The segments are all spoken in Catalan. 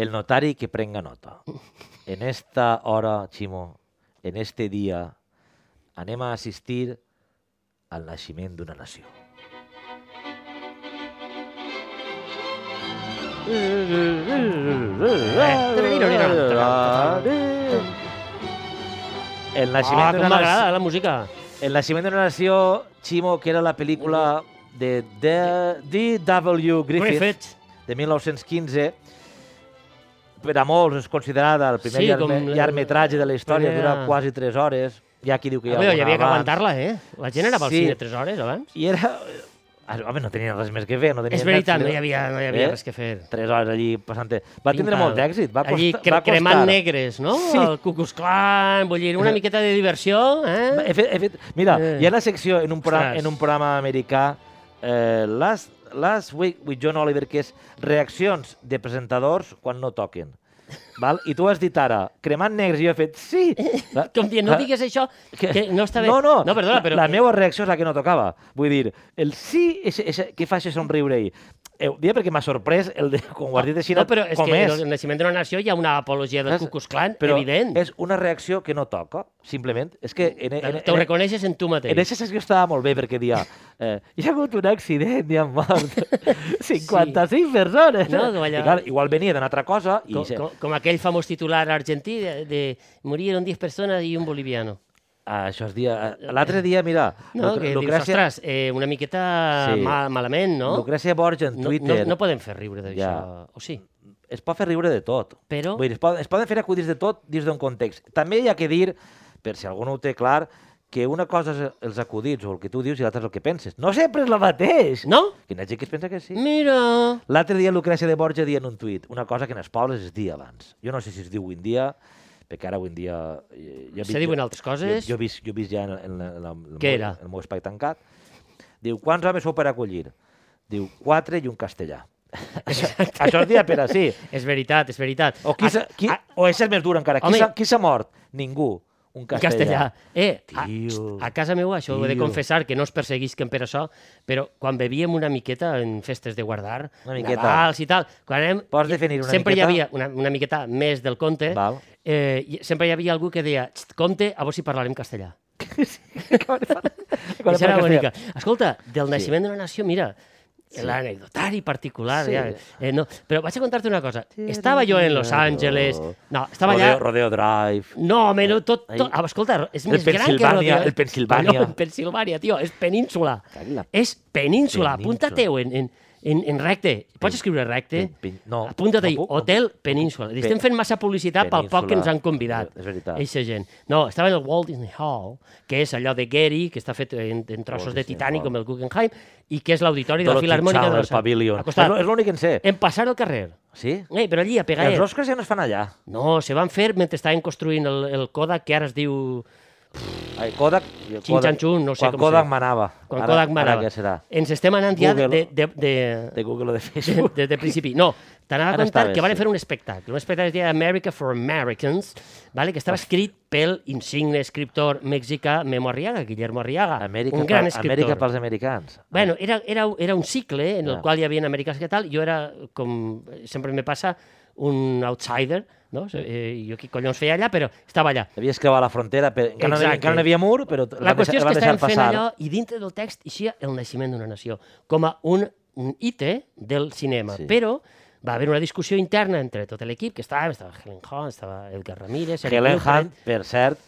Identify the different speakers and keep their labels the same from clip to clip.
Speaker 1: El notari que prenga nota. En esta hora, Ximo, en este dia, anem a assistir al naixement d'una nació.
Speaker 2: Ah,
Speaker 1: El
Speaker 2: Ah,
Speaker 1: naixement
Speaker 2: com
Speaker 1: d'una nació...
Speaker 2: m'agrada la música.
Speaker 1: El naixement d'una nació, Chimo, que era la pel·lícula de D- D.W. Griffith,
Speaker 2: Griffith.
Speaker 1: de 1915, per a molts és considerada el primer
Speaker 2: Sí,
Speaker 1: sí,
Speaker 2: com-
Speaker 1: llargmetratge de la història,
Speaker 2: primera-
Speaker 1: dura quasi 3 hores. Hi ha qui diu que hi ha
Speaker 2: Home, hi
Speaker 1: alguna
Speaker 2: havia que
Speaker 1: abans.
Speaker 2: aguantar-la, eh? La gent anava al
Speaker 1: Sí.
Speaker 2: cine 3 hores abans.
Speaker 1: I era... Ah, Home, no tenia res més que fer. No tenia
Speaker 2: És veritat, no
Speaker 1: Netflix.
Speaker 2: hi havia, no hi havia
Speaker 1: Eh?
Speaker 2: res que fer.
Speaker 1: 3 hores allí passant-te. Va tindre
Speaker 2: Pinta.
Speaker 1: molt d'èxit. Va, costa,
Speaker 2: Allí cre
Speaker 1: va costar.
Speaker 2: cremant negres, no?
Speaker 1: Sí.
Speaker 2: El Cucus Clan, vull dir, una miqueta de diversió, eh?
Speaker 1: He fet, he fet... Mira,
Speaker 2: Eh.
Speaker 1: hi ha la secció en un, programa,
Speaker 2: Ostres.
Speaker 1: en un programa americà, eh, Last, Last Week with John Oliver, que és reaccions de presentadors quan no toquen. Val? I tu has dit ara, cremant negres, i jo he fet sí. La,
Speaker 2: Com dient, no
Speaker 1: la-
Speaker 2: digues això, que no està bé.
Speaker 1: Ah. No, no,
Speaker 2: no perdona, però...
Speaker 1: la, la meva reacció és la que no tocava. Vull dir, el sí és, és, que fa això somriure ell. Eh, ho dia perquè m'ha sorprès el de, quan ho has dit així,
Speaker 2: no, però és
Speaker 1: com
Speaker 2: que en
Speaker 1: és.
Speaker 2: el naixement d'una nació hi ha una apologia del
Speaker 1: Saps?
Speaker 2: Cucus Clan,
Speaker 1: però
Speaker 2: evident. Mm.
Speaker 1: és una reacció que no toca, simplement. És que en, en,
Speaker 2: Te ho
Speaker 1: en,
Speaker 2: reconeixes en tu mateix.
Speaker 1: eh, En aquesta secció estava molt bé perquè dia eh, hi ha hagut un accident i han mort 55 persones.
Speaker 2: No,
Speaker 1: eh?
Speaker 2: com allò-
Speaker 1: I clar, igual venia d'una altra cosa i...
Speaker 2: Com,
Speaker 1: se-
Speaker 2: com, com aquell famós titular argentí de, de murieron 10 persones i un boliviano.
Speaker 1: Ah, això és dia... ah, L'altre dia, mira,
Speaker 2: No,
Speaker 1: Luc-
Speaker 2: que dius,
Speaker 1: Lucrècia,
Speaker 2: ostres, eh, una miqueta
Speaker 1: Sí.
Speaker 2: sí. mal, malament, no?
Speaker 1: Lucrècia Borja en
Speaker 2: No,
Speaker 1: Twitter
Speaker 2: no, no podem fer riure d'això,
Speaker 1: Ja.
Speaker 2: o sí?
Speaker 1: es pot fer riure de tot.
Speaker 2: Però-
Speaker 1: Vull dir, es, poden, es poden fer acudits de tot dins d'un context. També hi ha que dir, per si algú no ho té clar, que una cosa és els acudits o el que tu dius i l'altra és el que penses. No sempre és la mateix!
Speaker 2: No?
Speaker 1: Que hi ha gent que es pensa que sí.
Speaker 2: Mira!
Speaker 1: L'altre dia Lucrècia de Borja dia en un tuit una cosa que en els pobles es dia abans. Jo no sé si es diu avui en dia, perquè ara avui en dia... eh, Jo, he
Speaker 2: Se
Speaker 1: vist-
Speaker 2: diuen altres coses.
Speaker 1: Jo, jo, he vist, jo he vist ja en, en, la- en, la- en, el
Speaker 2: Què
Speaker 1: meu-
Speaker 2: era?
Speaker 1: en el meu espai tancat. Diu, quants homes sou per acollir? Diu, quatre i un castellà. això, això es dia per a sí.
Speaker 2: És veritat, és veritat.
Speaker 1: O, qui s'ha- qui, o és el més dur encara. Qui
Speaker 2: Home.
Speaker 1: s'ha- Qui s'ha mort? Ningú. Un
Speaker 2: En
Speaker 1: castellà.
Speaker 2: castellà. Eh, a,
Speaker 1: Tio.
Speaker 2: a casa meva, això ho he de
Speaker 1: Tio.
Speaker 2: confessar, que no es perseguisquen per això, però quan bevíem una miqueta en festes de guardar,
Speaker 1: Una miqueta.
Speaker 2: Navals i tal, quan anem,
Speaker 1: Pots definir una
Speaker 2: sempre hi
Speaker 1: miqueta?
Speaker 2: havia una, una miqueta més del conte,
Speaker 1: Val.
Speaker 2: eh, i sempre hi havia algú que deia, "Txt, compte, a vos si parlarem castellà.
Speaker 1: Quan
Speaker 2: Això era
Speaker 1: parles
Speaker 2: bonica.
Speaker 1: castellà.
Speaker 2: Escolta, del naixement d'una nació, mira, l'anecdotari particular.
Speaker 1: Sí.
Speaker 2: Ja, eh, no, però vaig a contar-te una cosa. Estava jo en Los Angeles... No, estava
Speaker 1: Rodeo,
Speaker 2: allà...
Speaker 1: Rodeo Drive.
Speaker 2: No, home, no, tot, tot...
Speaker 1: Ai.
Speaker 2: Ah, Escolta, és
Speaker 1: El
Speaker 2: més gran que...
Speaker 1: Pensilvània,
Speaker 2: Rodeo. eh?
Speaker 1: el Pensilvània.
Speaker 2: No, en Pensilvània, tio, és península.
Speaker 1: Carai, la-
Speaker 2: És península,
Speaker 1: Península.
Speaker 2: apunta-teu en, en, en, en recte. Pots escriure recte?
Speaker 1: pen- pen- no,
Speaker 2: Apunta't
Speaker 1: no
Speaker 2: ahí,
Speaker 1: puc, no
Speaker 2: Hotel Península. Li estem
Speaker 1: Pe-
Speaker 2: fent massa publicitat pel poc que ens han convidat.
Speaker 1: És veritat.
Speaker 2: Eixa gent. No, estava en el Walt Disney Hall, que és allò de Gary, que està fet en, en trossos
Speaker 1: Walt
Speaker 2: de
Speaker 1: Disney
Speaker 2: Titanic,
Speaker 1: Hall.
Speaker 2: com el Guggenheim, i que és l'auditori de la
Speaker 1: Dorothy
Speaker 2: Filarmònica de
Speaker 1: Chandler
Speaker 2: Barcelona.
Speaker 1: Pavilion.
Speaker 2: Al costat.
Speaker 1: És l'únic que en sé.
Speaker 2: En passar al carrer.
Speaker 1: Sí?
Speaker 2: Ei, però allí, a pegar...
Speaker 1: Els Oscars ja no es fan allà.
Speaker 2: No, se van fer mentre estaven construint el, el Kodak, que ara es diu...
Speaker 1: Ai, Kodak... jo-
Speaker 2: Xin
Speaker 1: Kodak-
Speaker 2: Chan Chun, no sé
Speaker 1: quan
Speaker 2: com
Speaker 1: Kodak
Speaker 2: se-
Speaker 1: manava.
Speaker 2: Quan
Speaker 1: Ara-
Speaker 2: Kodak manava.
Speaker 1: Ara què serà?
Speaker 2: Ens estem anant ja de,
Speaker 1: Google.
Speaker 2: de, de,
Speaker 1: De Google o de
Speaker 2: de,
Speaker 1: Facebook?
Speaker 2: des del principi. No, t'anava a
Speaker 1: Ara
Speaker 2: contar
Speaker 1: està bé,
Speaker 2: que van
Speaker 1: sí.
Speaker 2: fer un espectacle, un espectacle que es deia America for Americans, vale? que estava escrit pel insigne escriptor mexicà Memo Arriaga, Guillermo Arriaga,
Speaker 1: Amèrica,
Speaker 2: un gran
Speaker 1: pa-
Speaker 2: escriptor.
Speaker 1: Amèrica pels americans.
Speaker 2: Bueno, era, era, era un cicle en el
Speaker 1: Ja.
Speaker 2: qual hi havia americans que tal, jo era, com sempre me passa, un outsider, no? Eh, jo qui collons feia allà, però estava allà.
Speaker 1: Havies creuat la frontera, per... encara, no hi havia,
Speaker 2: Exacte.
Speaker 1: encara no hi havia mur, però t-
Speaker 2: La
Speaker 1: van
Speaker 2: qüestió és
Speaker 1: deixar-
Speaker 2: que
Speaker 1: van
Speaker 2: estàvem fent
Speaker 1: deixar
Speaker 2: allò i dintre del text eixia el naixement d'una nació, com a un, un IT del cinema.
Speaker 1: Sí.
Speaker 2: Sí. Però va haver una discussió interna entre tot l'equip, que estava, estava Helen Hunt, estava Edgar Ramírez... Eric
Speaker 1: Helen
Speaker 2: Lupert,
Speaker 1: Hunt, per cert,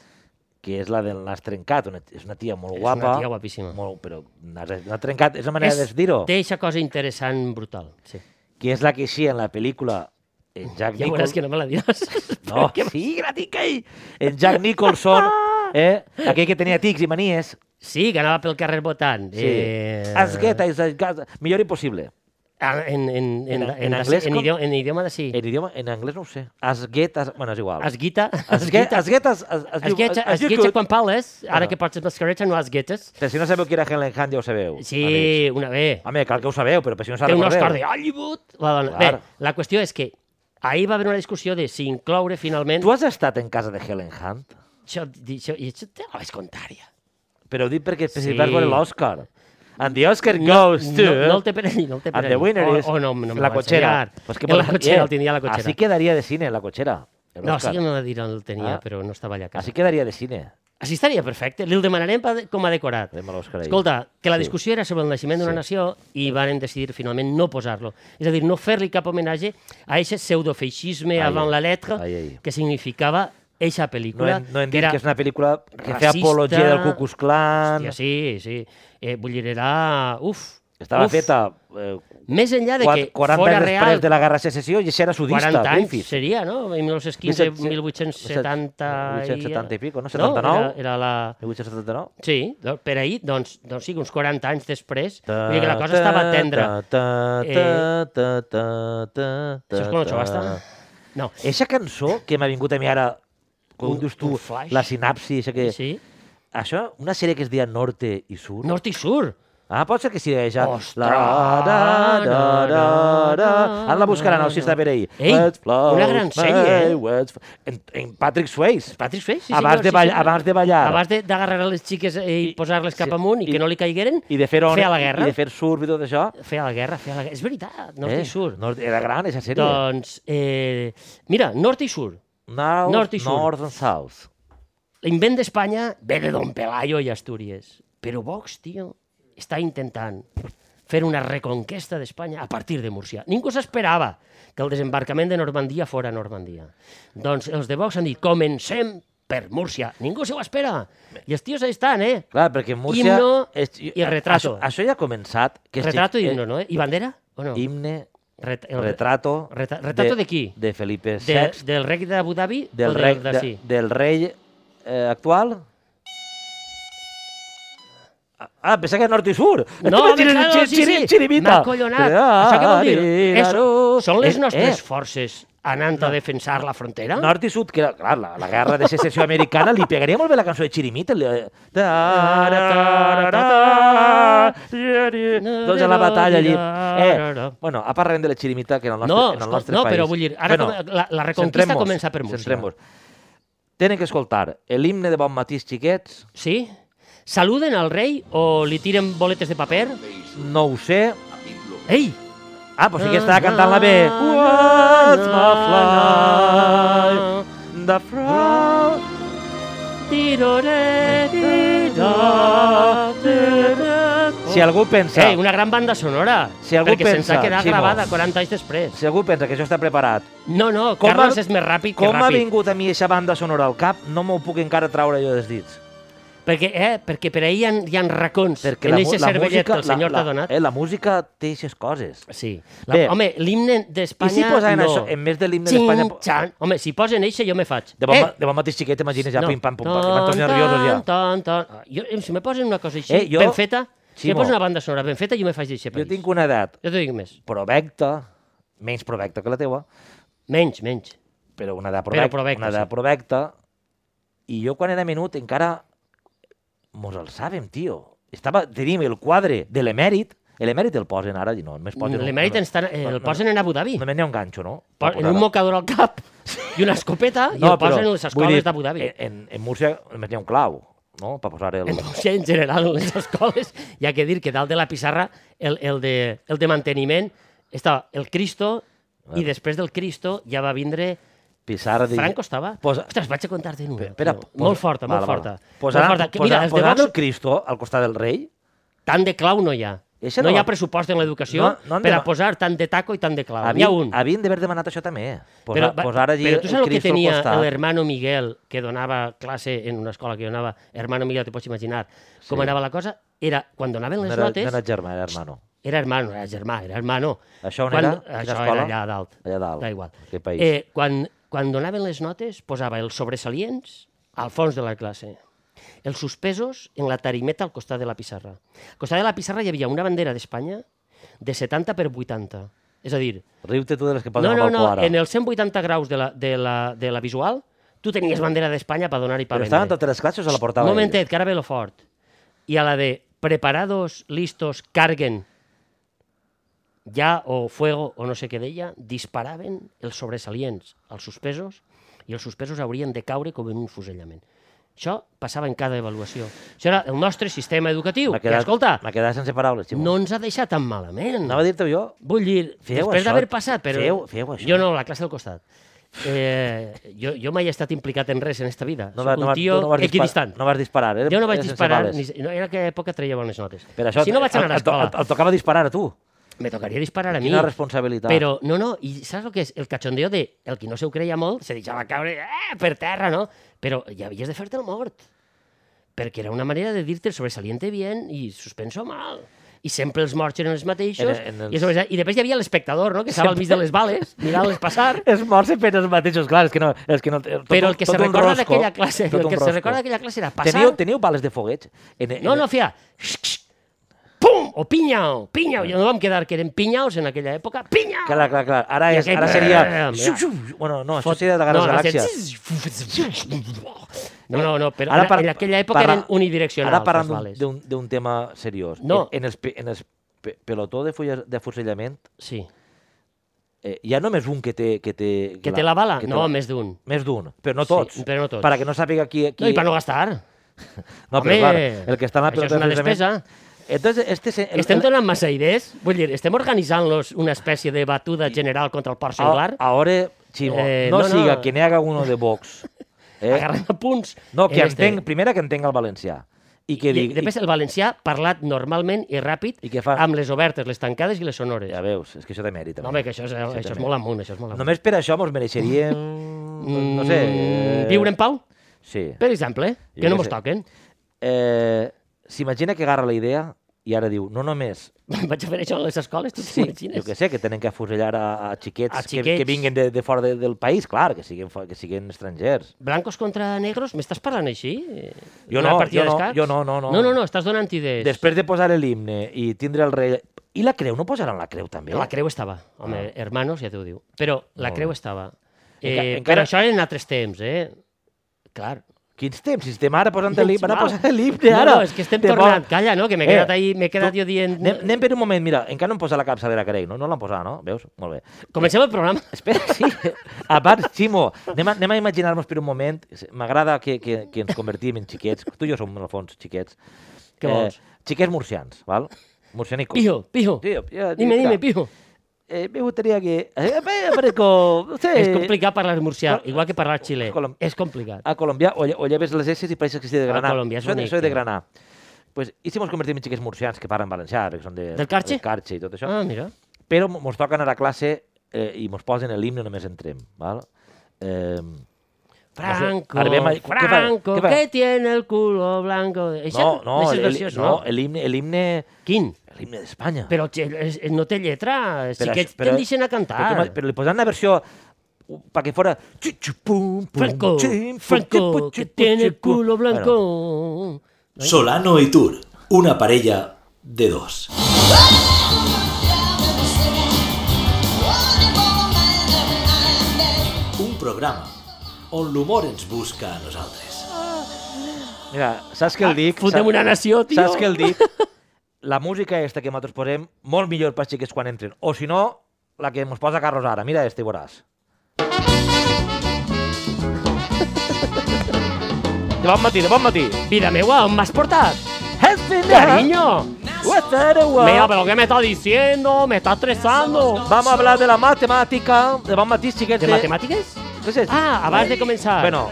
Speaker 1: que és la de l'has trencat, una, és una tia molt
Speaker 2: És
Speaker 1: guapa.
Speaker 2: una tia guapíssima.
Speaker 1: Molt, però l'has l'has trencat, és una manera de
Speaker 2: és-
Speaker 1: dir-ho.
Speaker 2: Té aquesta cosa interessant, brutal. Sí.
Speaker 1: Que és la que sí en la pel·lícula en Jack
Speaker 2: Ja veuràs
Speaker 1: Nicholson.
Speaker 2: que no me la diràs.
Speaker 1: No, sí, gratiquei. En Jack Nicholson, eh? aquell que tenia tics i manies.
Speaker 2: Sí, que anava pel carrer votant.
Speaker 1: Sí. Eh... As get as I got- Millor impossible.
Speaker 2: Ah, En, en,
Speaker 1: En-
Speaker 2: en, en,
Speaker 1: en anglès
Speaker 2: en,
Speaker 1: com?
Speaker 2: idioma, en idioma de sí.
Speaker 1: En idioma, en anglès no ho sé. As get as... Bueno, és igual. As,
Speaker 2: Esguita.
Speaker 1: as, get, as get as... as, as,
Speaker 2: Es guetxa, es guetxa quan parles,
Speaker 1: Ah.
Speaker 2: ara que portes mascareta no es guetxes.
Speaker 1: Per si no sabeu qui era Helen Hunt, ja ho sabeu. amics.
Speaker 2: Sí, una bé.
Speaker 1: Home, cal que ho sabeu, però per si no s'ha
Speaker 2: Té un Oscar de
Speaker 1: recordeu.
Speaker 2: Hollywood. La dona. Bé,
Speaker 1: Clar.
Speaker 2: la qüestió és que ahir va haver una discussió de si incloure finalment...
Speaker 1: Tu has estat en casa de Helen Hunt?
Speaker 2: Això, di- això, I això te la vaig contar ja.
Speaker 1: Però ho dic perquè per si
Speaker 2: Sí.
Speaker 1: vas veure l'Oscar. And the Oscar goes to...
Speaker 2: No, no el té per ahí, no el té per
Speaker 1: And the
Speaker 2: ahí.
Speaker 1: winner
Speaker 2: O-
Speaker 1: is
Speaker 2: o Oh, no, no me
Speaker 1: la
Speaker 2: la va
Speaker 1: cochera.
Speaker 2: ensenyar. En la cotxera, el tindria a la cotxera.
Speaker 1: eh, Así quedaría de cine, la cochera. el
Speaker 2: No, sí
Speaker 1: Oscar.
Speaker 2: que no la dir on el tenia,
Speaker 1: Ah.
Speaker 2: però no estava allà a casa.
Speaker 1: Así quedaria de cine.
Speaker 2: Així estaria perfecte. Li el demanarem pa- com a decorat.
Speaker 1: Anem a l'Òscar ahir.
Speaker 2: Escolta, que la
Speaker 1: Sí.
Speaker 2: discussió era sobre el naixement d'una
Speaker 1: Sí.
Speaker 2: nació i varen decidir finalment no posar-lo. És a dir, no fer-li cap homenatge a aquest pseudofeixisme
Speaker 1: Ai,
Speaker 2: avant la letra
Speaker 1: ai, ai.
Speaker 2: que significava eixa
Speaker 1: No
Speaker 2: pel·lícula.
Speaker 1: hem, no hem
Speaker 2: que
Speaker 1: dit
Speaker 2: era...
Speaker 1: que és una pel·lícula que feia
Speaker 2: racista.
Speaker 1: apologia del Ku Klux Klan.
Speaker 2: Hòstia, sí, sí. Eh, vull dir, era... Uf,
Speaker 1: Estava
Speaker 2: uf.
Speaker 1: feta eh,
Speaker 2: Més enllà de que
Speaker 1: quat- 40
Speaker 2: fora
Speaker 1: anys
Speaker 2: real,
Speaker 1: després de la Guerra de Secessió i això era sudista,
Speaker 2: 40 anys
Speaker 1: Griffith.
Speaker 2: seria, no? En 1915,
Speaker 1: 17,
Speaker 2: 1870...
Speaker 1: 1870 i pico, no? 79?
Speaker 2: No, era, era la...
Speaker 1: 1879?
Speaker 2: Sí, do- per ahir, doncs, doncs sí, uns 40 anys després, vull dir que la cosa estava tendra. Eh, Això és quan això basta? No.
Speaker 1: Eixa cançó que m'ha vingut a mi ara, com
Speaker 2: Un-
Speaker 1: dius tu,
Speaker 2: un flash.
Speaker 1: la sinapsi, això que...
Speaker 2: Sí.
Speaker 1: Això, una sèrie que es deia Norte i Sur.
Speaker 2: Nord i Sur.
Speaker 1: Ah, pot ser que sigui ja.
Speaker 2: Ostres!
Speaker 1: La, da, da, da, da. Ara la buscaran, no, si està per ahí.
Speaker 2: Ei,
Speaker 1: Let's flow,
Speaker 2: una gran
Speaker 1: away,
Speaker 2: sèrie, eh?
Speaker 1: let's flow. En, en Patrick Swayze.
Speaker 2: Patrick Swayze, sí,
Speaker 1: abans,
Speaker 2: senyor,
Speaker 1: de
Speaker 2: sí,
Speaker 1: ball,
Speaker 2: senyor.
Speaker 1: abans de ballar.
Speaker 2: Abans de- d'agarrar les xiques eh, i,
Speaker 1: I-
Speaker 2: posar-les cap
Speaker 1: sí,
Speaker 2: amunt i,
Speaker 1: i-
Speaker 2: que no li caigueren,
Speaker 1: I de fer on,
Speaker 2: fer a la guerra.
Speaker 1: I de fer surf i tot això.
Speaker 2: feia la guerra, feia la guerra. És veritat, Nord
Speaker 1: Eh.
Speaker 2: i Sur.
Speaker 1: Nord, era gran, aquesta sèrie.
Speaker 2: Doncs, eh, mira, Nord i Sur.
Speaker 1: Now,
Speaker 2: Nord i Sur.
Speaker 1: North and South.
Speaker 2: L'invent d'Espanya ve de Don Pelayo i Astúries. Però Vox, tio, està intentant fer una reconquesta d'Espanya a partir de Múrcia. Ningú s'esperava que el desembarcament de Normandia fora Normandia. Doncs els de Vox han dit, comencem per Múrcia. Ningú se ho espera. I els tios ahí estan, eh?
Speaker 1: Clar, perquè Múrcia...
Speaker 2: Himno
Speaker 1: és-
Speaker 2: i retrato.
Speaker 1: Això, això ja ha començat. Que és-
Speaker 2: Retrato i
Speaker 1: eh,
Speaker 2: himno, no? Eh? I bandera? O no?
Speaker 1: Himne,
Speaker 2: Ret- el-
Speaker 1: retrato...
Speaker 2: Reta- retrato de qui?
Speaker 1: De Felipe
Speaker 2: de,
Speaker 1: VI.
Speaker 2: del rei d'Abu Dhabi o
Speaker 1: del
Speaker 2: del
Speaker 1: rei, de,
Speaker 2: d'ací?
Speaker 1: del rei eh, actual? Ah, pensava que era nord i sur.
Speaker 2: No, home,
Speaker 1: Xiri-
Speaker 2: claro,
Speaker 1: xiri-
Speaker 2: sí,
Speaker 1: xiri-
Speaker 2: sí.
Speaker 1: xirimita.
Speaker 2: M'ha collonat.
Speaker 1: Però, ah,
Speaker 2: Això què vol dir?
Speaker 1: ari,
Speaker 2: És,
Speaker 1: garo.
Speaker 2: són les
Speaker 1: Eh,
Speaker 2: nostres
Speaker 1: eh,
Speaker 2: forces anant a defensar la frontera?
Speaker 1: Nord i sud, que era, clar, la, la guerra de secessió americana, li pegaria molt bé la cançó de Chirimita. Li... eh, Doncs a la batalla allí. Eh, bueno, a part res de la Chirimita, que en el nostre,
Speaker 2: No,
Speaker 1: en el
Speaker 2: escol-
Speaker 1: nostre
Speaker 2: no,
Speaker 1: país.
Speaker 2: però vull dir, ara com- la- la reconquista
Speaker 1: centrem-nos,
Speaker 2: comença per Múrcia.
Speaker 1: Centrem-nos. Tenen que escoltar l'himne de Bon Matís, xiquets,
Speaker 2: Sí? Saluden al rei o li tiren boletes de paper?
Speaker 1: no ho sé.
Speaker 2: Ei!
Speaker 1: Ah, però sí que estava cantant-la bé. What's my fly? The frog Si algú pensa...
Speaker 2: Ei, una gran banda sonora.
Speaker 1: Si algú
Speaker 2: perquè
Speaker 1: pensa,
Speaker 2: se'ns ha quedat
Speaker 1: Ximo.
Speaker 2: gravada 40 anys després.
Speaker 1: Si algú pensa que això està preparat,
Speaker 2: No, no,
Speaker 1: Com
Speaker 2: Carles
Speaker 1: ha-
Speaker 2: és més ràpid que
Speaker 1: com m'ha
Speaker 2: ràpid.
Speaker 1: vingut a mi aquesta banda sonora al cap, no m'ho puc encara traure jo dels dits.
Speaker 2: Perquè, eh, perquè per ahir hi ha, hi ha racons
Speaker 1: Perquè la,
Speaker 2: en
Speaker 1: mu-
Speaker 2: aquest cervellet que el senyor
Speaker 1: la,
Speaker 2: t'ha donat.
Speaker 1: Eh, la música té aquestes coses.
Speaker 2: Sí. La,
Speaker 1: Bé.
Speaker 2: home, l'himne
Speaker 1: I
Speaker 2: d'Espanya
Speaker 1: si posaven
Speaker 2: no.
Speaker 1: això, en més de l'himne d'Espanya...
Speaker 2: Xin, xan. Home, si posen eixe jo me faig.
Speaker 1: De bon, eh. de bon mateix xiquet, t'imagines ja, pim, pam, pum, pam, que m'han tornat nerviosos ja.
Speaker 2: Ton, ton, ton. Jo, eh, si me posen una cosa així
Speaker 1: Eh, jo-
Speaker 2: ben feta, si me
Speaker 1: Ximo.
Speaker 2: posen una banda sonora ben feta, jo me faig d'eixe país.
Speaker 1: Jo tinc una edat
Speaker 2: Jo t'ho dic més.
Speaker 1: provecta, menys provecta que la teua,
Speaker 2: Menys, menys.
Speaker 1: però una edat
Speaker 2: Però
Speaker 1: provecta,
Speaker 2: provecta,
Speaker 1: una edat
Speaker 2: sí.
Speaker 1: provecta, i jo quan era menut encara mos el sàvem, tio. Estava, tenim el quadre de l'emèrit, l'emèrit el posen ara, i no, només posen... un-
Speaker 2: L'emèrit ens tan- eh, el posen en Abu Dhabi.
Speaker 1: Només n'hi ha un ganxo, no?
Speaker 2: Po-
Speaker 1: Per
Speaker 2: En
Speaker 1: posar-ho.
Speaker 2: un mocador al cap i una escopeta i el posen
Speaker 1: però,
Speaker 2: a les
Speaker 1: vull dir,
Speaker 2: escoles d'Abu Dhabi.
Speaker 1: En, en Múrcia només n'hi ha un clau, no? Per posar el...
Speaker 2: en Múrcia, en general, en les escoles, hi ha que dir que dalt de la pissarra el, el, de, el de manteniment estava el Cristo i després del Cristo ja va vindre
Speaker 1: Pissarra de...
Speaker 2: Franco estava?
Speaker 1: Posa-
Speaker 2: Ostres, vaig a contar-te una.
Speaker 1: Espera,
Speaker 2: tio.
Speaker 1: posa-
Speaker 2: molt forta, molt
Speaker 1: Val, val.
Speaker 2: forta.
Speaker 1: Posaran,
Speaker 2: molt forta. Que, mira,
Speaker 1: posaran,
Speaker 2: els de
Speaker 1: posaran
Speaker 2: Vox,
Speaker 1: el Cristo al costat del rei?
Speaker 2: tant de clau no hi ha.
Speaker 1: Eixa
Speaker 2: no
Speaker 1: no
Speaker 2: hi
Speaker 1: va-
Speaker 2: ha pressupost en l'educació
Speaker 1: No, no han
Speaker 2: per a
Speaker 1: dema-
Speaker 2: posar tant de taco i tant de clau. N'hi
Speaker 1: Havien,
Speaker 2: ha un.
Speaker 1: havien d'haver demanat això també. Posar,
Speaker 2: Però, va-
Speaker 1: posar allí
Speaker 2: però tu saps
Speaker 1: el
Speaker 2: el que
Speaker 1: Cristo al
Speaker 2: tenia
Speaker 1: costat.
Speaker 2: l'hermano Miguel, que donava classe en una escola que jo anava, hermano Miguel, te pots imaginar com
Speaker 1: Sí.
Speaker 2: anava la cosa, era quan donaven les
Speaker 1: No era,
Speaker 2: notes...
Speaker 1: no era germà, era hermano.
Speaker 2: Era hermano, era germà, era hermano.
Speaker 1: Això on
Speaker 2: Quan-
Speaker 1: era? Quina
Speaker 2: Això
Speaker 1: escola?
Speaker 2: era allà a dalt.
Speaker 1: Allà dalt.
Speaker 2: Da igual.
Speaker 1: Aquell país.
Speaker 2: Eh, quan, quan donaven les notes, posava els sobresalients al fons de la classe. Els suspesos en la tarimeta al costat de la pissarra. Al costat de la pissarra hi havia una bandera d'Espanya de 70 per 80. És a dir,
Speaker 1: Riu-te tu de les que posen
Speaker 2: no,
Speaker 1: al
Speaker 2: no,
Speaker 1: balcó
Speaker 2: no,
Speaker 1: ara.
Speaker 2: en el 180 graus de la, de la, de la visual, tu tenies bandera d'Espanya per donar i per
Speaker 1: Però
Speaker 2: vendre.
Speaker 1: estaven totes les classes a la portada.
Speaker 2: Un
Speaker 1: d'ell.
Speaker 2: momentet, que ara ve lo fort. I a la de preparados, listos, carguen, ja o fuego o no sé què deia, disparaven els sobresalients, els suspesos, i els suspesos haurien de caure com en un fusellament. Això passava en cada avaluació. Això era el nostre sistema educatiu.
Speaker 1: M'ha
Speaker 2: Que, escolta,
Speaker 1: m'ha quedat sense paraules, Ximo.
Speaker 2: no ens ha deixat tan malament.
Speaker 1: Anava a dir-te jo,
Speaker 2: Vull dir,
Speaker 1: Feu
Speaker 2: després
Speaker 1: això,
Speaker 2: d'haver passat, però...
Speaker 1: feu- feu això.
Speaker 2: Jo no, la classe del costat. Eh, jo, jo mai he estat implicat en res en esta vida.
Speaker 1: no,
Speaker 2: No,
Speaker 1: va,
Speaker 2: Soc
Speaker 1: no,
Speaker 2: un
Speaker 1: va,
Speaker 2: tio
Speaker 1: tu no vas disparar.
Speaker 2: equidistant.
Speaker 1: No vas disparar. Era,
Speaker 2: jo no vaig
Speaker 1: era sense
Speaker 2: disparar,
Speaker 1: bales.
Speaker 2: ni, no, en aquella època treia bones notes.
Speaker 1: Per això,
Speaker 2: si no vaig anar a
Speaker 1: et- et to-
Speaker 2: l'escola,
Speaker 1: Et, et, tocava disparar a tu.
Speaker 2: me tocaria disparar a mi.
Speaker 1: Quina responsabilitat.
Speaker 2: Però, no, no, i saps el que és? El cachondeo de el que no se ho creia molt, se deixava caure eh, per terra, no? Però ja havies de fer-te el mort. Perquè era una manera de dir-te el sobresaliente bien i suspenso mal. I sempre els morts eren els mateixos.
Speaker 1: Era en els-
Speaker 2: i, sobre... I després hi havia l'espectador, no? Que estava al mig de les bales, mirant-les passar.
Speaker 1: Es mor sempre els mateixos, clar, és que no... És que no tot,
Speaker 2: Però el
Speaker 1: un-
Speaker 2: que
Speaker 1: tot
Speaker 2: se
Speaker 1: un
Speaker 2: recorda
Speaker 1: rosco,
Speaker 2: d'aquella classe,
Speaker 1: tot
Speaker 2: el
Speaker 1: un
Speaker 2: que se
Speaker 1: rosco.
Speaker 2: recorda d'aquella classe era passar...
Speaker 1: Teniu, teniu bales de foguets? En, en,
Speaker 2: No, no, feia... Pum! O pinyao,
Speaker 1: Ah.
Speaker 2: pinyao. Jo no vam quedar que eren pinyaos en aquella època. Pinyao!
Speaker 1: Clar, clar, clar. Ara,
Speaker 2: I
Speaker 1: és,
Speaker 2: aquell-
Speaker 1: ara seria...
Speaker 2: Mira.
Speaker 1: Xiu, xiu. Bueno, no, això
Speaker 2: Fot-
Speaker 1: seria de Guerra no,
Speaker 2: no,
Speaker 1: Galàxia.
Speaker 2: No, no, no, però ara, en aquella època
Speaker 1: parla-
Speaker 2: eren unidireccionals.
Speaker 1: Ara parlant
Speaker 2: les
Speaker 1: d'un-
Speaker 2: bales.
Speaker 1: d'un d'un tema seriós.
Speaker 2: No.
Speaker 1: En, en, els, pe- en els pe- pelotó de, fulla, de fusellament
Speaker 2: Sí.
Speaker 1: eh, hi ha només un que té... Que té,
Speaker 2: Que té la bala?
Speaker 1: que té
Speaker 2: No,
Speaker 1: la-
Speaker 2: més d'un.
Speaker 1: Més d'un, però no
Speaker 2: Sí,
Speaker 1: tots.
Speaker 2: però no tots.
Speaker 1: Per a que no sàpiga qui... qui...
Speaker 2: No, i per no gastar.
Speaker 1: no però
Speaker 2: Home,
Speaker 1: clar, el que està en la
Speaker 2: això és
Speaker 1: pelota
Speaker 2: una
Speaker 1: de fusellament...
Speaker 2: despesa.
Speaker 1: Entonces, este se, el,
Speaker 2: Estem
Speaker 1: el,
Speaker 2: donant massa idees? Vull dir, estem organitzant-los una espècie de batuda general contra el port
Speaker 1: a-
Speaker 2: singular?
Speaker 1: ahora, Chimo,
Speaker 2: Eh,
Speaker 1: no,
Speaker 2: no, no.
Speaker 1: siga que n'hi haga uno de Vox. Eh?
Speaker 2: Agarrant a punts.
Speaker 1: No, que
Speaker 2: en
Speaker 1: entenc, primera que entenc el valencià. I que
Speaker 2: I,
Speaker 1: digui...
Speaker 2: després el valencià parlat normalment i ràpid
Speaker 1: I què fa?
Speaker 2: amb les obertes, les tancades i les sonores.
Speaker 1: Ah. Ja veus, és que això té mèrit.
Speaker 2: no,
Speaker 1: també.
Speaker 2: home, que això és, això
Speaker 1: també.
Speaker 2: és molt amunt, això és molt amunt.
Speaker 1: Només per això mos mereixeríem... no sé... eh,
Speaker 2: Mm, Viure en pau?
Speaker 1: Sí.
Speaker 2: Per exemple,
Speaker 1: Jo
Speaker 2: que no
Speaker 1: què
Speaker 2: mos
Speaker 1: sé.
Speaker 2: toquen.
Speaker 1: Eh, S'imagina que agarra la idea i ara diu, no només...
Speaker 2: Vaig a fer això a les escoles, tu
Speaker 1: Sí,
Speaker 2: t'imagines?
Speaker 1: jo que sé, que tenen que afusellar a, a xiquets,
Speaker 2: A
Speaker 1: Que,
Speaker 2: xiquets.
Speaker 1: que vinguin de, de fora de, del país, clar, que siguin, fo- que siguin estrangers.
Speaker 2: Blancos contra negros? M'estàs parlant així?
Speaker 1: Jo
Speaker 2: Una
Speaker 1: no,
Speaker 2: partida
Speaker 1: jo no,
Speaker 2: d'escacs?
Speaker 1: jo no, no, no.
Speaker 2: No, no, no, estàs donant idees.
Speaker 1: Després de posar l'himne i tindre el rei... I la creu, no posaran la creu també?
Speaker 2: La creu estava. Home, hermanos, ja t'ho diu. Però la
Speaker 1: Ah. Molt
Speaker 2: creu estava. Eh,
Speaker 1: Enca-
Speaker 2: Però
Speaker 1: encara-
Speaker 2: això eren altres temps, eh? Clar.
Speaker 1: Quins temps? Si estem ara posant l'himne, van a
Speaker 2: Val.
Speaker 1: posar l'himne ara.
Speaker 2: No, no, és que estem
Speaker 1: Te vol-
Speaker 2: tornant. Calla, no? Que m'he
Speaker 1: Eh,
Speaker 2: quedat, ahí, m'he quedat
Speaker 1: tu-
Speaker 2: jo dient...
Speaker 1: Anem, anem per un moment, mira, encara no em posa la capçalera, crec, no? No l'han posat, no? Veus? Molt bé.
Speaker 2: Comencem el programa.
Speaker 1: Espera, sí. Abans, Ximo, anem a, anem a imaginar-nos per un moment. M'agrada que, que, que ens convertim en xiquets. Tu i jo som, en el fons, xiquets. Eh,
Speaker 2: Què vols?
Speaker 1: xiquets murcians, val? Murcianicos.
Speaker 2: Pijo, pijo.
Speaker 1: Sí, ja,
Speaker 2: Dime,
Speaker 1: mira,
Speaker 2: dime, pijo.
Speaker 1: Eh, me gustaría que... Eh, eh, aparezco, no sé,
Speaker 2: És complicat parlar murcià,
Speaker 1: Col-
Speaker 2: igual que parlar xilè.
Speaker 1: Eh, Colom- Ah,
Speaker 2: És complicat.
Speaker 1: A Colombia, o, lle- o lleves les S i pareixes que sigui de
Speaker 2: A
Speaker 1: Granà.
Speaker 2: Colòmbia és
Speaker 1: soy, de-
Speaker 2: bonic,
Speaker 1: soy de
Speaker 2: eh?
Speaker 1: Granà. Pues, I si mos convertim en xiquets murcians que parlen valencià, perquè són de,
Speaker 2: Del Carxe?
Speaker 1: del Carxe i tot això.
Speaker 2: Ah, mira.
Speaker 1: però mo- mos toquen a la classe eh, i mos posen l'himne només entrem, val? Eh,
Speaker 2: Franco,
Speaker 1: Ara ve ma- què fa-
Speaker 2: Franco,
Speaker 1: què
Speaker 2: que
Speaker 1: fa?
Speaker 2: tiene el culo blanco. Eixa,
Speaker 1: no, no,
Speaker 2: eixes
Speaker 1: el,
Speaker 2: versions,
Speaker 1: no, l'himne, l'himne,
Speaker 2: Quin?
Speaker 1: l'himne d'Espanya.
Speaker 2: Però che- és- és- no té lletra, sí
Speaker 1: Però
Speaker 2: que
Speaker 1: això- però-
Speaker 2: te'n deixen a
Speaker 1: Però,
Speaker 2: cantar.
Speaker 1: que- però li posaran una versió perquè fora... Franco,
Speaker 2: Franco, Franco, que tiene el culo blanco.
Speaker 3: Solano y Tour, una parella de dos. Un programa on l'humor ens busca a nosaltres.
Speaker 1: Mira, saps què el dic?
Speaker 2: Fotem
Speaker 1: Saps-
Speaker 2: Ah, una nació, tio.
Speaker 1: Saps què el dic? La música esta que nosaltres posem, molt millor pels xiquets quan entren. O si no, la que mos posa Carlos ara. Mira este, veuràs. De bon matí, de bon matí.
Speaker 2: Vida meva, on m'has portat?
Speaker 1: Cariño.
Speaker 2: Cariño, mira, pero ¿qué me está diciendo? Me está estresando.
Speaker 1: Vamos a hablar de la matemática. De bon matí, xiquets.
Speaker 2: ¿De matemáticas?
Speaker 1: Què és?
Speaker 2: Ah, abans de començar.
Speaker 1: Bueno,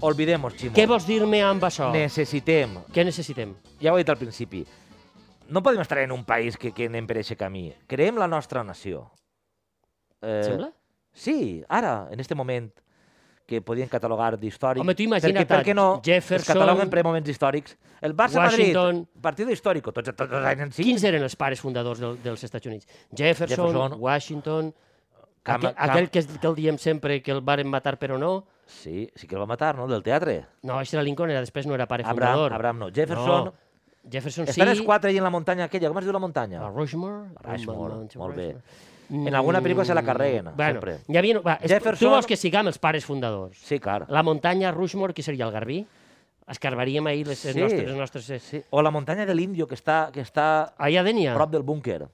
Speaker 1: olvidemos, Ximo.
Speaker 2: Què vols dir-me amb això?
Speaker 1: Necessitem
Speaker 2: Què necessitem?
Speaker 1: ja ho he dit al principi, no podem estar en un país que, que anem per aquest camí. Creem la nostra nació. Eh,
Speaker 2: Sembla?
Speaker 1: Sí, ara, en este moment, que podien catalogar d'històric.
Speaker 2: Home, tu imagina't,
Speaker 1: Perquè, per què no?
Speaker 2: Jefferson,
Speaker 1: Es cataloguen per moments històrics. El Barça-Madrid,
Speaker 2: Washington.
Speaker 1: partido històric, tots, tots els anys en sí.
Speaker 2: Quins eren els pares fundadors del, dels Estats Units? Jefferson,
Speaker 1: Jefferson.
Speaker 2: Washington,
Speaker 1: Cam-
Speaker 2: aquel,
Speaker 1: Cam-
Speaker 2: aquell que, es- que el diem sempre que el varen matar però no.
Speaker 1: Sí, sí que el va matar, no? Del teatre.
Speaker 2: No, això era Lincoln, era després no era pare
Speaker 1: Abraham,
Speaker 2: fundador.
Speaker 1: Abraham no. Jefferson.
Speaker 2: No. Jefferson sí.
Speaker 1: Estan els quatre allà en la muntanya aquella. Com es diu la muntanya?
Speaker 2: La Rushmore.
Speaker 1: La Rushmore,
Speaker 2: Mount
Speaker 1: molt bé.
Speaker 2: Rushmore.
Speaker 1: En alguna pel·lícula se la
Speaker 2: Mm,
Speaker 1: carreguen,
Speaker 2: bueno,
Speaker 1: sempre.
Speaker 2: Hi havia, va, és,
Speaker 1: Jefferson-
Speaker 2: Tu vols que siguem els pares fundadors?
Speaker 1: Sí, clar.
Speaker 2: La muntanya Rushmore, que seria el Garbí? Escarbaríem ahir les, les
Speaker 1: Sí.
Speaker 2: nostres... Les nostres
Speaker 1: Sí. O la muntanya de l'Índio, que està, que està
Speaker 2: Allà de n'hi ha.
Speaker 1: prop del búnquer.
Speaker 2: Ah.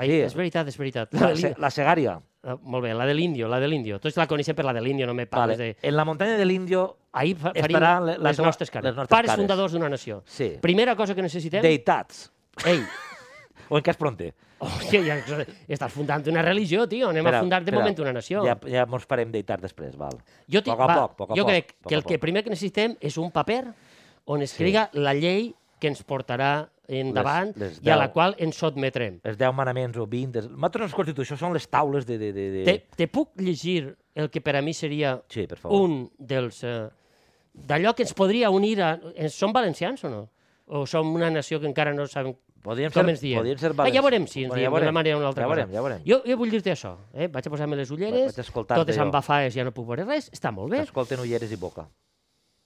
Speaker 2: Ai,
Speaker 1: sí.
Speaker 2: És veritat, és veritat.
Speaker 1: La, se- la Segària.
Speaker 2: Ah, Molt bé, la de l'Índio, la de l'Índio. Tots la coneixem per la de l'Índio, no me
Speaker 1: Vale.
Speaker 2: parles de...
Speaker 1: En la muntanya de l'Índio,
Speaker 2: Ahir fa,
Speaker 1: Estarà
Speaker 2: faríem
Speaker 1: le-
Speaker 2: les,
Speaker 1: la teva-
Speaker 2: nostres cares.
Speaker 1: les nostres
Speaker 2: Pares
Speaker 1: cares.
Speaker 2: fundadors d'una nació.
Speaker 1: Sí.
Speaker 2: Primera cosa que necessitem...
Speaker 1: deitats,
Speaker 2: Ei,
Speaker 1: o en cas pronter.
Speaker 2: hòstia, ja, estàs fundant una religió, tio. Anem
Speaker 1: Espera,
Speaker 2: a fundar de
Speaker 1: espera.
Speaker 2: moment una nació.
Speaker 1: Ja, ja mos farem deitar després, val.
Speaker 2: Jo, tinc,
Speaker 1: poc a
Speaker 2: va,
Speaker 1: poc, poc a
Speaker 2: jo
Speaker 1: poc,
Speaker 2: crec
Speaker 1: poc
Speaker 2: que
Speaker 1: a
Speaker 2: el que
Speaker 1: poc.
Speaker 2: primer que necessitem és un paper on escriga la llei que ens portarà endavant
Speaker 1: les
Speaker 2: i a la
Speaker 1: deu.
Speaker 2: qual ens sotmetrem.
Speaker 1: Els 10 manaments o 20... Els... Nosaltres ens constitució són les taules de... de, de, de...
Speaker 2: Te, te puc llegir el que per a mi seria
Speaker 1: Sí, per favor.
Speaker 2: un dels... Eh, d'allò que ens podria unir a... eh, Som valencians o no? O som una nació que encara no sabem
Speaker 1: Podríem
Speaker 2: com
Speaker 1: ser-
Speaker 2: ens diem?
Speaker 1: podríem ser
Speaker 2: ah, ja
Speaker 1: valents.
Speaker 2: veurem si ens
Speaker 1: Bueno,
Speaker 2: diem
Speaker 1: ja
Speaker 2: d'una
Speaker 1: veurem,
Speaker 2: manera o una altra
Speaker 1: ja veurem,
Speaker 2: cosa.
Speaker 1: ja veurem.
Speaker 2: Jo, jo vull dir-te això. Eh? Vaig a posar-me les ulleres,
Speaker 1: Vaig escoltar-te
Speaker 2: totes
Speaker 1: jo.
Speaker 2: amb bafaes ja no puc veure res, està molt bé.
Speaker 1: Escolten ulleres i boca.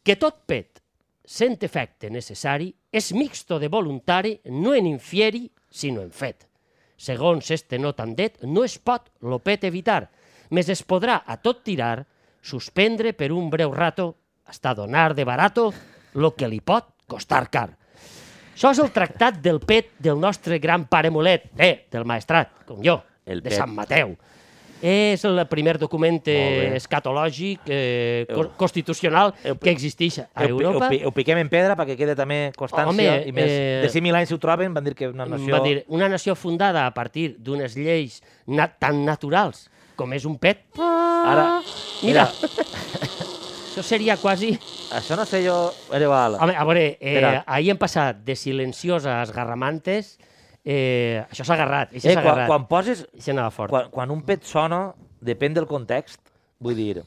Speaker 2: que tot pet, sent efecte necessari, és mixto de voluntari, no en infieri, sinó en fet. Segons este no tan det, no es pot lo pet evitar, més es podrà a tot tirar, suspendre per un breu rato, hasta donar de barato lo que li pot costar car. Això és el tractat del pet del nostre gran pare Molet, eh, del maestrat, com jo,
Speaker 1: El
Speaker 2: de
Speaker 1: pet.
Speaker 2: Sant Mateu. És el primer document
Speaker 1: Molt
Speaker 2: eh,
Speaker 1: bé.
Speaker 2: escatològic, eh,
Speaker 1: Eu-
Speaker 2: cos- constitucional
Speaker 1: eu-
Speaker 2: que existeix a
Speaker 1: Ho pi- ho
Speaker 2: Europa.
Speaker 1: pi- Ho, piquem en pedra perquè quede també constància
Speaker 2: Home,
Speaker 1: i més.
Speaker 2: eh,
Speaker 1: De 100.000 anys si ho troben, van dir que una nació...
Speaker 2: Va dir, una nació fundada a partir d'unes lleis na tan naturals com és un pet.
Speaker 1: Ara,
Speaker 2: Mira, això seria quasi...
Speaker 1: això no sé jo... Era igual.
Speaker 2: Home, a veure, eh,
Speaker 1: Espera.
Speaker 2: ahir hem passat de silenciosa a esgarramantes. Eh, això s'ha agarrat, això
Speaker 1: Eh,
Speaker 2: s'ha
Speaker 1: quan,
Speaker 2: agarrat.
Speaker 1: quan poses...
Speaker 2: Això anava fort.
Speaker 1: Quan, quan un pet sona, depèn del context, vull dir,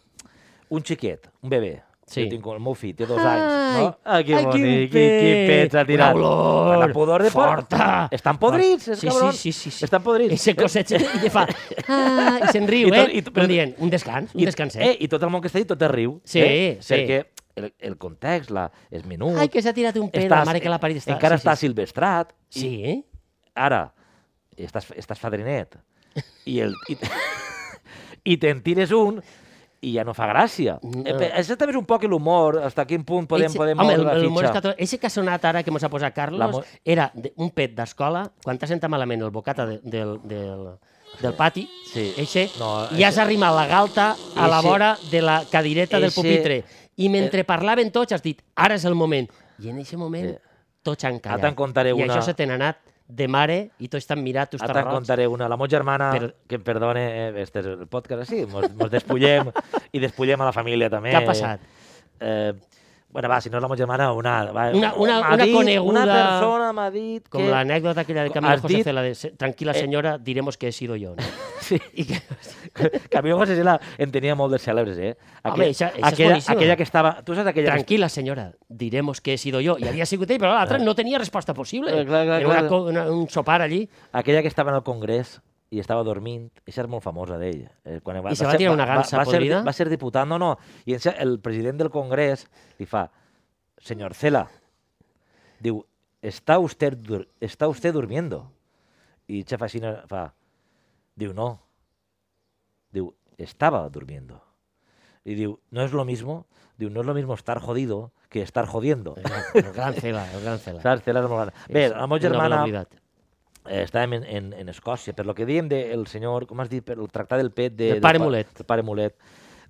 Speaker 1: un xiquet, un bebè, sí.
Speaker 2: Sí.
Speaker 1: jo tinc el meu fill, té dos anys, no?
Speaker 2: Ai,
Speaker 1: Oh, ah, que
Speaker 2: ai, quin
Speaker 1: bonic,
Speaker 2: pet.
Speaker 1: quin pet s'ha tirat.
Speaker 2: Una olor
Speaker 1: la pudor de por-
Speaker 2: forta.
Speaker 1: Estan podrits, els
Speaker 2: sí,
Speaker 1: cabrons.
Speaker 2: Sí, sí, sí, sí.
Speaker 1: Estan podrits.
Speaker 2: I se cosecha i li fa... Ah, I se'n riu,
Speaker 1: I tot-
Speaker 2: eh?
Speaker 1: i
Speaker 2: I
Speaker 1: tot-
Speaker 2: Com dient, un descans, un descanset.
Speaker 1: Eh, I tot el món que està dit tot es riu.
Speaker 2: Sí,
Speaker 1: eh?
Speaker 2: sí.
Speaker 1: Perquè el, el context, la, és menut...
Speaker 2: Ai, que s'ha tirat un pèl, la mare que l'ha parit. Està...
Speaker 1: Encara
Speaker 2: sí,
Speaker 1: està
Speaker 2: sí,
Speaker 1: silvestrat.
Speaker 2: Sí,
Speaker 1: I
Speaker 2: sí.
Speaker 1: ara, estàs, estàs fadrinet. I, el, i, i te'n tires un i ja no fa gràcia. No.
Speaker 2: No.
Speaker 1: Això també és un poc l'humor, fins a quin punt podem,
Speaker 2: Eixe-
Speaker 1: podem
Speaker 2: home,
Speaker 1: moure la
Speaker 2: el,
Speaker 1: fitxa.
Speaker 2: el cató... Eixe que ha sonat ara que mos ha posat
Speaker 1: La
Speaker 2: Carlos
Speaker 1: mo-
Speaker 2: era de, un pet d'escola, quan t'ha sentat malament el bocata de, del, del, del pati,
Speaker 1: Sí.
Speaker 2: eixe,
Speaker 1: No,
Speaker 2: i has
Speaker 1: eixe-
Speaker 2: arrimat la galta a la
Speaker 1: Eixe-
Speaker 2: vora de la cadireta del
Speaker 1: eixe-
Speaker 2: pupitre. I mentre parlaven tots has dit, ara és el moment. I en eixe moment
Speaker 1: Eh.
Speaker 2: tots han callat.
Speaker 1: Ara te'n contaré
Speaker 2: I
Speaker 1: una.
Speaker 2: això se t'han anat de mare i tots t'han mirat, tu
Speaker 1: Ara
Speaker 2: estàs
Speaker 1: te'n
Speaker 2: roig.
Speaker 1: contaré una. La meva germana,
Speaker 2: Per-
Speaker 1: que em perdone, eh, este és el podcast així, mos, mos despullem i despullem a la família també.
Speaker 2: Què ha passat?
Speaker 1: Eh, bueno, va, si no és la meva germana, una... Va,
Speaker 2: Una- una-
Speaker 1: m'ha
Speaker 2: una
Speaker 1: dit-
Speaker 2: coneguda-
Speaker 1: Una persona m'ha dit
Speaker 2: Com
Speaker 1: que...
Speaker 2: l'anècdota aquella de Camilo
Speaker 1: Has
Speaker 2: José
Speaker 1: dit- Eh.
Speaker 2: Cela de "Se- tranquil·la senyora, diremos que he sido yo. ¿no?
Speaker 1: Sí. I que... que a mi José Cela en tenia molt de cèlebres, eh?
Speaker 2: Home, eixa- eixa és
Speaker 1: aquella,
Speaker 2: boníssima.
Speaker 1: aquella que estava... Tu saps aquella... que-
Speaker 2: Tranquila, senyora, diremos que he sido yo. I havia sigut ell, però l'altre no tenia resposta possible.
Speaker 1: Eh, clar, clar,
Speaker 2: Era una,
Speaker 1: clar.
Speaker 2: co- una, un sopar allí Eh,
Speaker 1: Aquella que estava en el Congrés i estava dormint, aquesta és molt famosa d'ell. Eh, quan va,
Speaker 2: I se va tirar una gansa
Speaker 1: va, va ser,
Speaker 2: podrida?
Speaker 1: va ser diputat, no, no. I en ser- el president del Congrés li fa, senyor Cela, diu, està usted, dur està usted durmiendo. I Xefa Xina fa, diu, no. Diu, estaba durmiendo. I diu, no és lo mismo, diu, no és lo mismo estar jodido que estar jodiendo.
Speaker 2: el gran Cela, el gran Cela.
Speaker 1: Saps? Cela és molt gran. Bé,
Speaker 2: És
Speaker 1: la meva
Speaker 2: un novel
Speaker 1: germana,
Speaker 2: oblidat.
Speaker 1: eh, estàvem en, en, en Escòcia, per lo que diem del senyor, com has dit, per el tractat del pet de,
Speaker 2: Del pare
Speaker 1: pa-
Speaker 2: Mulet.
Speaker 1: Del pare Mulet,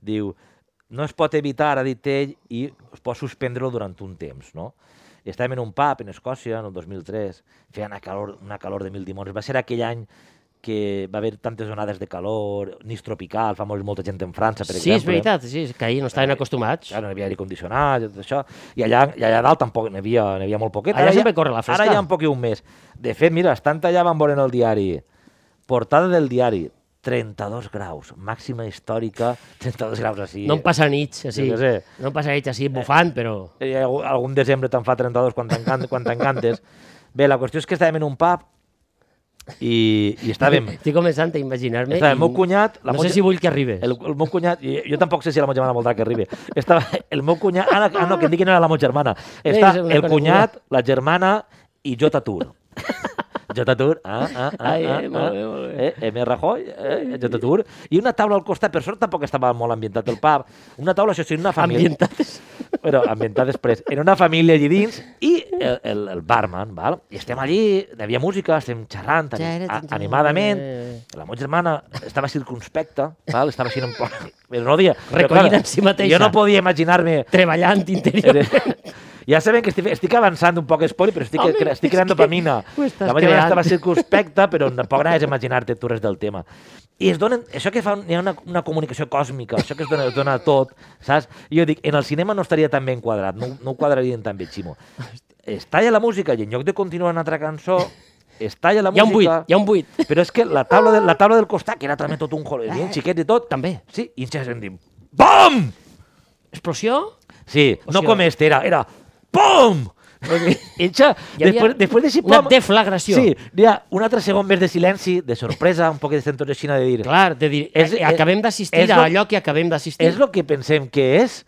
Speaker 1: diu, no es pot evitar, ha dit ell, i es pot suspendre-lo durant un temps, no? I estàvem en un pub en Escòcia, en el 2003, feia una calor, una calor de mil dimons. Va ser aquell any que va haver tantes onades de calor, nis tropical, fa morir molta gent en França, per
Speaker 2: Sí,
Speaker 1: exemple.
Speaker 2: és veritat, sí, és que ahir no estaven acostumats.
Speaker 1: Clar, no hi havia aire condicionat i tot això. I allà, i allà dalt tampoc n'hi havia, n'hi havia molt poquet.
Speaker 2: Allà sempre corre la fresca.
Speaker 1: Ara ja un poc i un mes. De fet, mira, estan allà van veure en el diari. Portada del diari, 32 graus, màxima històrica, 32 graus així.
Speaker 2: No em passa nits, així.
Speaker 1: Jo què sé.
Speaker 2: No em passa nits així, bufant, però...
Speaker 1: Eh, algú- Algun desembre te'n fa 32 quan t'encan- quan t'encantes. Bé, la qüestió és que estàvem en un pub i, i estàvem...
Speaker 2: Estic començant a imaginar-me...
Speaker 1: Estava
Speaker 2: i
Speaker 1: el meu cunyat... La
Speaker 2: No
Speaker 1: meva
Speaker 2: sé
Speaker 1: ge-
Speaker 2: si vull que arribes.
Speaker 1: El, el meu cunyat, i jo tampoc sé si la meva germana voldrà que arribi. Estava el meu cunyat, ah, no, ah, no que em digui no era la meva germana. Està
Speaker 2: és una
Speaker 1: el
Speaker 2: coneguda.
Speaker 1: cunyat, la germana i jo t'atur. Jo t'atur, ah, ah, ah,
Speaker 2: Ai, eh,
Speaker 1: ah,
Speaker 2: molt
Speaker 1: ah.
Speaker 2: bé, molt
Speaker 1: Eh, M. Rajoy, eh, jo t'atur. I una taula al costat, per sort tampoc estava molt ambientat el pub. Una taula, això sí, una família
Speaker 2: Ambientat.
Speaker 1: però ambientat després, en una família allí dins, i el, el, el barman, val? i estem allí, hi havia música, estem xerrant ani-
Speaker 2: Xerra,
Speaker 1: a-
Speaker 2: xerra.
Speaker 1: animadament, la meva germana estava circunspecta, val? estava així en plan, però no dia,
Speaker 2: Recollida en si mateixa.
Speaker 1: Jo no podia imaginar-me...
Speaker 2: Treballant interior.
Speaker 1: Ja sabem que estic, estic avançant un poc espoli, però estic,
Speaker 2: Home,
Speaker 1: cre estic
Speaker 2: és
Speaker 1: creant
Speaker 2: que
Speaker 1: dopamina.
Speaker 2: ho estàs
Speaker 1: La meva germana
Speaker 2: creant.
Speaker 1: estava circunspecta, però tampoc anaves a imaginar-te tu res del tema. I es donen, això que fa, un- hi ha una, una comunicació còsmica, això que es dona, es dona a tot, saps? I jo dic, en el cinema no estaria tan ben quadrat, no, no ho quadrarien tan bé, Ximo. Es talla la música i en lloc de continuar una altra cançó, es talla la
Speaker 2: Hi ha un
Speaker 1: música...
Speaker 2: buit, hi ha un buit. Eh,
Speaker 1: Però és que la taula, de, la taula del costat, que era també tot un jolo, bien xiquet i tot...
Speaker 2: També.
Speaker 1: Sí, i en Cesc em diu, BOM!
Speaker 2: Explosió?
Speaker 1: Sí,
Speaker 2: O
Speaker 1: no
Speaker 2: sigui-
Speaker 1: com este, era, era POM! Eixa,
Speaker 2: Hi havia
Speaker 1: després, després de si
Speaker 2: una
Speaker 1: pom-
Speaker 2: deflagració.
Speaker 1: Sí, hi ha un altre segon més de silenci, de sorpresa, un poc de sentor de Xina de dir...
Speaker 2: Clar, de dir,
Speaker 1: És-
Speaker 2: és, acabem
Speaker 1: és
Speaker 2: d'assistir
Speaker 1: lo-
Speaker 2: a allò que acabem d'assistir.
Speaker 1: És el que pensem que és,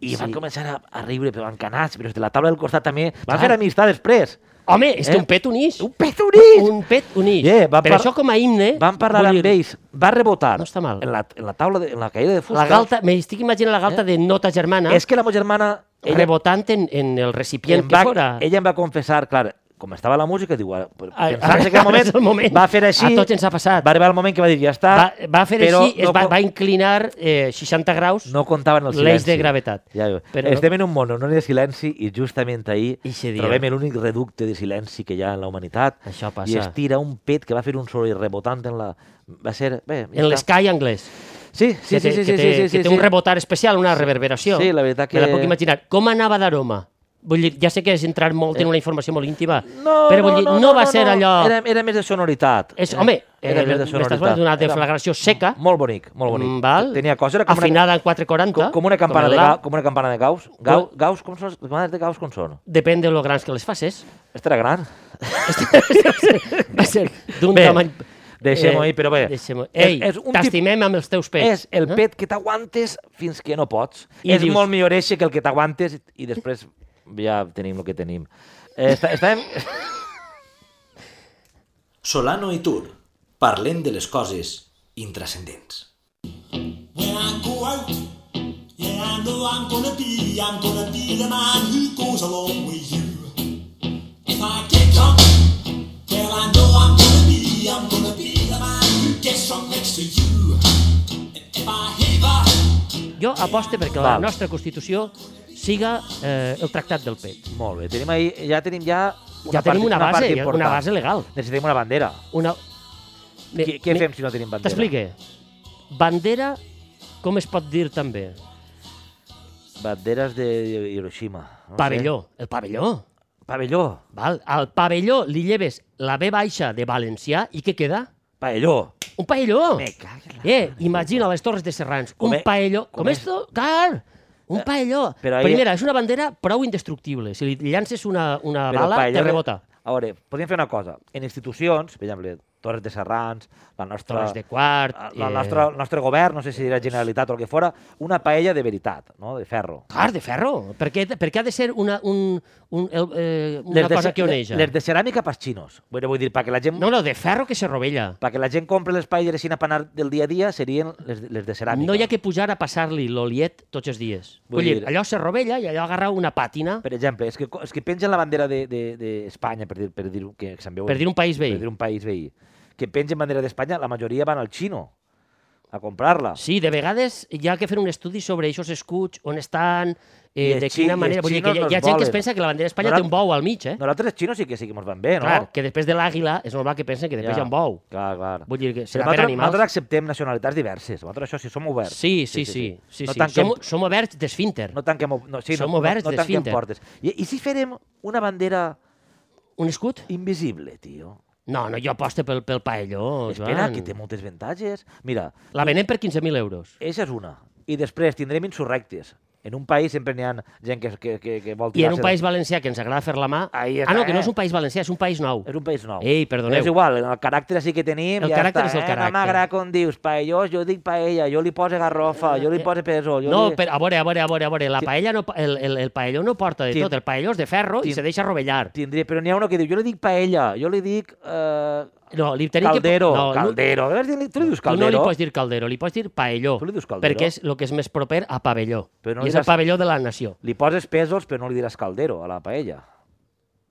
Speaker 1: i
Speaker 2: Sí.
Speaker 1: van començar a, a riure, però encanats, però els de la taula del costat també van
Speaker 2: Clar.
Speaker 1: fer amistat després.
Speaker 2: Home, és que
Speaker 1: Eh?
Speaker 2: un pet unix.
Speaker 1: Un pet unix!
Speaker 2: Un pet unix.
Speaker 1: Yeah, va
Speaker 2: Però
Speaker 1: par-
Speaker 2: això com a himne...
Speaker 1: Van parlar
Speaker 2: vull
Speaker 1: amb
Speaker 2: dir,
Speaker 1: ells, va rebotar
Speaker 2: No està mal.
Speaker 1: En, la, en la taula, de, en la caïda de fusta. Eh?
Speaker 2: La galta, m'estic imaginant la galta de nota germana,
Speaker 1: És que la meva germana...
Speaker 2: ella, rebotant en, en el recipient
Speaker 1: em
Speaker 2: que
Speaker 1: va,
Speaker 2: fora.
Speaker 1: ella em va confessar, clar, com estava la música, diu, "Ara, però
Speaker 2: A-
Speaker 1: pensant
Speaker 2: a-
Speaker 1: que aquell moment,
Speaker 2: és el moment.
Speaker 1: va fer així,
Speaker 2: A tots ens ha passat.
Speaker 1: va arribar el moment que va dir, ja està,
Speaker 2: va, va fer
Speaker 1: però
Speaker 2: així, es
Speaker 1: no,
Speaker 2: va,
Speaker 1: co-
Speaker 2: va inclinar eh, 60 graus
Speaker 1: no comptaven el silenci.
Speaker 2: l'eix de gravetat.
Speaker 1: Ja, veus.
Speaker 2: Però no-
Speaker 1: Estem en un monononi de silenci i justament ahir
Speaker 2: Ixe dia.
Speaker 1: trobem l'únic reducte de silenci que hi ha en la humanitat
Speaker 2: Això
Speaker 1: i
Speaker 2: passa.
Speaker 1: es tira un pet que va fer un soroll rebotant en la... Va ser... Bé, ja
Speaker 2: En
Speaker 1: està.
Speaker 2: l'escai anglès.
Speaker 1: Sí, sí,
Speaker 2: que té,
Speaker 1: sí, sí,
Speaker 2: que
Speaker 1: sí,
Speaker 2: té,
Speaker 1: sí, sí,
Speaker 2: que té
Speaker 1: sí.
Speaker 2: un rebotar especial, una reverberació.
Speaker 1: Sí, la veritat que-
Speaker 2: Me la puc imaginar. Com anava d'aroma? Vull dir, ja sé que és entrar molt en una informació molt íntima,
Speaker 1: Eh. No,
Speaker 2: però vull dir, no, va ser allò...
Speaker 1: Era, era més de sonoritat.
Speaker 2: És, home,
Speaker 1: era
Speaker 2: eh,
Speaker 1: més de
Speaker 2: m'estàs
Speaker 1: sonoritat.
Speaker 2: parlant d'una
Speaker 1: Era
Speaker 2: deflagració seca,
Speaker 1: Molt bonic, molt bonic.
Speaker 2: mm, val?
Speaker 1: Tenia cosa, era com una-
Speaker 2: afinada en 440.
Speaker 1: Com, com una campana
Speaker 2: el
Speaker 1: de
Speaker 2: la-
Speaker 1: gau, com una campana de gaus. Gau, gaus, com són les campanes de gaus com són?
Speaker 2: Depèn de lo grans que les faces.
Speaker 1: Esta era gran.
Speaker 2: va ser d'un
Speaker 1: Bé,
Speaker 2: tamany...
Speaker 1: deixem-ho ahir, però bé.
Speaker 2: deixem-ho.
Speaker 1: És-
Speaker 2: Ei,
Speaker 1: és un tip-
Speaker 2: t'estimem amb els teus pets.
Speaker 1: és el pet que t'aguantes fins que no pots.
Speaker 2: I
Speaker 1: és
Speaker 2: dius-
Speaker 1: molt millor eixe que el que t'aguantes i després ja tenim el que tenim. Eh, Està, estàvem...
Speaker 3: Solano i Tur, parlem de les coses intrascendents.
Speaker 4: When I go out, yeah, I know I'm gonna be, I'm gonna be the man who goes along with you. If I get drunk, well, I know I'm gonna be, I'm gonna be the man who gets drunk next to you. And if I have
Speaker 2: Jo aposte perquè la
Speaker 1: Val.
Speaker 2: nostra Constitució siga eh, el tractat del pet.
Speaker 1: Molt bé, tenim ahir, ja tenim ja...
Speaker 2: Ja tenim una
Speaker 1: part
Speaker 2: base, ja-
Speaker 1: important.
Speaker 2: una base legal.
Speaker 1: Necessitem una bandera.
Speaker 2: Una... Me-
Speaker 1: Què, què
Speaker 2: me-
Speaker 1: fem si no tenim bandera?
Speaker 2: T'explique. Bandera, com es pot dir també?
Speaker 1: Banderes de Hiroshima. No
Speaker 2: Pavelló. El pavelló.
Speaker 1: Sé. Pavelló.
Speaker 2: Val? Al pavelló li lleves la B baixa de valencià i què queda?
Speaker 1: Pavelló.
Speaker 2: Un paelló.
Speaker 1: Me cago en la
Speaker 2: Eh, imagina les Torres de Serrans.
Speaker 1: Com
Speaker 2: un
Speaker 1: e-
Speaker 2: paelló.
Speaker 1: com
Speaker 2: Com,
Speaker 1: és-
Speaker 2: esto? Car! Un paelló.
Speaker 1: Eh, però ahí-
Speaker 2: Primera, és una bandera prou indestructible. Si li llances una, una
Speaker 1: Però
Speaker 2: bala,
Speaker 1: paella-
Speaker 2: te rebota.
Speaker 1: A veure, podríem fer una cosa. En institucions, per exemple, Torres de Serrans, la nostra...
Speaker 2: Torres de Quart... eh,
Speaker 1: la nostra, el nostre govern, no sé si dirà Generalitat o el que fora, una paella de veritat, no? de ferro.
Speaker 2: Clar, de ferro. Perquè, perquè ha de ser una, un, un, el, eh, una cosa
Speaker 1: ce-
Speaker 2: que oneja.
Speaker 1: Les de ceràmica pels xinos. Vull vull dir, perquè la gent,
Speaker 2: No, no, de ferro que se rovella.
Speaker 1: perquè la gent compra les paelles així per anar del dia a dia, serien les, de- les de ceràmica.
Speaker 2: No hi ha que pujar a passar-li l'oliet tots els dies.
Speaker 1: Ah, Vull
Speaker 2: Vull, dir,
Speaker 1: dir-
Speaker 2: allò se rovella i allò agarra una pàtina per,
Speaker 1: Per exemple, és que, co- és que pengen la bandera d'Espanya, de, de Espanya, per dir, per dir que se'n veu...
Speaker 2: dir un país veí.
Speaker 1: Per dir un país veí. Que pengen bandera d'Espanya, la majoria van al xino a comprar-la.
Speaker 2: Sí, de vegades hi ha que fer un estudi sobre aquests escuts, on estan,
Speaker 1: I
Speaker 2: eh,
Speaker 1: els
Speaker 2: de
Speaker 1: xi- i
Speaker 2: quina
Speaker 1: els
Speaker 2: manera... Vull dir que hi ha,
Speaker 1: xinos nos
Speaker 2: hi ha gent que
Speaker 1: volen.
Speaker 2: es pensa que la bandera d'Espanya
Speaker 1: Nosaltres-
Speaker 2: té un bou al mig, eh?
Speaker 1: Nosaltres els xinos sí que sí que mos van bé, no?
Speaker 2: Clar, que després de l'àguila és normal que pensen que després hi ha un bou.
Speaker 1: Clar, clar.
Speaker 2: Vull dir que
Speaker 1: Però
Speaker 2: serà per
Speaker 1: nosaltres,
Speaker 2: animals.
Speaker 1: nosaltres acceptem nacionalitats diverses. Nosaltres això sí, som oberts.
Speaker 2: Sí, sí, sí. sí, sí,
Speaker 1: No
Speaker 2: sí.
Speaker 1: tanquem,
Speaker 2: Som, som oberts d'esfínter.
Speaker 1: no tanquem, ob- no, sí,
Speaker 2: som
Speaker 1: no,
Speaker 2: oberts
Speaker 1: no, no tanquem
Speaker 2: d'esfínter.
Speaker 1: portes. I, I si farem una bandera
Speaker 2: Un escut?
Speaker 1: invisible, tio?
Speaker 2: No, no, jo aposto pel, pel paelló, Joan.
Speaker 1: Espera, que té moltes avantatges. Mira,
Speaker 2: La venem per 15.000 euros.
Speaker 1: aquesta és una. I després tindrem insurrectes. En un país sempre n'hi ha gent que, que, que, que vol
Speaker 2: I en
Speaker 1: tirar-se...
Speaker 2: un país valencià que ens agrada fer la mà...
Speaker 1: Ahí
Speaker 2: ah,
Speaker 1: està,
Speaker 2: no, que no és
Speaker 1: eh?
Speaker 2: un país valencià, és un país nou.
Speaker 1: És un país nou.
Speaker 2: Ei, perdoneu.
Speaker 1: És igual, el caràcter sí que tenim.
Speaker 2: El
Speaker 1: ja
Speaker 2: caràcter
Speaker 1: està,
Speaker 2: és el
Speaker 1: eh? No
Speaker 2: caràcter.
Speaker 1: m'agrada com dius, paellós, jo dic paella, jo li poso garrofa, jo li poso peso. Jo
Speaker 2: Eh, No,
Speaker 1: li...
Speaker 2: però a veure, a veure, a veure, a veure. La paella no, pa- el, el, el paelló no porta de
Speaker 1: Tin-
Speaker 2: tot. El paelló és de ferro
Speaker 1: tin-
Speaker 2: i se deixa rovellar.
Speaker 1: Tindria, però n'hi ha una que diu, jo li dic paella, jo li dic eh,
Speaker 2: No, li tenim
Speaker 1: caldero,
Speaker 2: que... po- no,
Speaker 1: caldero. No, dir, tu li dius
Speaker 2: Tu no li
Speaker 1: caldero?
Speaker 2: pots dir caldero, li pots dir paelló.
Speaker 1: Tu li dius caldero?
Speaker 2: Perquè és el que és més proper a pavelló.
Speaker 1: Però no
Speaker 2: I
Speaker 1: li
Speaker 2: és el
Speaker 1: diràs-
Speaker 2: pavelló de la nació.
Speaker 1: li poses pesos, però no li diràs caldero a la paella.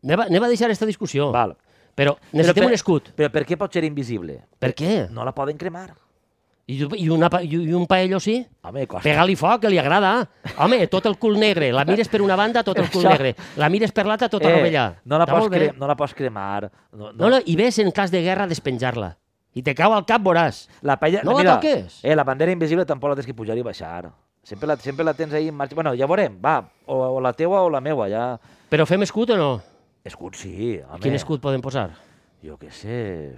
Speaker 2: Anem a, anem a deixar aquesta discussió.
Speaker 1: Val.
Speaker 2: Però Oh. necessitem un escut.
Speaker 1: Però per què pot ser invisible?
Speaker 2: Per què?
Speaker 1: No la poden cremar.
Speaker 2: I, tu- i, una, pa- i, i un paello sí?
Speaker 1: Home, costa.
Speaker 2: Pega-li foc, que li agrada. Home, tot el cul negre. La mires per una banda, tot el cul
Speaker 1: Això- Eh,
Speaker 2: negre. tota La mires per l'altra, tot arrovellar.
Speaker 1: no, la
Speaker 2: Està
Speaker 1: pots
Speaker 2: molt bé.
Speaker 1: cre- no la pots cremar. No,
Speaker 2: No, no, i ves en cas de guerra despenjar-la. I te cau al cap, veuràs.
Speaker 1: La paella,
Speaker 2: No la
Speaker 1: mira,
Speaker 2: toques.
Speaker 1: Eh, la bandera invisible tampoc la tens que pujar i baixar. Sempre la, sempre la tens ahí en marxa. Bueno, ja veurem, va, o, o la teua o la meua, ja...
Speaker 2: Però fem escut o no?
Speaker 1: Escut sí, home.
Speaker 2: Quin escut podem posar?
Speaker 1: Jo què sé...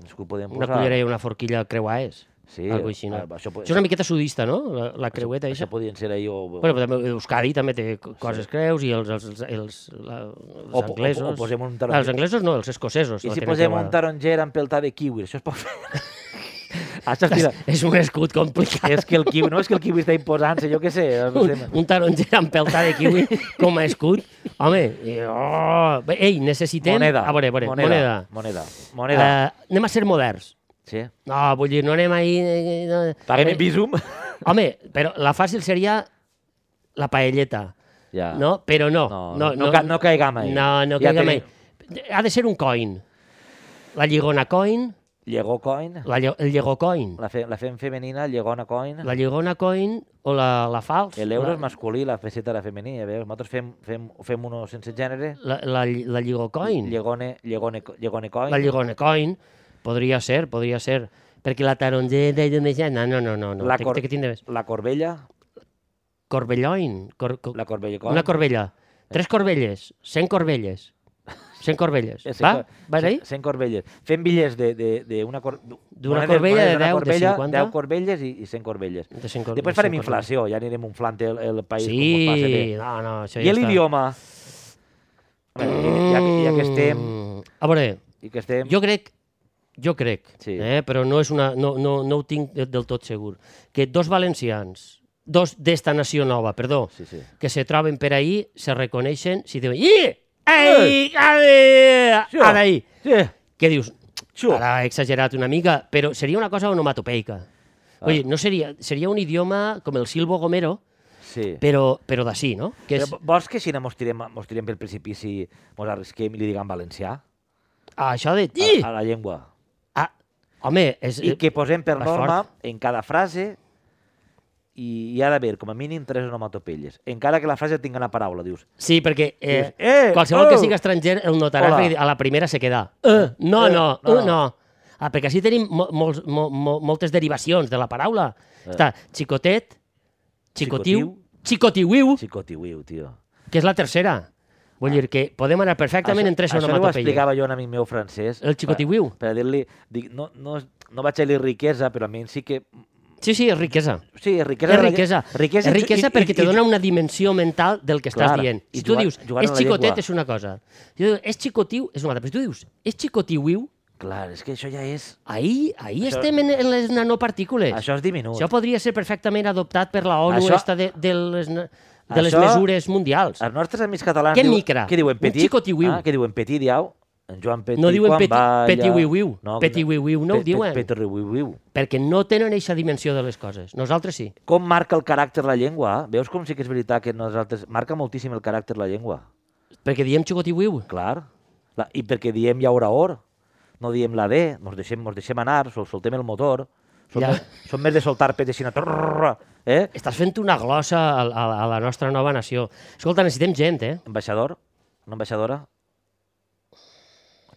Speaker 1: Un escut podem
Speaker 2: Una
Speaker 1: posar...
Speaker 2: cullera i una forquilla creuaes?
Speaker 1: Sí,
Speaker 2: Algo així, no?
Speaker 1: ah, això pot-
Speaker 2: Això és una miqueta sudista, no? La, la creueta,
Speaker 1: Això
Speaker 2: això.
Speaker 1: podien ser ahí o...
Speaker 2: Bueno, però també Euskadi també té co- coses creus i els, els, els, els, la, els
Speaker 1: O po- o po-
Speaker 2: anglesos...
Speaker 1: o posem un taronja.
Speaker 2: Ah, els anglesos no, els escocesos.
Speaker 1: I
Speaker 2: la
Speaker 1: si
Speaker 2: tenen
Speaker 1: posem
Speaker 2: creuada.
Speaker 1: un taronger amb peltà de kiwi, això es pot fer? Això es tira...
Speaker 2: És un escut complicat.
Speaker 1: és que el kiwi, no és que el kiwi està imposant-se, jo què sé. No sé.
Speaker 2: Un, un taronger amb peltà de kiwi com a escut. Home, eh, oh, bé, ei, necessitem...
Speaker 1: Moneda,
Speaker 2: A veure, a veure, moneda. Ah, moneda.
Speaker 1: Moneda. Moneda.
Speaker 2: Eh, anem a ser moderns.
Speaker 1: Sí.
Speaker 2: No, vull dir, no anem ahí... eh, eh, No.
Speaker 1: Paguem en
Speaker 2: Eh,
Speaker 1: visum.
Speaker 2: Home, però la fàcil seria la paelleta.
Speaker 1: Ja.
Speaker 2: No, però no.
Speaker 1: No, no, no, ca- no caigam ahí.
Speaker 2: No, no
Speaker 1: Ja
Speaker 2: caigam
Speaker 1: tenim-
Speaker 2: ahí. Ha de ser un coin. La lligona coin,
Speaker 1: Llegó coin.
Speaker 2: la, lle- el llegó coin,
Speaker 1: La, fe, la fem femenina, llegona coin.
Speaker 2: la lligona coin o la, la falç.
Speaker 1: El euro
Speaker 2: la,
Speaker 1: és masculí, la peseta era femení, ja veus? Nosaltres fem, fem, fem uno sense gènere,
Speaker 2: La, la, lli- la lligó coin.
Speaker 1: llegone, llegone, llegone coin.
Speaker 2: La lligona coin. Podria ser, podria ser. Perquè la tarongera i de mitjana... No, no, no. no.
Speaker 1: La
Speaker 2: Té,
Speaker 1: cor-
Speaker 2: té que tindre més.
Speaker 1: la corbella,
Speaker 2: Corbelloin. Cor, cor,
Speaker 1: la corbella coin.
Speaker 2: una corbella. Tres corbelles. Cent corbelles. Cent corbelles.
Speaker 1: Eh, cent
Speaker 2: Va?
Speaker 1: cor-
Speaker 2: Vas
Speaker 1: cent-
Speaker 2: ahí?
Speaker 1: Cent corbelles. Fem bitllets de, de, de una cor... monedes- monedes
Speaker 2: corbella de
Speaker 1: d'una
Speaker 2: 10, de
Speaker 1: corbella,
Speaker 2: 50.
Speaker 1: 10 corbelles i, i 100 corbelles.
Speaker 2: De cent cor-
Speaker 1: Després
Speaker 2: de cent
Speaker 1: farem
Speaker 2: corbelles.
Speaker 1: inflació, ja anirem inflant el, el país com ho passa
Speaker 2: Sí,
Speaker 1: bé.
Speaker 2: no, no, això
Speaker 1: I
Speaker 2: ja està.
Speaker 1: l'idioma? Ja, que- ja que estem...
Speaker 2: Mm, A veure,
Speaker 1: I que estem...
Speaker 2: jo crec, jo crec,
Speaker 1: Sí.
Speaker 2: eh, però no, és una, no, no, no ho tinc de- del tot segur, que dos valencians, dos d'esta nació nova, perdó,
Speaker 1: Sí, sí.
Speaker 2: que se troben per ahí, se reconeixen, si diuen, i, ei, ara,
Speaker 1: Sí.
Speaker 2: ara, ahí.
Speaker 1: Sí.
Speaker 2: Què dius?
Speaker 1: Xo.
Speaker 2: Ara he exagerat una mica, però seria una cosa onomatopeica.
Speaker 1: Ah.
Speaker 2: Oye, no seria, seria un idioma com el Silvo Gomero,
Speaker 1: sí.
Speaker 2: però, però d'ací, no? Que és,
Speaker 1: Però vols que si no mos tirem, mos tirem pel precipici, mos arrisquem i li diguem valencià?
Speaker 2: ah, això de...
Speaker 1: A,
Speaker 2: I,
Speaker 1: a la llengua.
Speaker 2: ah, home, és... eh,
Speaker 1: I que posem per
Speaker 2: vas
Speaker 1: norma en cada frase i hi ha d'haver com a mínim tres onomatopelles. Encara que la frase tingui una paraula, dius.
Speaker 2: Sí, perquè eh,
Speaker 1: Dius, "Eh,
Speaker 2: qualsevol que
Speaker 1: oh!"
Speaker 2: sigui estranger el notarà
Speaker 1: Hola.
Speaker 2: perquè a la primera se queda. Eh, no,
Speaker 1: eh,
Speaker 2: no,
Speaker 1: no,
Speaker 2: eh, no. Ah, perquè així tenim mo molts, mo mo moltes derivacions de la paraula.
Speaker 1: Eh.
Speaker 2: Està xicotet, xicotiu, xicotiuiu,
Speaker 1: Xicotiuiu, tio.
Speaker 2: que és la tercera. Vull dir que podem anar perfectament en tres
Speaker 1: Ah. això no ho
Speaker 2: onomatopeies.
Speaker 1: explicava jo a un amic meu francès.
Speaker 2: El xicotiuiu.
Speaker 1: Per, per dir-li, dic, no, no, no vaig a dir riquesa, però almenys sí que...
Speaker 2: Sí, sí, és riquesa.
Speaker 1: Sí, riquesa...
Speaker 2: És riquesa.
Speaker 1: riquesa,
Speaker 2: és riquesa
Speaker 1: i- i-
Speaker 2: perquè te
Speaker 1: i-
Speaker 2: dona una dimensió mental del que estàs
Speaker 1: Clar,
Speaker 2: dient.
Speaker 1: i
Speaker 2: Si tu
Speaker 1: jugar-
Speaker 2: dius,
Speaker 1: jugar
Speaker 2: és
Speaker 1: amb la
Speaker 2: xicotet,
Speaker 1: llengua.
Speaker 2: és una cosa. Si tu dius, és xicotiu, és una altra. Però si tu dius, és xicotiuiu,
Speaker 1: Clar, és que això ja és...
Speaker 2: Ahí, ahí
Speaker 1: Això-
Speaker 2: estem en, en les nanopartícules.
Speaker 1: Això és diminut.
Speaker 2: Això podria ser perfectament adoptat per la ONU
Speaker 1: Això-
Speaker 2: això... esta de, de, les, na- de les
Speaker 1: Això- Ah.
Speaker 2: mesures mundials.
Speaker 1: Els nostres amics catalans...
Speaker 2: Què
Speaker 1: diuen-
Speaker 2: micra?
Speaker 1: Què diuen?
Speaker 2: Un
Speaker 1: Petit?
Speaker 2: xicotiuiu.
Speaker 1: Ah, què diuen? Petit, diau? En Joan Petit,
Speaker 2: No diuen
Speaker 1: quan
Speaker 2: petit-
Speaker 1: va...
Speaker 2: petiuiuiu. Petiuiuiu no ho diuen.
Speaker 1: Petiuiuiu.
Speaker 2: Perquè no tenen eixa dimensió de les coses. Nosaltres sí.
Speaker 1: Com marca el caràcter la llengua? eh? Veus com sí que és veritat que nosaltres... Marca moltíssim el caràcter la llengua.
Speaker 2: Perquè diem xicotiuiu.
Speaker 1: Clar. La, I perquè diem ja hora or, no diem la D, mos deixem, mos deixem anar, sol, soltem el motor. Som,
Speaker 2: Ja.
Speaker 1: ja. més, som més de soltar pets així, trrrrra, eh?
Speaker 2: Estàs fent una glossa a, a, a la nostra nova nació. Escolta, necessitem gent, eh?
Speaker 1: Ambaixador? Una ambaixadora?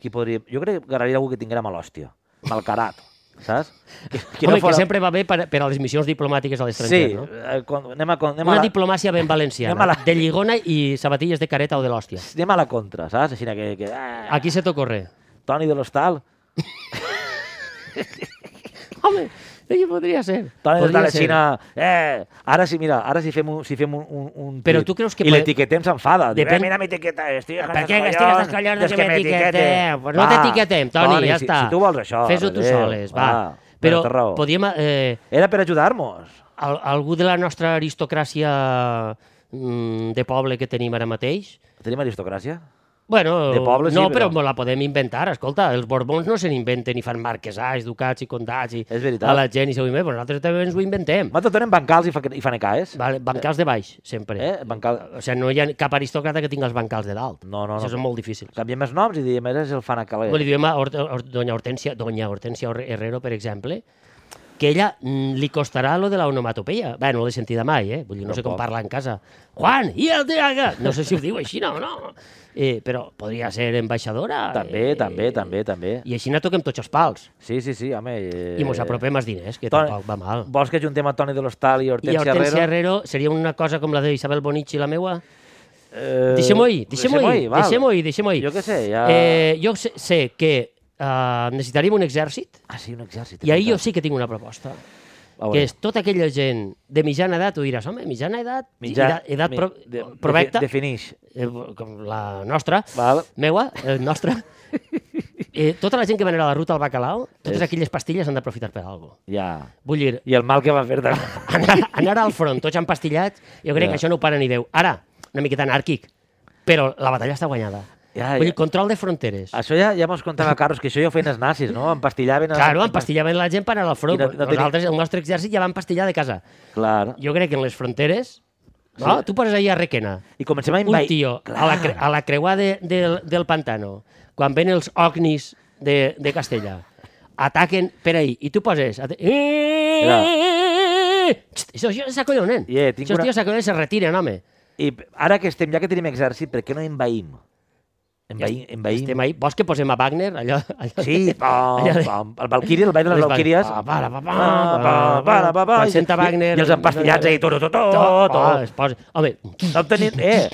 Speaker 1: Qui podria... Jo crec que agradaria algú que tinguera mal hòstia, malcarat, saps? Que,
Speaker 2: Home, que sempre va bé per, per a les missions diplomàtiques a l'estranger,
Speaker 1: Sí,
Speaker 2: no?
Speaker 1: eh, quan, anem, a, con- anem, a
Speaker 2: Una
Speaker 1: la,
Speaker 2: diplomàcia ben
Speaker 1: Anem a
Speaker 2: valenciana,
Speaker 1: la-
Speaker 2: de lligona i sabatilles de careta o de l'hòstia.
Speaker 1: anem a la contra, saps? Així que... que ah,
Speaker 2: Aquí se t'ocorre.
Speaker 1: Toni de l'Hostal,
Speaker 2: Home, sí, podria ser.
Speaker 1: Toni de
Speaker 2: Podria
Speaker 1: l'Hostal,
Speaker 2: ser.
Speaker 1: així... Eh, ara sí, mira, ara si fem un, si fem un, un, un
Speaker 2: Però
Speaker 1: tuit
Speaker 2: tu creus
Speaker 1: I
Speaker 2: que per-
Speaker 1: l'etiquetem s'enfada. Diu,
Speaker 2: Depèn-
Speaker 1: Eh, mira, m'etiqueta, estic
Speaker 2: Per què gastes els collons de
Speaker 1: des
Speaker 2: que m'etiquetem? Pues no
Speaker 1: Va,
Speaker 2: t'etiquetem, Toni, ja
Speaker 1: si,
Speaker 2: està.
Speaker 1: Si tu vols això...
Speaker 2: Fes-ho tu
Speaker 1: adéu,
Speaker 2: soles, va.
Speaker 1: Però
Speaker 2: Però
Speaker 1: té raó.
Speaker 2: podíem... Eh,
Speaker 1: Era per ajudar-nos.
Speaker 2: al, algú de la nostra aristocràcia mm, de poble que tenim ara mateix,
Speaker 1: Tenim aristocràcia?
Speaker 2: Bueno,
Speaker 1: De poble sí,
Speaker 2: no,
Speaker 1: però-
Speaker 2: però... però la podem inventar. Escolta, els Borbons no se n'inventen i fan marquesats, ducats i condats i
Speaker 1: És veritat.
Speaker 2: a la gent i seu però nosaltres també ens ho inventem.
Speaker 1: M'ha tot en bancals i, fa, i fanecaes.
Speaker 2: Vale, bancals de baix, sempre.
Speaker 1: Eh? Bancal...
Speaker 2: O sigui, no hi ha cap aristòcrata que tingui els bancals de dalt.
Speaker 1: No, no,
Speaker 2: Això
Speaker 1: no.
Speaker 2: és molt difícil.
Speaker 1: Canviem els noms i diem, eres el fanacaler.
Speaker 2: Li diem a Hort- Hort- doña Hortensia, doña Hortensia Her- Herrero, per exemple, que ella mm, li costarà lo de la onomatopeia. Bé, no l'he sentida mai, eh? Vull dir, no sé com
Speaker 1: Tampoc.
Speaker 2: parla en casa. Juan, i el teaga! No sé si ho diu així no, no. Eh, però podria ser ambaixadora.
Speaker 1: També,
Speaker 2: eh,
Speaker 1: també, també, també.
Speaker 2: I així no toquem tots els pals.
Speaker 1: Sí, sí, sí, home. Eh...
Speaker 2: I mos apropem els diners, que
Speaker 1: Toni-
Speaker 2: tampoc va mal.
Speaker 1: Vols que juntem a Toni de l'Hostal i
Speaker 2: I
Speaker 1: Hortensia,
Speaker 2: Hortensia
Speaker 1: Herrero?
Speaker 2: Herrero seria una cosa com la d'Isabel Bonici i la meua?
Speaker 1: Eh...
Speaker 2: Deixem-ho ahir, deixem-ho ahir,
Speaker 1: val.
Speaker 2: deixem-ho ahir, deixem-ho ahir.
Speaker 1: Jo què sé, ja...
Speaker 2: Eh, jo sé, sé que eh, necessitaríem un exèrcit
Speaker 1: Ah, sí, un exèrcit. Ah,
Speaker 2: i ahir jo sí que tinc una proposta,
Speaker 1: A
Speaker 2: que
Speaker 1: veure,
Speaker 2: és tota aquella gent de mitjana edat, ho diràs, home, mitjana edat, edat, edat
Speaker 1: mi-
Speaker 2: pro,
Speaker 1: de-
Speaker 2: provecta,
Speaker 1: defi- Definix.
Speaker 2: eh, com la nostra,
Speaker 1: Val.
Speaker 2: meua, el nostre, eh, tota la gent que va anar a la ruta al Bacalao, totes
Speaker 1: És-
Speaker 2: aquelles pastilles han d'aprofitar per alguna cosa.
Speaker 1: Ja.
Speaker 2: Vull dir,
Speaker 1: I el mal que va fer de...
Speaker 2: anar, anar al front, tots empastillats, jo
Speaker 1: Ja.
Speaker 2: crec que això no ho para ni Déu. Ara, una miqueta anàrquic, però la batalla està guanyada.
Speaker 1: Ja,
Speaker 2: Vull
Speaker 1: ja.
Speaker 2: dir, control de fronteres.
Speaker 1: Això ja, ja mos contava Carlos, que això ja ho feien els nazis, no? Empastillaven... els-
Speaker 2: Claro, empastillaven la gent per anar al front.
Speaker 1: I no- no tenia-
Speaker 2: Nosaltres, el nostre exèrcit, ja va empastillar de casa.
Speaker 1: Clar.
Speaker 2: Jo crec que en les fronteres... No? Tu poses ahir a Requena,
Speaker 1: I comencem a
Speaker 2: un
Speaker 1: invair...
Speaker 2: tio
Speaker 1: Clar.
Speaker 2: a la, cre a la creuà de, del, del pantano, quan ven els ognis de, de Castella, ataquen per ahir, i tu poses... ate- Xt, Això, això s'acollonen.
Speaker 1: Yeah, tinc
Speaker 2: Això els
Speaker 1: una-
Speaker 2: tios s'acollonen i se retiren, home.
Speaker 1: I ara que estem, ja que tenim exèrcit, per què no envaïm? Envaïm, envaïm.
Speaker 2: Estem ahí. Vols que posem a Wagner? Allò, allò
Speaker 1: Sí, pam,
Speaker 2: Allà de-
Speaker 1: pam. El Valkyrie, el ball de les
Speaker 2: Les Val-
Speaker 1: Valkyries.
Speaker 2: pa, para, pa, pa,
Speaker 1: Pa, pa, para, pa, pa.
Speaker 2: quan senta
Speaker 1: I-
Speaker 2: Wagner-
Speaker 1: I els empastillats ahí, tot, tot, tot,
Speaker 2: Ah,
Speaker 1: tot.
Speaker 2: es posa... Home,
Speaker 1: No tenim... Eh!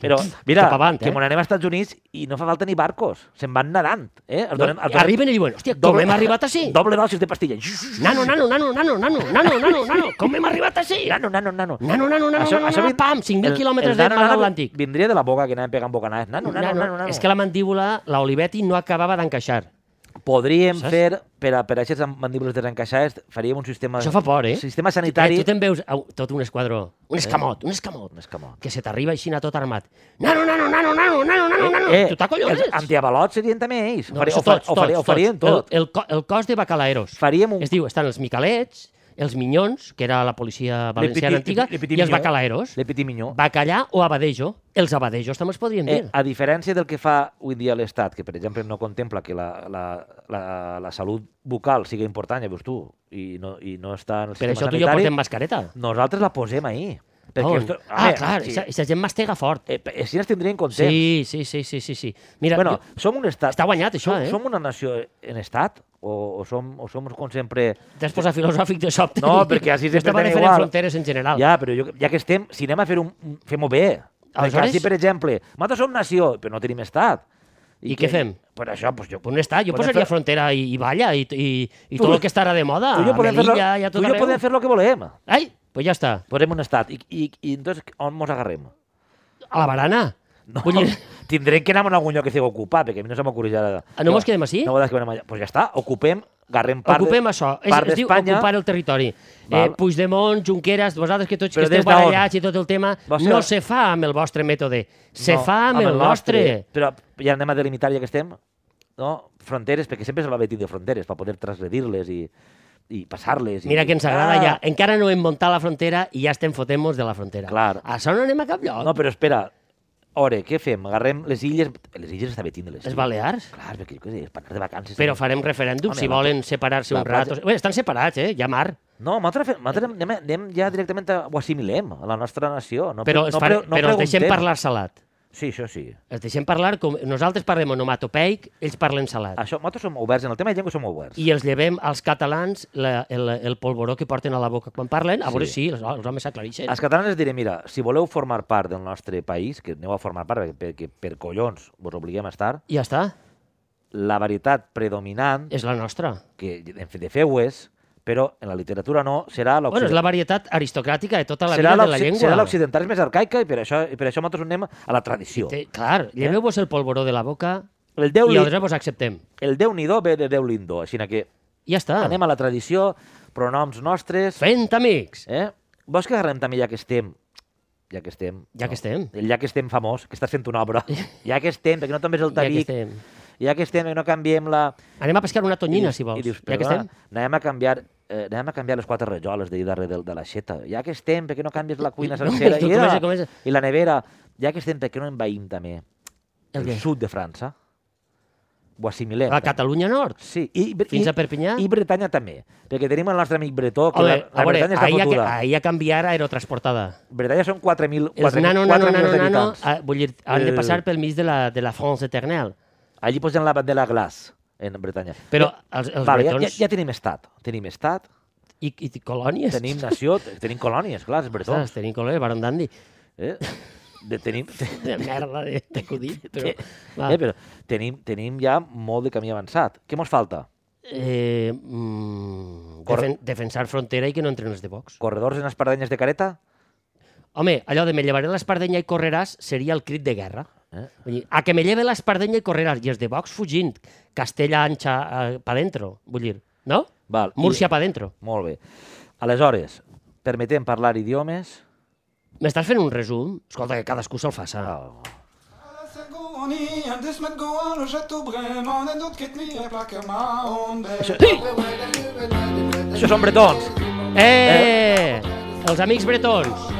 Speaker 1: Però, mira,
Speaker 2: Cap avant,
Speaker 1: que
Speaker 2: eh?
Speaker 1: mon anem als Estats Units i no fa falta ni barcos. Se'n van nadant, eh? Els
Speaker 2: no,
Speaker 1: donem, els donem
Speaker 2: arriben i diuen, hòstia, com hem arribat així?
Speaker 1: Doble dosis de pastilla.
Speaker 2: Nano, nano, nano, nano, nano, nano, nano, nano, com hem arribat així?
Speaker 1: Nano, nano, nano.
Speaker 2: Nano, nano, nano, nano, nano,
Speaker 1: vin-
Speaker 2: pam, 5.000
Speaker 1: el-
Speaker 2: quilòmetres
Speaker 1: el
Speaker 2: de
Speaker 1: nano,
Speaker 2: mar
Speaker 1: nano
Speaker 2: Atlàntic.
Speaker 1: Vindria de la boca que anàvem pegant bocanades. Nano, nano,
Speaker 2: Nano,
Speaker 1: nano, nano.
Speaker 2: És que la mandíbula, la Olivetti, no acabava d'encaixar.
Speaker 1: Podríem
Speaker 2: Saps?
Speaker 1: fer, per a, per a aquestes mandíbules desencaixades, faríem un sistema...
Speaker 2: Això fa por, eh?
Speaker 1: Sistema
Speaker 2: Eh,
Speaker 1: sanitari...
Speaker 2: tu te'n veus au, tot un esquadró, un escamot, un escamot,
Speaker 1: Un escamot.
Speaker 2: que se t'arriba així a tot armat. Nano, nano, nano, nano, nano,
Speaker 1: Eh,
Speaker 2: nano, nano, tu t'acollones?
Speaker 1: els antiavalots serien també ells.
Speaker 2: No,
Speaker 1: Ho faria-
Speaker 2: això
Speaker 1: ho fa-
Speaker 2: tots,
Speaker 1: ho faria- ho
Speaker 2: tots,
Speaker 1: farien
Speaker 2: tots.
Speaker 1: tot.
Speaker 2: El, el, co- el cos de bacalaeros.
Speaker 1: Faríem un...
Speaker 2: Es diu, estan els micalets, els minyons, que era la policia
Speaker 1: petit-
Speaker 2: valenciana antiga,
Speaker 1: le petit
Speaker 2: i els
Speaker 1: minyó.
Speaker 2: bacalaeros.
Speaker 1: Le Petit Minyó.
Speaker 2: Bacallà o abadejo. Els abadejos també els podríem dir.
Speaker 1: Eh, a diferència del que fa avui dia l'Estat, que per exemple no contempla que la, la, la, la salut bucal sigui important, ja veus tu, i no, i no està en el sistema
Speaker 2: per això tu i jo
Speaker 1: sanitari,
Speaker 2: portem mascareta.
Speaker 1: nosaltres la posem ahir. Perquè
Speaker 2: On?
Speaker 1: esto, a
Speaker 2: ah,
Speaker 1: veure,
Speaker 2: clar,
Speaker 1: sí,
Speaker 2: aquesta aquesta gent mastega fort.
Speaker 1: eh, pe- així ens tindrien contents.
Speaker 2: Sí, sí, sí, sí, sí, sí. Mira,
Speaker 1: bueno,
Speaker 2: jo-
Speaker 1: som un estat...
Speaker 2: està guanyat, això,
Speaker 1: som,
Speaker 2: eh?
Speaker 1: Som una nació en estat? O, o, som, o som com sempre...
Speaker 2: T'has posat filosòfic de sobte.
Speaker 1: No, perquè així
Speaker 2: sempre
Speaker 1: sempre
Speaker 2: estem
Speaker 1: anem
Speaker 2: fent
Speaker 1: igual.
Speaker 2: fronteres en general.
Speaker 1: Ja, però jo, ja que estem, si anem a fer un... un- Fem-ho bé.
Speaker 2: Aleshores?
Speaker 1: Aleshores... Si, per exemple, nosaltres som nació, però no tenim estat.
Speaker 2: I què
Speaker 1: que-
Speaker 2: fem?
Speaker 1: Per això, doncs jo...
Speaker 2: On està? Jo
Speaker 1: podem
Speaker 2: posaria
Speaker 1: fer-
Speaker 2: frontera i, i balla i, i, i
Speaker 1: Tu-
Speaker 2: tot el que estarà de moda.
Speaker 1: tu i jo
Speaker 2: a
Speaker 1: podem fer,
Speaker 2: Melilla i a
Speaker 1: lo,
Speaker 2: tot
Speaker 1: tu i jo
Speaker 2: arreu.
Speaker 1: podem fer lo que volem.
Speaker 2: Ai, pues ja està.
Speaker 1: Posem un estat. I, i, i entonces, on mos agarrem?
Speaker 2: A la barana.
Speaker 1: No,
Speaker 2: Vull dir,
Speaker 1: tindrem que anar a algun lloc que sigui ocupat, perquè a mi no se m'ocorreja...
Speaker 2: Ah, no mos quedem així?
Speaker 1: No, vegades que anem allà. Pues ja està, ocupem, agarrem part... de-
Speaker 2: ocupem això. És,
Speaker 1: part
Speaker 2: es diu
Speaker 1: d'Espanya.
Speaker 2: ocupar el territori. Eh,
Speaker 1: Val.
Speaker 2: Puigdemont, Junqueras, vosaltres que tots
Speaker 1: Però
Speaker 2: que esteu
Speaker 1: des d'on?
Speaker 2: barallats i tot el tema,
Speaker 1: Va ser-
Speaker 2: no se fa amb el vostre mètode. Se
Speaker 1: No,
Speaker 2: fa amb, el nostre.
Speaker 1: Però ja anem a delimitar, ja que estem, no? fronteres, perquè sempre se va vetir de fronteres, per poder transgredir-les i, i passar-les. i-
Speaker 2: Mira que ens agrada
Speaker 1: Ah!
Speaker 2: ja. Encara no hem muntat la frontera i ja estem fotent-nos de la frontera.
Speaker 1: Clar.
Speaker 2: Això no anem a cap lloc.
Speaker 1: No, però espera, Ore, què fem? Agarrem les illes... Les illes està vetint les
Speaker 2: Les Balears.
Speaker 1: Clar, perquè jo què sé, és per anar de vacances.
Speaker 2: Però farem referèndum
Speaker 1: Home,
Speaker 2: si
Speaker 1: la-
Speaker 2: volen separar-se
Speaker 1: la
Speaker 2: un rato.
Speaker 1: platja-
Speaker 2: Bé, estan separats, eh? Ja mar.
Speaker 1: No, nosaltres, fem, nosaltres anem, anem ja directament a, ho assimilem, a la nostra nació. No,
Speaker 2: Però,
Speaker 1: pre-
Speaker 2: els
Speaker 1: no,
Speaker 2: farem,
Speaker 1: pre- no
Speaker 2: però els deixem
Speaker 1: preguntem.
Speaker 2: parlar salat.
Speaker 1: Sí, això sí.
Speaker 2: Els deixem parlar com... Nosaltres parlem onomatopeic, ells parlen salat.
Speaker 1: Això, nosaltres som oberts, en el tema de llengua som oberts.
Speaker 2: I els llevem als catalans la, el, el polvoró que porten a la boca quan parlen. A veure si els, els homes s'aclareixen.
Speaker 1: Els catalans els diré, mira, si voleu formar part del nostre país, que aneu a formar part perquè, perquè per collons vos obliguem a estar,
Speaker 2: I ja està.
Speaker 1: la varietat predominant,
Speaker 2: És la nostra.
Speaker 1: que en fi de feu és, però en la literatura no, serà
Speaker 2: Bueno, és la
Speaker 1: l'occidental.
Speaker 2: varietat aristocràtica de tota la
Speaker 1: serà
Speaker 2: vida de la
Speaker 1: l'occi-
Speaker 2: llengua.
Speaker 1: serà l'occidental és més arcaica i per això, i per això nosaltres anem a la tradició.
Speaker 2: Té- Clar, lleveu-vos el polvoró de la boca
Speaker 1: El déu,
Speaker 2: i
Speaker 1: li,
Speaker 2: aleshores vos acceptem.
Speaker 1: el déu nhi ve de Déu lindo, així que
Speaker 2: Ja està.
Speaker 1: anem a la tradició, pronoms nostres...
Speaker 2: Fent amics.
Speaker 1: Eh? Vols que agarrem també ja que estem, ja que estem.
Speaker 2: Ja que estem.
Speaker 1: El ja que estem famós, que estàs fent una obra. Ja que estem, perquè no tombes el
Speaker 2: Ja que
Speaker 1: tabic.
Speaker 2: estem.
Speaker 1: Ja que estem, que no canviem la...
Speaker 2: Anem a pescar una tonyina, si vols.
Speaker 1: I dius,
Speaker 2: ja que
Speaker 1: perdona,
Speaker 2: estem.
Speaker 1: anem a canviar eh, anem a canviar les quatre rajoles d'ahir darrere de, de l'aixeta. Ja que estem, perquè no canvies la cuina
Speaker 2: No,
Speaker 1: sencera?
Speaker 2: tu
Speaker 1: I, era-
Speaker 2: comença- comença.
Speaker 1: I la nevera. Ja que estem, perquè no envaïm també
Speaker 2: El
Speaker 1: el,
Speaker 2: què?
Speaker 1: sud de França? Ho assimilem.
Speaker 2: A Catalunya Nord.
Speaker 1: Sí, i, Bre-
Speaker 2: Fins
Speaker 1: i-
Speaker 2: a Perpinyà?
Speaker 1: I Bretanya també, perquè tenim el nostre amic Bretó, que
Speaker 2: A
Speaker 1: la,
Speaker 2: veure,
Speaker 1: la
Speaker 2: a veure,
Speaker 1: Bretanya està
Speaker 2: ahir,
Speaker 1: fotuda.
Speaker 2: a, ahir a canviar aerotransportada.
Speaker 1: Bretanya són 4.000
Speaker 2: Els
Speaker 1: 4.000
Speaker 2: nano, nano,
Speaker 1: 4
Speaker 2: nano,
Speaker 1: milions
Speaker 2: nano,
Speaker 1: d'habitants.
Speaker 2: ah, vull dir, han de
Speaker 1: El-
Speaker 2: passar pel mig de la, de la France Eternelle.
Speaker 1: Allí posen la bandera glaç, en Bretanya.
Speaker 2: ah. Però els, els
Speaker 1: vale, ja,
Speaker 2: bretons...
Speaker 1: ja, ja, tenim estat. Tenim estat,
Speaker 2: I, i colònies.
Speaker 1: tenim nació, te- tenim colònies, clar, els
Speaker 2: Ostres,
Speaker 1: bretons.
Speaker 2: tenim colònies, Baron Dandy.
Speaker 1: Eh? De, tenim, te-
Speaker 2: De merda, de- d'acudit. Però,
Speaker 1: te-
Speaker 2: va.
Speaker 1: eh, però tenim, tenim ja molt de camí avançat. Què mos falta?
Speaker 2: Eh, mm,
Speaker 1: Cor-
Speaker 2: defen defensar frontera i que no entren els de Vox.
Speaker 1: Corredors en espardenyes de careta?
Speaker 2: Home, allò de me llevaré l'espardenya i correràs seria el crit de guerra.
Speaker 1: Eh?
Speaker 2: Vull dir, a que me lleve l'espardenya i correràs. I els de Vox fugint. Castella anxa eh, pa dentro, vull dir. No?
Speaker 1: Val. i-
Speaker 2: Múrcia pa dentro.
Speaker 1: Molt bé. Aleshores, permetem parlar idiomes?
Speaker 2: M'estàs fent un resum? Escolta, que cadascú se'l faça.
Speaker 1: Ah, Això són bretons.
Speaker 2: Eh! eh! Els amics bretons.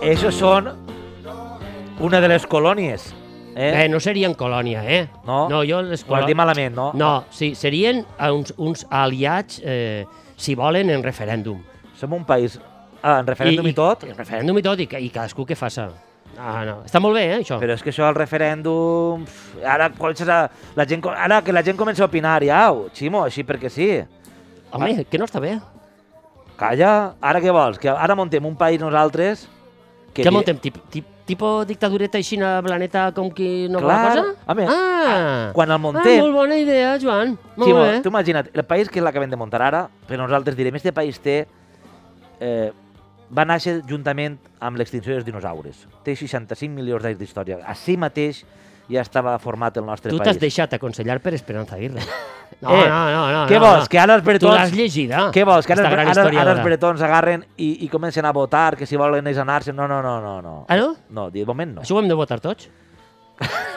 Speaker 1: Això són una de les colònies.
Speaker 2: Eh?
Speaker 1: Eh?
Speaker 2: eh, no serien colònia, eh?
Speaker 1: No?
Speaker 2: no jo les
Speaker 1: Ho has dit malament, no?
Speaker 2: No, sí, serien eh, uns, uns aliats, eh, si volen, en referèndum.
Speaker 1: Som un país ah, en referèndum i, tot,
Speaker 2: En referèndum i tot, i, ca- i cadascú que faça. Ah, no. Està molt bé, eh, això.
Speaker 1: però és que això al referèndum... pf, Ara, comences a, la gent, co- ara que la gent comença a opinar, ja, Ximo, així perquè sí. Ah.
Speaker 2: Home, que no està bé.
Speaker 1: Calla, ara què vols? Que ara montem un país nosaltres...
Speaker 2: Que ja montem tip, tip, tipus dictadureta així a planeta com qui no vol la
Speaker 1: Clar,
Speaker 2: cosa?
Speaker 1: home,
Speaker 2: ah,
Speaker 1: quan el
Speaker 2: Ah,
Speaker 1: montem-
Speaker 2: molt bona idea, Joan. Molt
Speaker 1: Ximo,
Speaker 2: bé.
Speaker 1: tu imagina't, el país que l'acabem de muntar ara, però nosaltres direm, este país té... Eh, va nàixer juntament amb l'extinció dels dinosaures. Té 65 milions d'anys d'història. Així mateix ja estava format el nostre
Speaker 2: Tu
Speaker 1: país.
Speaker 2: t'has deixat aconsellar per Esperanza Aguirre. No,
Speaker 1: Eh,
Speaker 2: no, no, no.
Speaker 1: què
Speaker 2: no,
Speaker 1: vols,
Speaker 2: no.
Speaker 1: que ara els bretons-
Speaker 2: Tu l'has llegida.
Speaker 1: Què vols? Que ara,
Speaker 2: Ah, aquesta gran
Speaker 1: ara, ara els
Speaker 2: historiadora.
Speaker 1: bretons agarren i, i comencen a votar, que si volen ells anar-se... No, no, no, no. no.
Speaker 2: Ah, no?
Speaker 1: No, de moment no.
Speaker 2: Això ho hem de votar tots?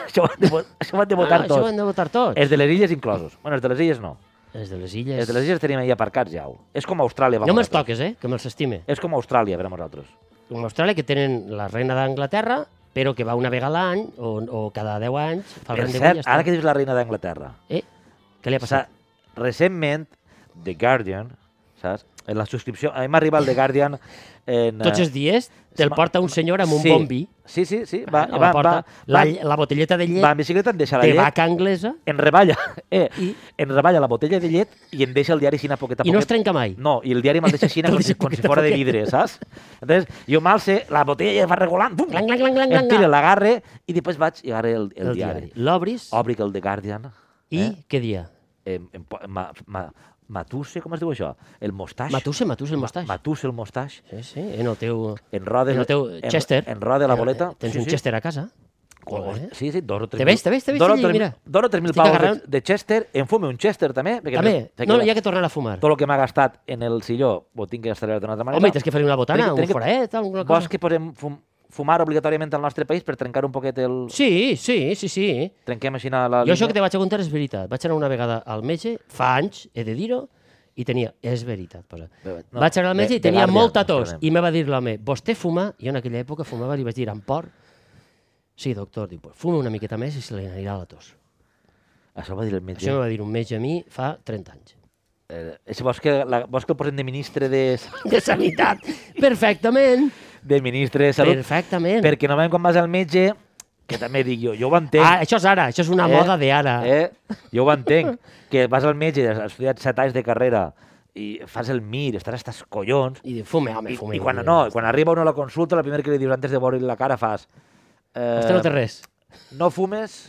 Speaker 1: Això ho han de, vot- això ho han de votar
Speaker 2: ah, Això ho
Speaker 1: tots.
Speaker 2: hem de votar tots?
Speaker 1: Els de les illes inclosos. Bueno, els de les illes no.
Speaker 2: Els de les illes...
Speaker 1: Els de les illes tenim ahí aparcats ja. ho. És com Austràlia. va
Speaker 2: No me'ls
Speaker 1: votar. Eh.
Speaker 2: toques, eh? Que me'ls estime.
Speaker 1: És com Austràlia, per a nosaltres.
Speaker 2: Com Austràlia, que tenen la reina d'Anglaterra, però que va una vegada a l'any, o, o cada 10 anys, fa el
Speaker 1: Per
Speaker 2: rendezvous i ja
Speaker 1: cert,
Speaker 2: està.
Speaker 1: ara que dius la reina d'Anglaterra,
Speaker 2: Eh? Què li ha
Speaker 1: S'ha-
Speaker 2: passat?
Speaker 1: recentment, The Guardian, saps? En la subscripció, a mi m'arriba el The Guardian en...
Speaker 2: Tots
Speaker 1: eh,
Speaker 2: els dies te'l
Speaker 1: ma-
Speaker 2: porta un senyor amb un
Speaker 1: sí.
Speaker 2: bon vi.
Speaker 1: Sí, sí, sí. Va,
Speaker 2: Va, la,
Speaker 1: va, va,
Speaker 2: porta,
Speaker 1: va,
Speaker 2: la,
Speaker 1: va,
Speaker 2: lle- la botelleta de llet
Speaker 1: en bicicleta, em deixa la
Speaker 2: de
Speaker 1: llet,
Speaker 2: vaca anglesa
Speaker 1: en reballa, eh,
Speaker 2: I-
Speaker 1: en reballa la botella de llet i em deixa el diari així a poquet a
Speaker 2: i no es
Speaker 1: poquet.
Speaker 2: trenca mai.
Speaker 1: No, i el diari me'l deixa així
Speaker 2: El
Speaker 1: com, si,
Speaker 2: deixa
Speaker 1: com si
Speaker 2: poquet a
Speaker 1: fora de
Speaker 2: poquet.
Speaker 1: vidre, saps? Entonces, jo mal sé, la botella ja va regulant, bum,
Speaker 2: Clang, clang, clang, clang,
Speaker 1: em
Speaker 2: clang.
Speaker 1: tira, l'agarre i després vaig i agarre el, el, el diari.
Speaker 2: L'obris
Speaker 1: Obric el The Guardian.
Speaker 2: i
Speaker 1: eh?
Speaker 2: què dia?
Speaker 1: em, em, po- ma, ma, matusse, com es diu això? El mostaix.
Speaker 2: Matusse, matusse el mostaix.
Speaker 1: Matusse el mostaix.
Speaker 2: Sí, sí, en el teu...
Speaker 1: En roda,
Speaker 2: En el teu
Speaker 1: en,
Speaker 2: Chester. Eh,
Speaker 1: En roda la boleta.
Speaker 2: Tens
Speaker 1: sí,
Speaker 2: un
Speaker 1: sí.
Speaker 2: Chester a casa.
Speaker 1: Co-
Speaker 2: Molt bé.
Speaker 1: Sí, sí, dos o tres.
Speaker 2: Te veig, te veig, te veig,
Speaker 1: Dono
Speaker 2: allí,
Speaker 1: tres,
Speaker 2: mira.
Speaker 1: Dono 3.000
Speaker 2: Estic
Speaker 1: paus
Speaker 2: agarrant-
Speaker 1: de, de Chester, em fume un Chester també. Perquè
Speaker 2: També,
Speaker 1: me- perquè
Speaker 2: no,
Speaker 1: la-
Speaker 2: hi ha que tornar a fumar.
Speaker 1: Tot el que m'ha gastat en el silló ho tinc que gastar d'una altra manera.
Speaker 2: Home, tens que fer-li una botana,
Speaker 1: Tenen que-
Speaker 2: un foret, alguna cosa.
Speaker 1: Vols que posem fum, fumar obligatòriament al nostre país per trencar un poquet el...
Speaker 2: Sí, sí, sí, sí.
Speaker 1: Trenquem així la... la
Speaker 2: Jo això
Speaker 1: línia?
Speaker 2: que te vaig a contar és veritat. Vaig anar una vegada al metge, fa anys, he de dir-ho, i tenia... És veritat, posa.
Speaker 1: Bé, no,
Speaker 2: No, vaig anar al
Speaker 1: de-
Speaker 2: metge
Speaker 1: de
Speaker 2: i tenia
Speaker 1: Guardian,
Speaker 2: molta tos.
Speaker 1: esperem.
Speaker 2: I me va dir l'home, vostè fuma? Jo en aquella època fumava, li vaig dir, amb por? Sí, doctor, diu, pues fuma una miqueta més i se li anirà la tos.
Speaker 1: Això ho va dir el metge.
Speaker 2: Això me va dir un metge a mi fa 30 anys.
Speaker 1: Eh, és- vols, que la, vols que el posem de ministre de,
Speaker 2: De sanitat. Perfectament.
Speaker 1: de ministre de Salut?
Speaker 2: Perfectament.
Speaker 1: Perquè normalment quan vas al metge, que també dic jo, jo ho entenc.
Speaker 2: Ah, això és ara, això és una moda d'ara.
Speaker 1: Eh? Jo ho entenc, que vas al metge, has estudiat 7 anys de carrera i fas el MIR, estàs hasta els collons, i,
Speaker 2: I diu, fume, home,
Speaker 1: i,
Speaker 2: fume.
Speaker 1: quan
Speaker 2: fume.
Speaker 1: no, eh? i quan arriba uno a la consulta, la primera que li dius antes de veure la cara fas... Eh,
Speaker 2: Vostè no té res.
Speaker 1: no fumes,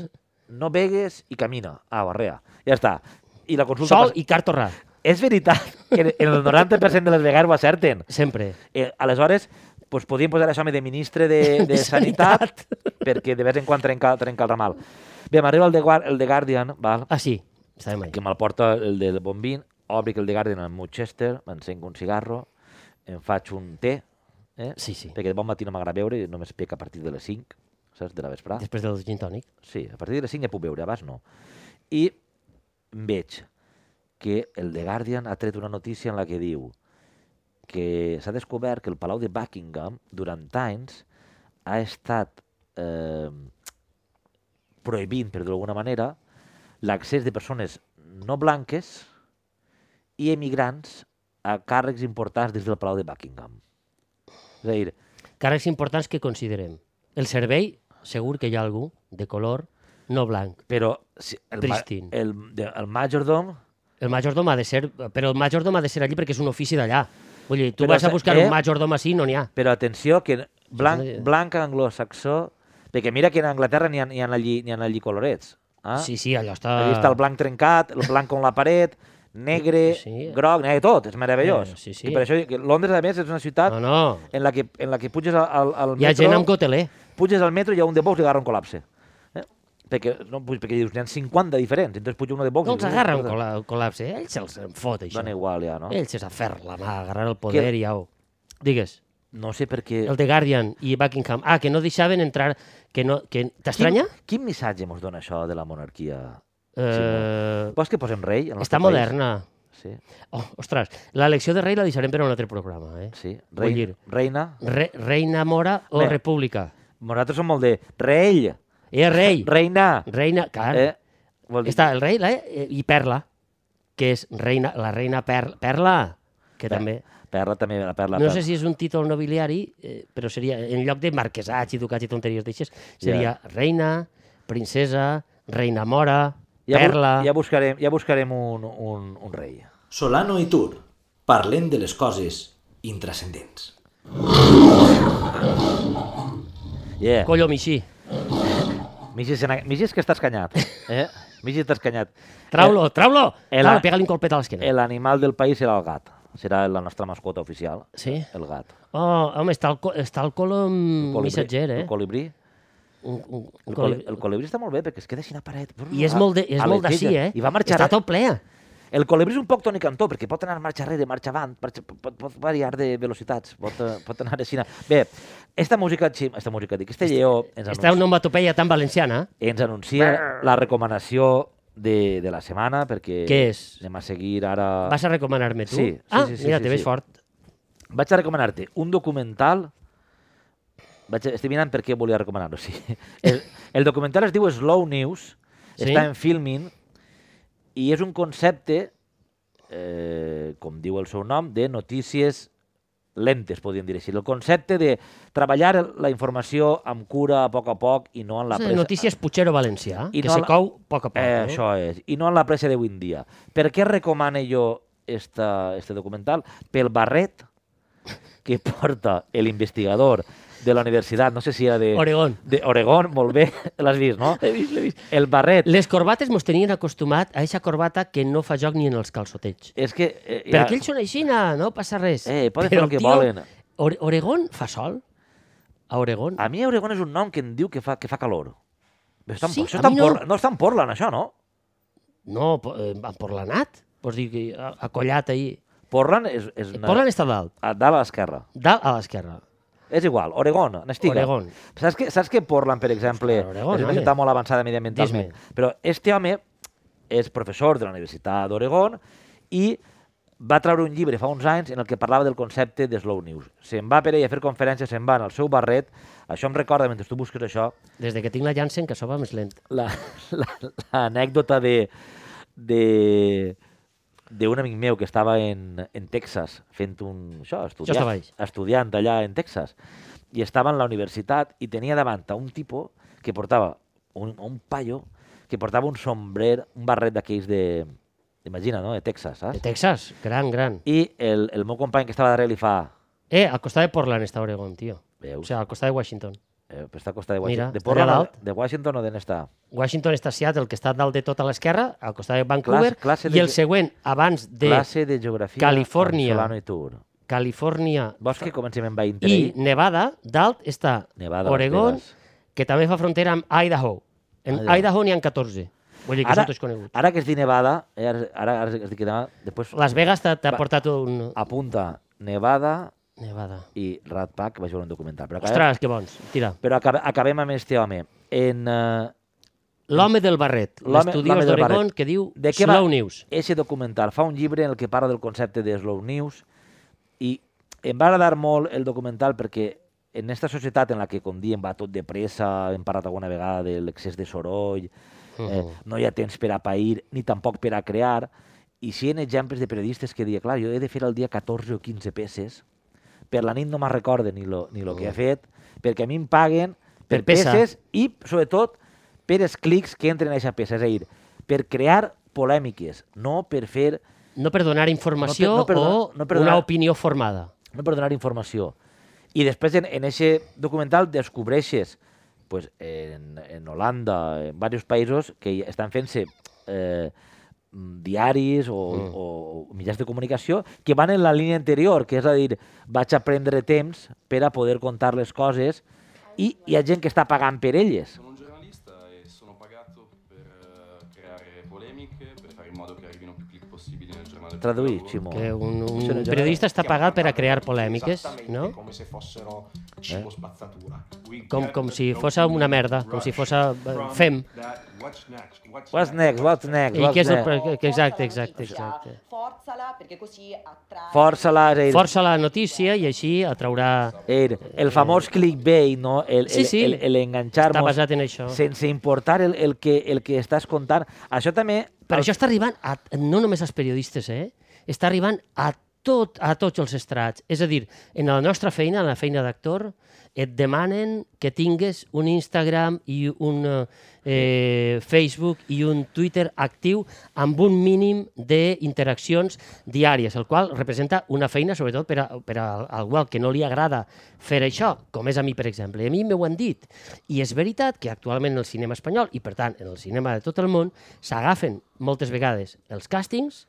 Speaker 1: no begues i camina. Ah, barrea. Ja està. I la consulta...
Speaker 2: Sol
Speaker 1: passa-
Speaker 2: i cartorra,
Speaker 1: És veritat que en- en el 90% de les vegades ho acerten.
Speaker 2: sempre.
Speaker 1: Eh, aleshores, pues, podíem posar això home, de ministre de, de,
Speaker 2: De
Speaker 1: Sanitat,
Speaker 2: Sanitat.
Speaker 1: perquè de vegades en quan trenca, trenca el ramal. Bé, m'arriba el, de, Guar- el de Guardian, val,
Speaker 2: Ah, sí, estàvem
Speaker 1: que
Speaker 2: allà.
Speaker 1: me'l porta el del Bombín, obric el de Guardian amb Manchester, m'encenc un cigarro, em faig un te, eh?
Speaker 2: Sí, sí.
Speaker 1: perquè de bon matí no m'agrada veure, només pec a partir de les 5, saps, de la vesprà.
Speaker 2: Després del gin tònic.
Speaker 1: Sí, a partir de les 5 ja puc veure, abans no. I veig que el The Guardian ha tret una notícia en la que diu que s'ha descobert que el Palau de Buckingham durant anys ha estat eh, prohibint, per dir d'alguna manera, l'accés de persones no blanques i emigrants a càrrecs importants des del Palau de Buckingham. És a dir,
Speaker 2: Càrrecs importants que considerem. El servei, segur que hi ha algú de color no blanc.
Speaker 1: però si el, ma-
Speaker 2: Pristine.
Speaker 1: el, de- el majordom
Speaker 2: El majordom ha de ser... Però el majordom ha de ser allí perquè és un ofici d'allà. Vull dir, tu
Speaker 1: Però
Speaker 2: vas a
Speaker 1: se-
Speaker 2: buscar
Speaker 1: eh?
Speaker 2: un majordom així i no n'hi ha.
Speaker 1: Però atenció, que blanc,
Speaker 2: una idea.
Speaker 1: blanc anglosaxó... Perquè mira que en Anglaterra n'hi ha, n'hi ha, allí, n'hi ha allí colorets. Ah?
Speaker 2: Sí, sí, allò està...
Speaker 1: Allí està el blanc trencat, el blanc amb la paret, negre,
Speaker 2: Sí.
Speaker 1: sí. groc, negre, tot, és meravellós.
Speaker 2: Eh, sí,
Speaker 1: I
Speaker 2: sí.
Speaker 1: per això dic que Londres, a més, és una ciutat
Speaker 2: No, no.
Speaker 1: en, la que, en la que puges al, al, al
Speaker 2: Hi ha
Speaker 1: metro...
Speaker 2: gent amb coteler.
Speaker 1: Puges al metro i hi ha un de Vox li agarra un col·lapse. Eh? Perquè, no, pu- perquè dius, n'hi ha 50 diferents, entonces puja un de Vox...
Speaker 2: No els Doncs agarra un Eh, col·la- col·lapse. Ells se'ls en fot, això.
Speaker 1: Dona igual, ja, no?
Speaker 2: Ells és a fer-la mà, agarrar el poder
Speaker 1: Que-
Speaker 2: i au. Digues,
Speaker 1: No sé per què...
Speaker 2: el The Guardian i Buckingham. Ah, que no deixaven entrar... Que no, que... T'estranya?
Speaker 1: Quin, quin missatge ens dona això de la monarquia?
Speaker 2: Eh,
Speaker 1: Vols que posem rei? al nostre
Speaker 2: està
Speaker 1: país?
Speaker 2: moderna.
Speaker 1: Sí,
Speaker 2: Oh, ostres, l'elecció de rei la deixarem per a un altre programa, eh?
Speaker 1: sí.
Speaker 2: Vull
Speaker 1: Rei,
Speaker 2: dir-
Speaker 1: reina.
Speaker 2: Re, reina Mora o
Speaker 1: Bé.
Speaker 2: República?
Speaker 1: Nosaltres som molt de rei,
Speaker 2: Eh, rei!
Speaker 1: reina.
Speaker 2: Reina, clar.
Speaker 1: Eh? Vol dir...
Speaker 2: Està el rei la, eh, i Perla, que és reina, la reina per, Perla, que també...
Speaker 1: Perla també, la perla.
Speaker 2: no
Speaker 1: perla.
Speaker 2: sé si és un títol nobiliari, eh, però seria, en lloc de marquesats i ducats i tonteries d'aixes, seria reina, princesa, reina mora,
Speaker 1: ja, bu-
Speaker 2: perla...
Speaker 1: Ja buscarem, ja buscarem un, un, un rei.
Speaker 3: Solano i Tur, parlem de les coses intrascendents.
Speaker 1: Yeah.
Speaker 2: Collo mixí,
Speaker 1: Migis, en... Migis que estàs canyat. Eh? Migis estàs canyat.
Speaker 2: trau-lo, trau-lo!
Speaker 1: Eh, El-
Speaker 2: Trau, pega-li un colpet a l'esquena.
Speaker 1: L'animal del país serà el gat. Serà la nostra mascota oficial,
Speaker 2: Sí?
Speaker 1: el gat.
Speaker 2: Oh, home, està el, co- està el colom
Speaker 1: Colibrí-
Speaker 2: missatger, eh?
Speaker 1: El colibrí.
Speaker 2: Un, un, un
Speaker 1: El,
Speaker 2: colibrí.
Speaker 1: coli... el colibrí està molt bé perquè es queda així a la paret.
Speaker 2: I és molt de- és molt d'ací,
Speaker 1: Aleteja.
Speaker 2: eh?
Speaker 1: Ah, I va marxar.
Speaker 2: Està tot ple.
Speaker 1: El colibrí és un poc Toni Cantó, perquè pot anar marxa arrere, marxa avant, marxa, pot, pot variar de velocitats, pot, eh, pot anar així. Bé, esta música, sí, esta música, dic, este lleó ens,
Speaker 2: Està
Speaker 1: anunci,
Speaker 2: una onomatopeia tan valenciana.
Speaker 1: ens anuncia la recomanació de, de la setmana, perquè
Speaker 2: Què és?
Speaker 1: anem a seguir ara...
Speaker 2: Vas a recomanar-me
Speaker 1: Ah.
Speaker 2: tu?
Speaker 1: Sí, sí,
Speaker 2: ah,
Speaker 1: sí, sí,
Speaker 2: mira,
Speaker 1: sí,
Speaker 2: te
Speaker 1: sí.
Speaker 2: veig fort.
Speaker 1: Vaig a recomanar-te un documental... Vaig, estic mirant per què volia recomanar-lo, sí. El, el documental es diu Slow News,
Speaker 2: Sí?
Speaker 1: sí? està en filming, i és un concepte, eh, com diu el seu nom, de notícies lentes, podríem dir així. El concepte de treballar el- la informació amb cura, a poc a poc, i no en la
Speaker 2: La
Speaker 1: pressa.
Speaker 2: Notícies Puigero Valencià,
Speaker 1: I
Speaker 2: que
Speaker 1: no
Speaker 2: se
Speaker 1: la-
Speaker 2: cou a poc a poc.
Speaker 1: Eh,
Speaker 2: no?
Speaker 1: això és. I no en la pressa d'avui en dia. Per què recomano jo esta, este documental? Pel barret que porta l'investigador de la universitat, no sé si era de...
Speaker 2: Oregón.
Speaker 1: De Oregón, molt bé, l'has vist, no? L'he vist, l'he vist. El barret,
Speaker 2: Les corbates mos tenien acostumat a aquesta corbata que no fa joc ni en els calçotets.
Speaker 1: és que... Eh,
Speaker 2: Ja. Perquè ells són aixina, no passa res.
Speaker 1: Eh, poden
Speaker 2: Però
Speaker 1: fer el que
Speaker 2: tio,
Speaker 1: volen.
Speaker 2: Ore- Oregón fa sol? A Oregón?
Speaker 1: A mi Oregón és un nom que em diu que fa, que fa calor. Però està en,
Speaker 2: Sí,
Speaker 1: això
Speaker 2: a
Speaker 1: està
Speaker 2: mi
Speaker 1: en
Speaker 2: no.
Speaker 1: Portland, no està en Portland, això, no?
Speaker 2: No, po- eh, a Portlanat. Vols dir que a, a Collat ahir...
Speaker 1: Portland és, és una,
Speaker 2: Portland està dalt,
Speaker 1: a dalt a l'esquerra.
Speaker 2: dalt a l'esquerra.
Speaker 1: És igual, Oregon, n'estic.
Speaker 2: Oregon.
Speaker 1: Saps que, saps que Portland, per exemple,
Speaker 2: Ostres, Oregon,
Speaker 1: és una
Speaker 2: home.
Speaker 1: ciutat molt avançada mediambientalment? Però este home és professor de la Universitat d'Oregon i va treure un llibre fa uns anys en el que parlava del concepte de slow news. Se'n va per ell a fer conferències, se'n va en el seu barret. Això em recorda, mentre tu busques això,
Speaker 2: Des de que tinc la Janssen, que això va més lent.
Speaker 1: la- la- l'anècdota de de d'un amic meu que estava en, en Texas fent un... Això,
Speaker 2: estava
Speaker 1: estudiant,
Speaker 2: allí.
Speaker 1: estudiant allà en Texas. I estava en la universitat i tenia davant a un tipo que portava un, un paio que portava un sombrer, un barret d'aquells de... Imagina, no? De Texas,
Speaker 2: De
Speaker 1: saps?
Speaker 2: Texas, gran, gran.
Speaker 1: I el, el meu company que estava darrere li fa...
Speaker 2: Eh, al costat de Portland està Oregon, tio.
Speaker 1: Veus?
Speaker 2: O sigui, al costat de Washington.
Speaker 1: Eh, però està a costa de
Speaker 2: Mira,
Speaker 1: Washington. de,
Speaker 2: està allà
Speaker 1: Portland,
Speaker 2: dalt.
Speaker 1: de Washington o de n'està?
Speaker 2: Washington està a Seattle, que està dalt de tot a l'esquerra, al costat de Vancouver,
Speaker 1: Clas- classe de
Speaker 2: i el
Speaker 1: ge-
Speaker 2: següent, abans de
Speaker 1: Classe de geografia.
Speaker 2: Califòrnia.
Speaker 1: amb Solano i Tour.
Speaker 2: Califòrnia
Speaker 1: Vols que comencem amb Bahín
Speaker 2: i
Speaker 1: Trail?
Speaker 2: Nevada, dalt està
Speaker 1: Nevada,
Speaker 2: Oregon,
Speaker 1: Las Vegas.
Speaker 2: que també fa frontera amb Idaho. En
Speaker 1: Idaho.
Speaker 2: Idaho, n'hi ha 14. Vull dir que
Speaker 1: Ara,
Speaker 2: són tots coneguts.
Speaker 1: ara que es di Nevada, eh, ara, ara, ara es di que Nevada, després
Speaker 2: Las Vegas t'ha t'ha
Speaker 1: Va.
Speaker 2: portat un...
Speaker 1: apunta Nevada,
Speaker 2: Nevada.
Speaker 1: i Rat Pack vaig veure un documental. Però acabem,
Speaker 2: Ostres, que bons. Tira.
Speaker 1: però acabe, acabem amb este home. En, eh,
Speaker 2: L'home del barret.
Speaker 1: L'home- l'home
Speaker 2: L'estudiós
Speaker 1: del
Speaker 2: d'Oregon
Speaker 1: barret.
Speaker 2: que diu
Speaker 1: de què
Speaker 2: Slow
Speaker 1: va
Speaker 2: News.
Speaker 1: Ese documental fa un llibre en el que parla del concepte de slow news i em va agradar molt el documental perquè en aquesta societat en la que, com diem, va tot de pressa, hem parlat alguna vegada de l'excés de soroll, eh, no hi ha temps per a pair ni tampoc per a crear, i si hi ha exemples de periodistes que diuen, clar, jo he de fer el dia 14 o 15 peces, per la nit no me'n recorde ni lo, ni lo que he fet, perquè a mi em paguen per,
Speaker 2: Oh. Per peça.
Speaker 1: peces i, sobretot, per els clics que entren a aquesta peça. És a dir, per crear polèmiques, no per fer
Speaker 2: No per donar informació
Speaker 1: No per- no per
Speaker 2: o
Speaker 1: donar- no per donar-
Speaker 2: una opinió formada.
Speaker 1: no per donar informació. I després en, en eixe documental descobreixes pues, en, en Holanda, en diversos països que hi estan fent-se eh, mm, diaris o, mm. o, o mitjans de comunicació que van en la línia anterior, que és a dir, vaig a prendre temps per a poder contar les coses i hi ha gent que està pagant per elles.
Speaker 5: Sono un giornalista e sono pagato per eh, creare polemiche, per fare in modo che arrivino più click possibili nel giornale. del
Speaker 1: Traduir,
Speaker 5: lavoro.
Speaker 1: Ximo.
Speaker 2: Que un,
Speaker 1: Això no
Speaker 2: un
Speaker 1: és
Speaker 2: periodista està pagat per a crear polèmiques,
Speaker 6: Esattamente
Speaker 2: no?
Speaker 6: come se fossero
Speaker 2: ¿Eh?
Speaker 6: cibo spazzatura. We
Speaker 2: Com,
Speaker 6: get
Speaker 2: com si
Speaker 6: the
Speaker 2: fos una merda, com si fos eh,
Speaker 6: from
Speaker 2: fem.
Speaker 6: that what's next, what's
Speaker 1: What's next? What's next?
Speaker 2: I
Speaker 1: What's
Speaker 2: què és el
Speaker 1: next?
Speaker 2: pre- Ecco, ecco, esatto,
Speaker 7: Forzala
Speaker 2: esatto,
Speaker 7: notizia,
Speaker 2: esatto.
Speaker 7: Forzala perché così attrae.
Speaker 1: Força-la, és a dir,
Speaker 2: Força la notícia i així atraurà...
Speaker 1: El, el famós clickbait, no? El,
Speaker 2: Sí, sí.
Speaker 1: el, el, el enganxar-nos
Speaker 2: Està basat en això.
Speaker 1: sense importar el, el, que, el que estàs contant. Això també...
Speaker 2: Per
Speaker 1: al-
Speaker 2: això està arribant, a, no només als periodistes, eh? està arribant a, tot, a tots els estrats. És a dir, en la nostra feina, en la feina d'actor, et demanen que tingues un Instagram i un eh, Facebook i un Twitter actiu amb un mínim d'interaccions diàries, el qual representa una feina, sobretot per a, per a algú al que no li agrada fer això, com és a mi, per exemple. I a mi m'ho han dit. I és veritat que actualment en el cinema espanyol, i per tant en el cinema de tot el món, s'agafen moltes vegades els càstings,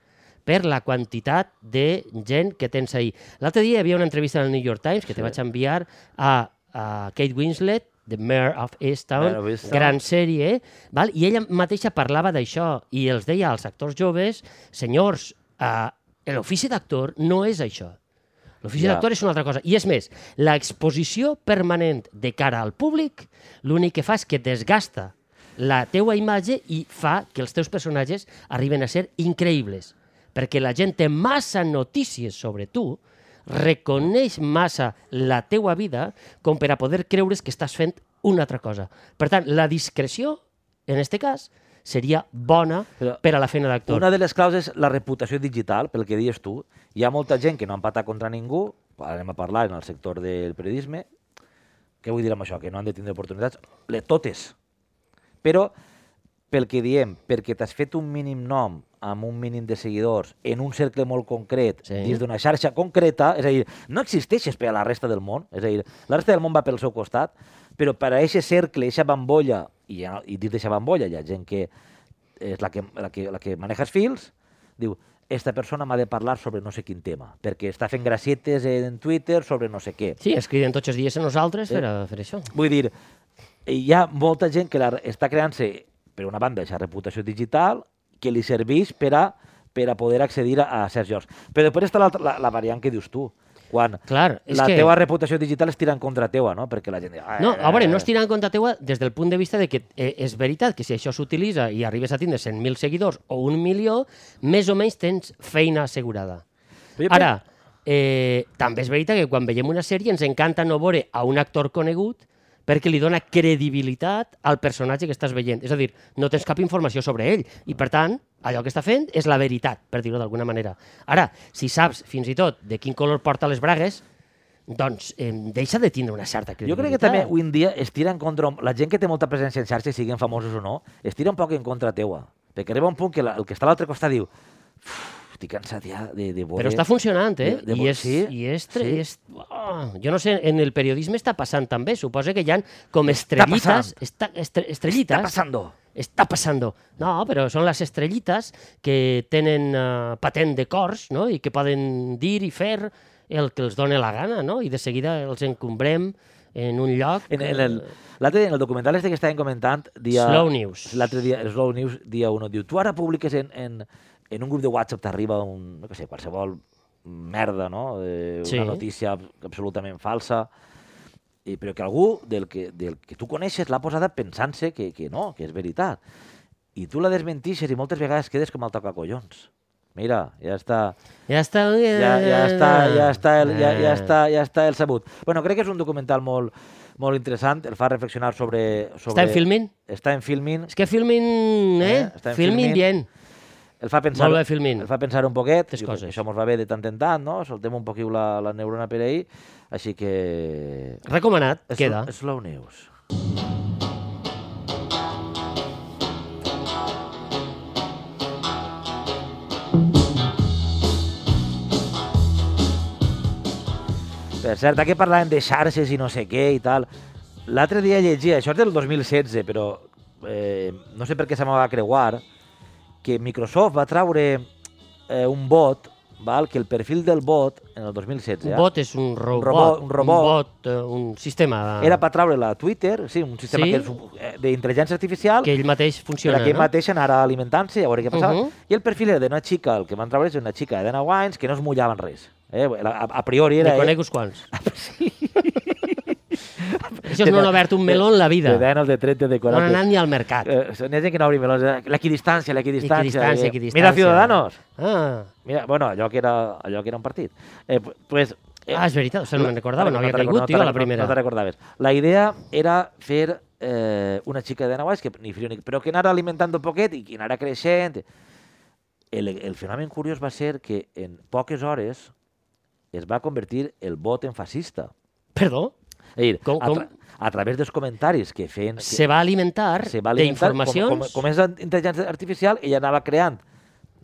Speaker 2: per la quantitat de gent que tens ahir. L'altre dia hi havia una entrevista al New York Times que te vaig enviar a, a Kate Winslet, The Mayor of
Speaker 1: Mayor of
Speaker 2: Easttown,
Speaker 1: Easttown.
Speaker 2: gran sèrie, eh? val? i ella mateixa parlava d'això, i els deia als actors joves, senyors, eh, l'ofici d'actor no és això. L'ofici
Speaker 1: Ja.
Speaker 2: d'actor és una altra cosa. I és més, l'exposició permanent de cara al públic l'únic que fa és que desgasta la teua imatge i fa que els teus personatges arriben a ser increïbles. Perquè la gent té massa notícies sobre tu, reconeix massa la teua vida com per a poder creure's que estàs fent una altra cosa. Per tant, la discreció, en este cas, seria bona
Speaker 1: Però
Speaker 2: per a la feina d'actor.
Speaker 1: Una de les claus és la reputació digital, pel que dius tu. Hi ha molta gent que no empata contra ningú, ara anem a parlar en el sector del periodisme, què vull dir amb això? Que no han de tindre oportunitats? Le, totes. Però, pel que diem, perquè t'has fet un mínim nom amb un mínim de seguidors en un cercle molt concret,
Speaker 2: Sí.
Speaker 1: sí. dins d'una xarxa concreta, és a dir, no existeixes per a la resta del món, és a dir, la resta del món va pel seu costat, però per a aquest cercle, aquesta bambolla, i, hi ha- i dins d'aquesta bambolla hi ha gent que és la que, la que, la que maneja els fils, diu, esta persona m'ha de parlar sobre no sé quin tema, perquè està fent gracietes en Twitter sobre no sé què.
Speaker 2: Sí, es criden tots els dies a nosaltres per a fer això.
Speaker 1: Vull dir, hi ha molta gent que la, està creant-se, per una banda, aquesta reputació digital que li serveix per a, per a poder accedir a, a certs llocs. Però després està la, la, la variant que dius tu, quan
Speaker 2: Clar, és
Speaker 1: la
Speaker 2: que-
Speaker 1: teva reputació digital es tira en contra teua, no? Perquè la gent... diu, "Ah,
Speaker 2: No,
Speaker 1: eh,
Speaker 2: a veure, no
Speaker 1: eh,
Speaker 2: es tira en contra teua des del punt de vista de que eh, és veritat que si això s'utilitza i arribes a tindre 100.000 seguidors o un milió, més o menys tens feina assegurada.
Speaker 1: Però jo
Speaker 2: Ara, eh, també és veritat que quan veiem una sèrie ens encanta no veure a un actor conegut perquè li dona credibilitat al personatge que estàs veient. És a dir, no tens cap informació sobre ell i, per tant, allò que està fent és la veritat, per dir-ho d'alguna manera. Ara, si saps fins i tot de quin color porta les bragues, doncs eh, deixa de tindre una certa
Speaker 1: Jo
Speaker 2: credibilitat.
Speaker 1: crec que també avui en dia es tira en contra... La gent que té molta presència en xarxa, siguin famosos o no, es tira un poc en contra teua. Perquè arriba un punt que la, el que està a l'altre costat diu "Uf, estic cansat ja de, de voler...
Speaker 2: Però està funcionant, eh?
Speaker 1: de- de
Speaker 2: I
Speaker 1: bo-
Speaker 2: és, sí,
Speaker 1: sí,
Speaker 2: i és, tre-
Speaker 1: sí.
Speaker 2: i és oh, jo no sé, en el periodisme està passant també, suposa que hi han com
Speaker 1: Està
Speaker 2: estrellites,
Speaker 1: passant.
Speaker 2: està, estre, estrellites,
Speaker 1: Està passando.
Speaker 2: Està passando. No, però són les estrellites que tenen uh, patent de cors no? i que poden dir i fer el que els doni la gana, no? I de seguida els encombrem en un lloc...
Speaker 1: En, en el, l'altre dia, en el documental este que estàvem comentant... Dia,
Speaker 2: Slow News.
Speaker 1: L'altre dia, el Slow News, dia 1, diu, tu ara publiques en, en, en un grup de WhatsApp, t'arriba un, no què sé, qualsevol merda, no? Eh,
Speaker 2: Sí.
Speaker 1: Una notícia ab- absolutament falsa. I, però que algú del que, del que tu coneixes l'ha posada pensant-se que, que no, que és veritat. I tu la desmentixes i moltes vegades quedes com el tocacollons. Mira, ja està
Speaker 2: Ja està... eh,
Speaker 1: ja, ja està, ja està, el, ja, ja està, ja està el sabut. Bueno, crec que és un documental molt, molt interessant, el fa reflexionar sobre... sobre
Speaker 2: Està en Filmin?
Speaker 1: Està en filmin,
Speaker 2: És que Filmin, eh?
Speaker 1: Eh, està en Filmin.
Speaker 2: Filmin bien.
Speaker 1: el fa pensar,
Speaker 2: Molt bé, Filmin.
Speaker 1: el fa pensar un poquet,
Speaker 2: Tres
Speaker 1: jo crec que
Speaker 2: coses.
Speaker 1: això mos va bé de tant en tant, no? soltem un poquiu la, la neurona per ahir, així que...
Speaker 2: Recomanat,
Speaker 1: És,
Speaker 2: queda.
Speaker 1: És Slow News. Per cert, aquí parlàvem de xarxes i no sé què i tal. L'altre dia llegia, això és del 2016, però eh, no sé per què se m'ha va creuar, que Microsoft va traure eh, un bot, val? que el perfil del bot, en el 2016...
Speaker 2: Un
Speaker 1: eh?
Speaker 2: bot és un robot.
Speaker 1: robot, un robot.
Speaker 2: Un bot, eh, un sistema
Speaker 1: Era per traure-la a Twitter, sí, un sistema
Speaker 2: Sí?
Speaker 1: sí? que és eh, d'intel·ligència artificial,
Speaker 2: que ell mateix funciona,
Speaker 1: per a que
Speaker 2: no? Uh-huh.
Speaker 1: mateix anara alimentant-se, a veure què passava.
Speaker 2: Ujú.
Speaker 1: I el perfil era d'una xica, el que van treure és una xica de 9 anys que no es mullaven res. Eh? A, a- a priori era... eh, Ah,
Speaker 2: N'hi conec uns quants. Això no han obert un meló en la vida.
Speaker 1: Te deien els de 30 de
Speaker 2: No
Speaker 1: 40.
Speaker 2: han anat ni al mercat.
Speaker 1: Eh, n'hi ha gent que no obri melons. eh, L'equidistància, l'equidistància.
Speaker 2: Equidistància,
Speaker 1: eh,
Speaker 2: equidistància.
Speaker 1: Mira, Ciudadanos.
Speaker 2: Ah,
Speaker 1: Mira, bueno, allò que era, allò que era un partit. Eh, pu- pues, eh,
Speaker 2: ah és veritat, o sigui, no me'n recordava, no
Speaker 1: te
Speaker 2: havia
Speaker 1: recordo-
Speaker 2: caigut,
Speaker 1: te
Speaker 2: tio, a la
Speaker 1: recordo-
Speaker 2: primera.
Speaker 1: No te recordaves. La idea era fer eh, una xica de 9 anys, que ni frío ni... però que anara alimentant un poquet i que anara creixent. El, el fenomen curiós va ser que en poques hores es va convertir el vot en fascista.
Speaker 2: Perdó?
Speaker 1: És a dir,
Speaker 2: Com-
Speaker 1: a, tra a través dels comentaris que feien... que-
Speaker 2: Se va alimentar,
Speaker 1: se va alimentar,
Speaker 2: d'informacions
Speaker 1: Com, com, com és intel·ligència artificial, ella anava creant,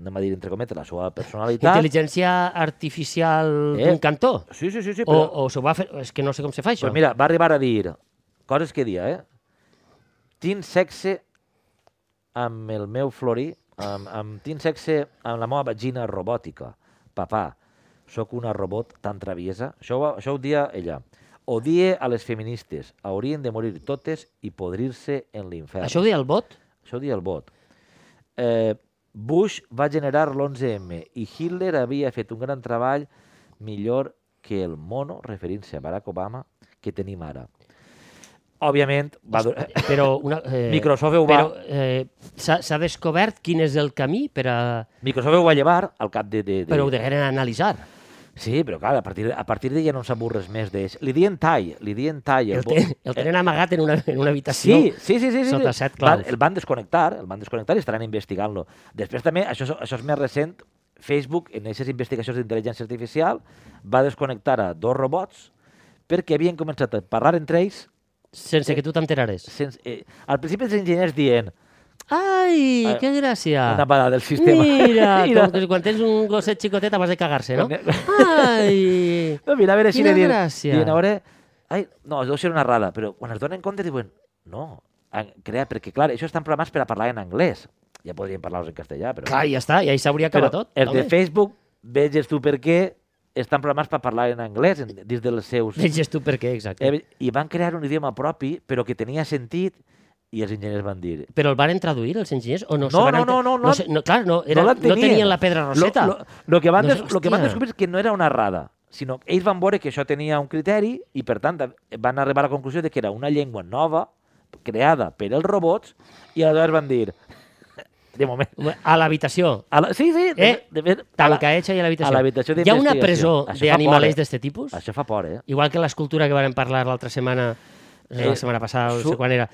Speaker 1: anem a dir entre cometes, la seva personalitat.
Speaker 2: intel·ligència artificial
Speaker 1: Eh?
Speaker 2: d'un cantó.
Speaker 1: Sí, sí, sí, sí
Speaker 2: O,
Speaker 1: però,
Speaker 2: o s'ho va fer... És que no sé com se fa això.
Speaker 1: però mira, va arribar a dir coses que dia, eh? Tinc sexe amb el meu florí, amb, amb, tinc sexe amb la meva vagina robòtica. Papà, sóc una robot tan traviesa. Això, ho- això ho dia ella. Odie a les feministes. Haurien de morir totes i podrir-se en l'infern.
Speaker 2: Això ho deia el bot?
Speaker 1: Això ho dia el vot. Eh, Bush va generar l'11M i Hitler havia fet un gran treball millor que el mono, referint-se a Barack Obama, que tenim ara. Òbviament, va dur...
Speaker 2: Però una, eh,
Speaker 1: Microsoft ho va-
Speaker 2: però, eh, s'ha s'ha descobert quin és el camí per a...
Speaker 1: Microsoft ho va llevar al cap de... de, de...
Speaker 2: Però ho degueren analitzar.
Speaker 1: Sí, però clar, a partir, a partir d'ella no en sap res més d'ells. Li dien tall, li dien tall.
Speaker 2: El,
Speaker 1: vot.
Speaker 2: ten, el tenen amagat en una, en una habitació.
Speaker 1: eh. Sí, sí, sí, sí, sí.
Speaker 2: sota
Speaker 1: sí.
Speaker 2: set
Speaker 1: Van-
Speaker 2: claus.
Speaker 1: el van desconnectar, el van desconnectar i estaran investigant-lo. Després també, això, és- això és més recent, Facebook, en aquestes investigacions d'intel·ligència artificial, va desconnectar a dos robots perquè havien començat a parlar entre ells
Speaker 2: Sense que tu t'enterares.
Speaker 1: sense, eh, al principi els enginyers dient
Speaker 2: Ai,
Speaker 1: Ah,
Speaker 2: que gràcia!
Speaker 1: una parada del sistema.
Speaker 2: Mira,
Speaker 1: Mira.
Speaker 2: com que quan tens un gosset xicotet abans de cagar-se, no?
Speaker 1: Quan-
Speaker 2: Ai!
Speaker 1: No, mira, a veure si
Speaker 2: Quina
Speaker 1: li dient,
Speaker 2: gràcia.
Speaker 1: dient, a veure... Ai, no, deu ser una errada, però quan es donen compte diuen, no, han creat, perquè clar, això estan programats per a parlar en anglès. Ja podríem parlar-los en castellà, però...
Speaker 2: Clar, ja està, i ahí s'hauria
Speaker 1: Però
Speaker 2: acabat tot.
Speaker 1: els de
Speaker 2: home.
Speaker 1: Facebook, veges tu per què, estan programats per parlar en anglès en, dins dels seus...
Speaker 2: Veges tu per què, exacte.
Speaker 1: Eh, I van crear un idioma propi, però que tenia sentit, i els enginyers van dir...
Speaker 2: Però el varen traduir, els enginyers? O no, se
Speaker 1: No,
Speaker 2: van
Speaker 1: no,
Speaker 2: enter-
Speaker 1: no, no,
Speaker 2: no,
Speaker 1: no.
Speaker 2: sé, no, clar, no, era, no,
Speaker 1: la
Speaker 2: tenien la pedra roseta.
Speaker 1: Lo, lo, lo que van,
Speaker 2: No
Speaker 1: no,
Speaker 2: sé,
Speaker 1: lo que van
Speaker 2: hòstia.
Speaker 1: descobrir és que no era una errada, sinó que ells van veure que això tenia un criteri i, per tant, van arribar a la conclusió de que era una llengua nova, creada per els robots, i aleshores van dir... De moment...
Speaker 2: A l'habitació.
Speaker 1: A la, sí, sí, de,
Speaker 2: Eh,
Speaker 1: de, fet, a la-
Speaker 2: Tanca eixa i a l'habitació.
Speaker 1: a l'habitació
Speaker 2: Hi ha una presó
Speaker 1: d'investigació. Això fa
Speaker 2: d'animalers
Speaker 1: por, eh?
Speaker 2: d'aquest tipus?
Speaker 1: Això fa por, eh?
Speaker 2: Igual que l'escultura que varen parlar l'altra setmana, eh, la
Speaker 1: Eh,
Speaker 2: setmana passada, no
Speaker 1: su-
Speaker 2: sé quan era,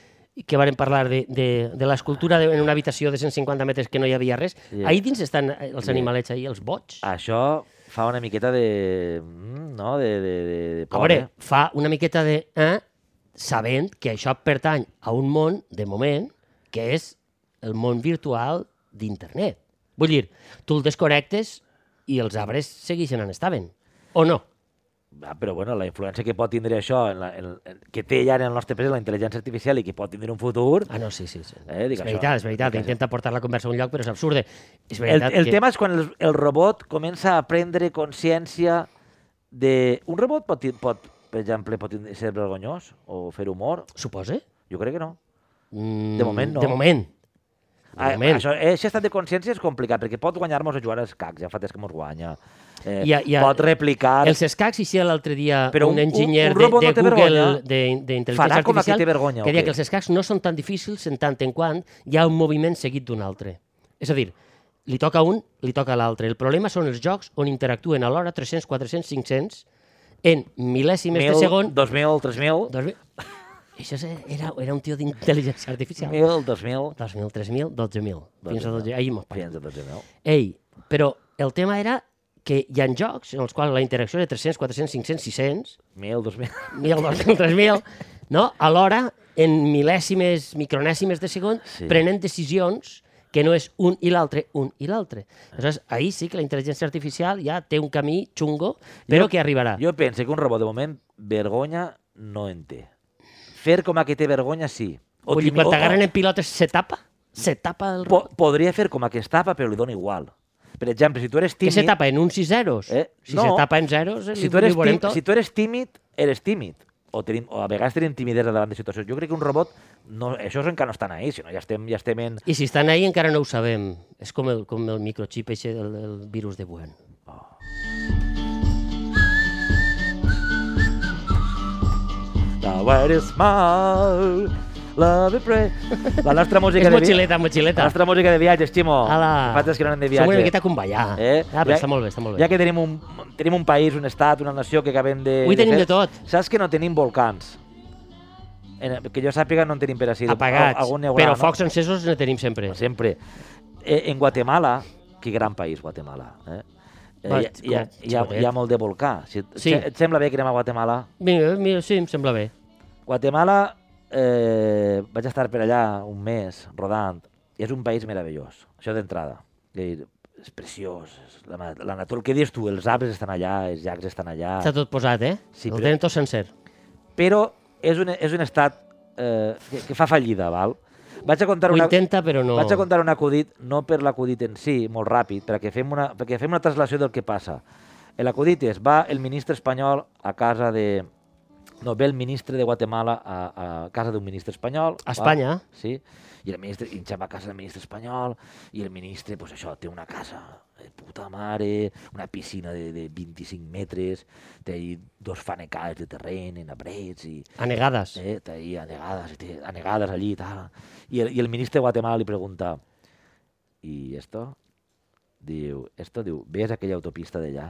Speaker 2: que varen parlar de, de, de l'escultura de- en una habitació de 150 metres que no hi havia res.
Speaker 1: Ja.
Speaker 2: Yeah. Ahir dins estan eh, els
Speaker 1: Ja.
Speaker 2: animalets, ahir els bots.
Speaker 1: Ah, Això fa una miqueta de... mm, No? De, de, de, de
Speaker 2: A
Speaker 1: por,
Speaker 2: veure,
Speaker 1: eh?
Speaker 2: fa una miqueta de... Eh, sabent que això pertany a un món, de moment, que és el món virtual d'internet. Vull dir, tu el desconnectes i els arbres segueixen on estaven. O no?
Speaker 1: Ah, però bueno, la influència que pot tindre això, en la, en, en, que té ja en el nostre país la intel·ligència artificial i que pot tindre un futur...
Speaker 2: Ah, no, sí, sí. sí.
Speaker 1: Eh,
Speaker 2: és
Speaker 1: dic això.
Speaker 2: veritat, és veritat.
Speaker 1: Dic això.
Speaker 2: Intenta portar la conversa a un lloc, però és absurde. És
Speaker 1: El,
Speaker 2: veritat
Speaker 1: el
Speaker 2: que...
Speaker 1: tema és quan el, el robot comença a prendre consciència de... Un robot pot, ti- pot per exemple, pot tindre- ser vergonyós o fer humor?
Speaker 2: Suposa?
Speaker 1: Jo crec que no.
Speaker 2: Mm,
Speaker 1: De moment no.
Speaker 2: De moment.
Speaker 1: Ah,
Speaker 2: moment.
Speaker 1: això, eh, aquest estat de consciència és complicat, perquè pot guanyar-nos o jugar als cacs, ja fa temps que mos guanya. Eh,
Speaker 2: Hi ha- hi ha-
Speaker 1: pot replicar...
Speaker 2: Els escacs hiciera l'altre dia
Speaker 1: Però
Speaker 2: Però un
Speaker 1: un- un-
Speaker 2: enginyer
Speaker 1: un
Speaker 2: de,
Speaker 1: robot
Speaker 2: de
Speaker 1: no té
Speaker 2: Google
Speaker 1: vergonya.
Speaker 2: de- d'intel·ligència
Speaker 1: Farà com a qui
Speaker 2: artificial
Speaker 1: té vergonya,
Speaker 2: que
Speaker 1: o què?
Speaker 2: deia que els escacs no són tan difícils en tant en quant hi ha un moviment seguit d'un altre. És a dir, li toca a un, li toca a l'altre. El problema són els jocs on interactuen alhora 300, 400, 500 en mil·lèsimes de segon.
Speaker 1: 2.000, 3.000,
Speaker 2: Dos mil... Això és- era, era un tio d'intel·ligència artificial.
Speaker 1: 1.000, 2.000,
Speaker 2: 2.000, 3.000, 12.000. Fins a 12.000. Ahir mos paguem.
Speaker 1: fins a 12.000.
Speaker 2: Ei, però el tema era que hi ha jocs en els quals la interacció és de 300, 400, 500, 600,
Speaker 1: 1.000, 2.000...
Speaker 2: 1.000, 2.000, 3.000, no? Alhora, en mil·lèsimes, micronèsimes de segon,
Speaker 1: Sí.
Speaker 2: sí. prenent decisions que no és un i l'altre, un i l'altre. Aleshores, ahir sí que la intel·ligència artificial ja té un camí xungo, però
Speaker 1: Jo-
Speaker 2: que arribarà. Jo...
Speaker 1: Jo penso que un robot, de moment, vergonya no en té. Fer com a que té vergonya, sí.
Speaker 2: Vull dir,
Speaker 1: timi-
Speaker 2: quan
Speaker 1: o-
Speaker 2: t'agarren en pilotes, se tapa? Se tapa el...
Speaker 1: po podria fer com a que es tapa, però li dona igual. Per exemple, si tu eres
Speaker 2: Que
Speaker 1: tímid...
Speaker 2: se tapa en uns i zeros?
Speaker 1: Eh,
Speaker 2: Si
Speaker 1: no.
Speaker 2: se tapa en zeros,
Speaker 1: si
Speaker 2: li,
Speaker 1: tu, eres
Speaker 2: li veurem
Speaker 1: tímid,
Speaker 2: tot.
Speaker 1: si tu eres tímid, eres tímid. O, tenim, o a vegades tenim timidesa davant de situacions. Jo crec que un robot, no, això encara no estan ahí, sinó ja estem, ja estem en...
Speaker 2: I si estan ahí encara no ho sabem. És com el, com el microchip, eixe, el, el virus de Wuhan.
Speaker 1: The world is small, love and pray. La nostra música
Speaker 2: és
Speaker 1: de
Speaker 2: motxileta,
Speaker 1: La
Speaker 2: motxileta.
Speaker 1: nostra música de viatges, Ximo.
Speaker 2: Ala.
Speaker 1: Fa temps que no anem de
Speaker 2: Som
Speaker 1: viatge.
Speaker 2: una miqueta com ballar.
Speaker 1: Eh?
Speaker 2: Ah, però està molt bé, està molt bé.
Speaker 1: Ja que tenim un, tenim un país, un estat, una nació que acabem de...
Speaker 2: Avui tenim
Speaker 1: fer,
Speaker 2: de tot.
Speaker 1: Saps que no tenim volcans? En, que jo sàpiga no en tenim per així.
Speaker 2: Apagats.
Speaker 1: Algun n'hi haurà,
Speaker 2: però
Speaker 1: no?
Speaker 2: focs encesos ne tenim sempre.
Speaker 1: Sempre. Eh, en Guatemala, que gran país, Guatemala. Eh? Eh,
Speaker 2: Va,
Speaker 1: hi, ha- hi, ha,
Speaker 2: com-
Speaker 1: hi, ha, hi ha molt de volcà. Si, et-
Speaker 2: Sí.
Speaker 1: se- Et sembla bé que anem a Guatemala?
Speaker 2: Mira, mira, sí, em sembla bé.
Speaker 1: Guatemala, eh, vaig estar per allà un mes rodant, i és un país meravellós, això d'entrada. És a dir, És preciós, és la, ma- la natura, el que dius tu, els arbres estan allà, els llacs estan allà,
Speaker 2: Està tot posat, eh?
Speaker 1: Ah. Sí,
Speaker 2: el
Speaker 1: però-
Speaker 2: tenen tot sencer.
Speaker 1: però és un, és un estat eh, que, que fa fallida, val? Vaig a contar
Speaker 2: Ho
Speaker 1: una...
Speaker 2: intenta, però no...
Speaker 1: Vaig a contar un acudit, no per l'acudit en si, molt ràpid, perquè fem una, perquè fem una traslació del que passa. L'acudit és, va el ministre espanyol a casa de... No, ve el ministre de Guatemala a, a casa d'un ministre espanyol.
Speaker 2: A
Speaker 1: va?
Speaker 2: Espanya?
Speaker 1: Sí, i el ministre, i ja va a casa del ministre espanyol, i el ministre, pues això, té una casa de puta mare, una piscina de, de 25 metres, té ahí dos fanecades de terreny, en abrets, i,
Speaker 2: Anegades.
Speaker 1: Eh, té ahí anegades, té anegades allí i tal. I el, I el ministre de Guatemala li pregunta, i esto? Diu, esto, diu, ves aquella autopista d'allà?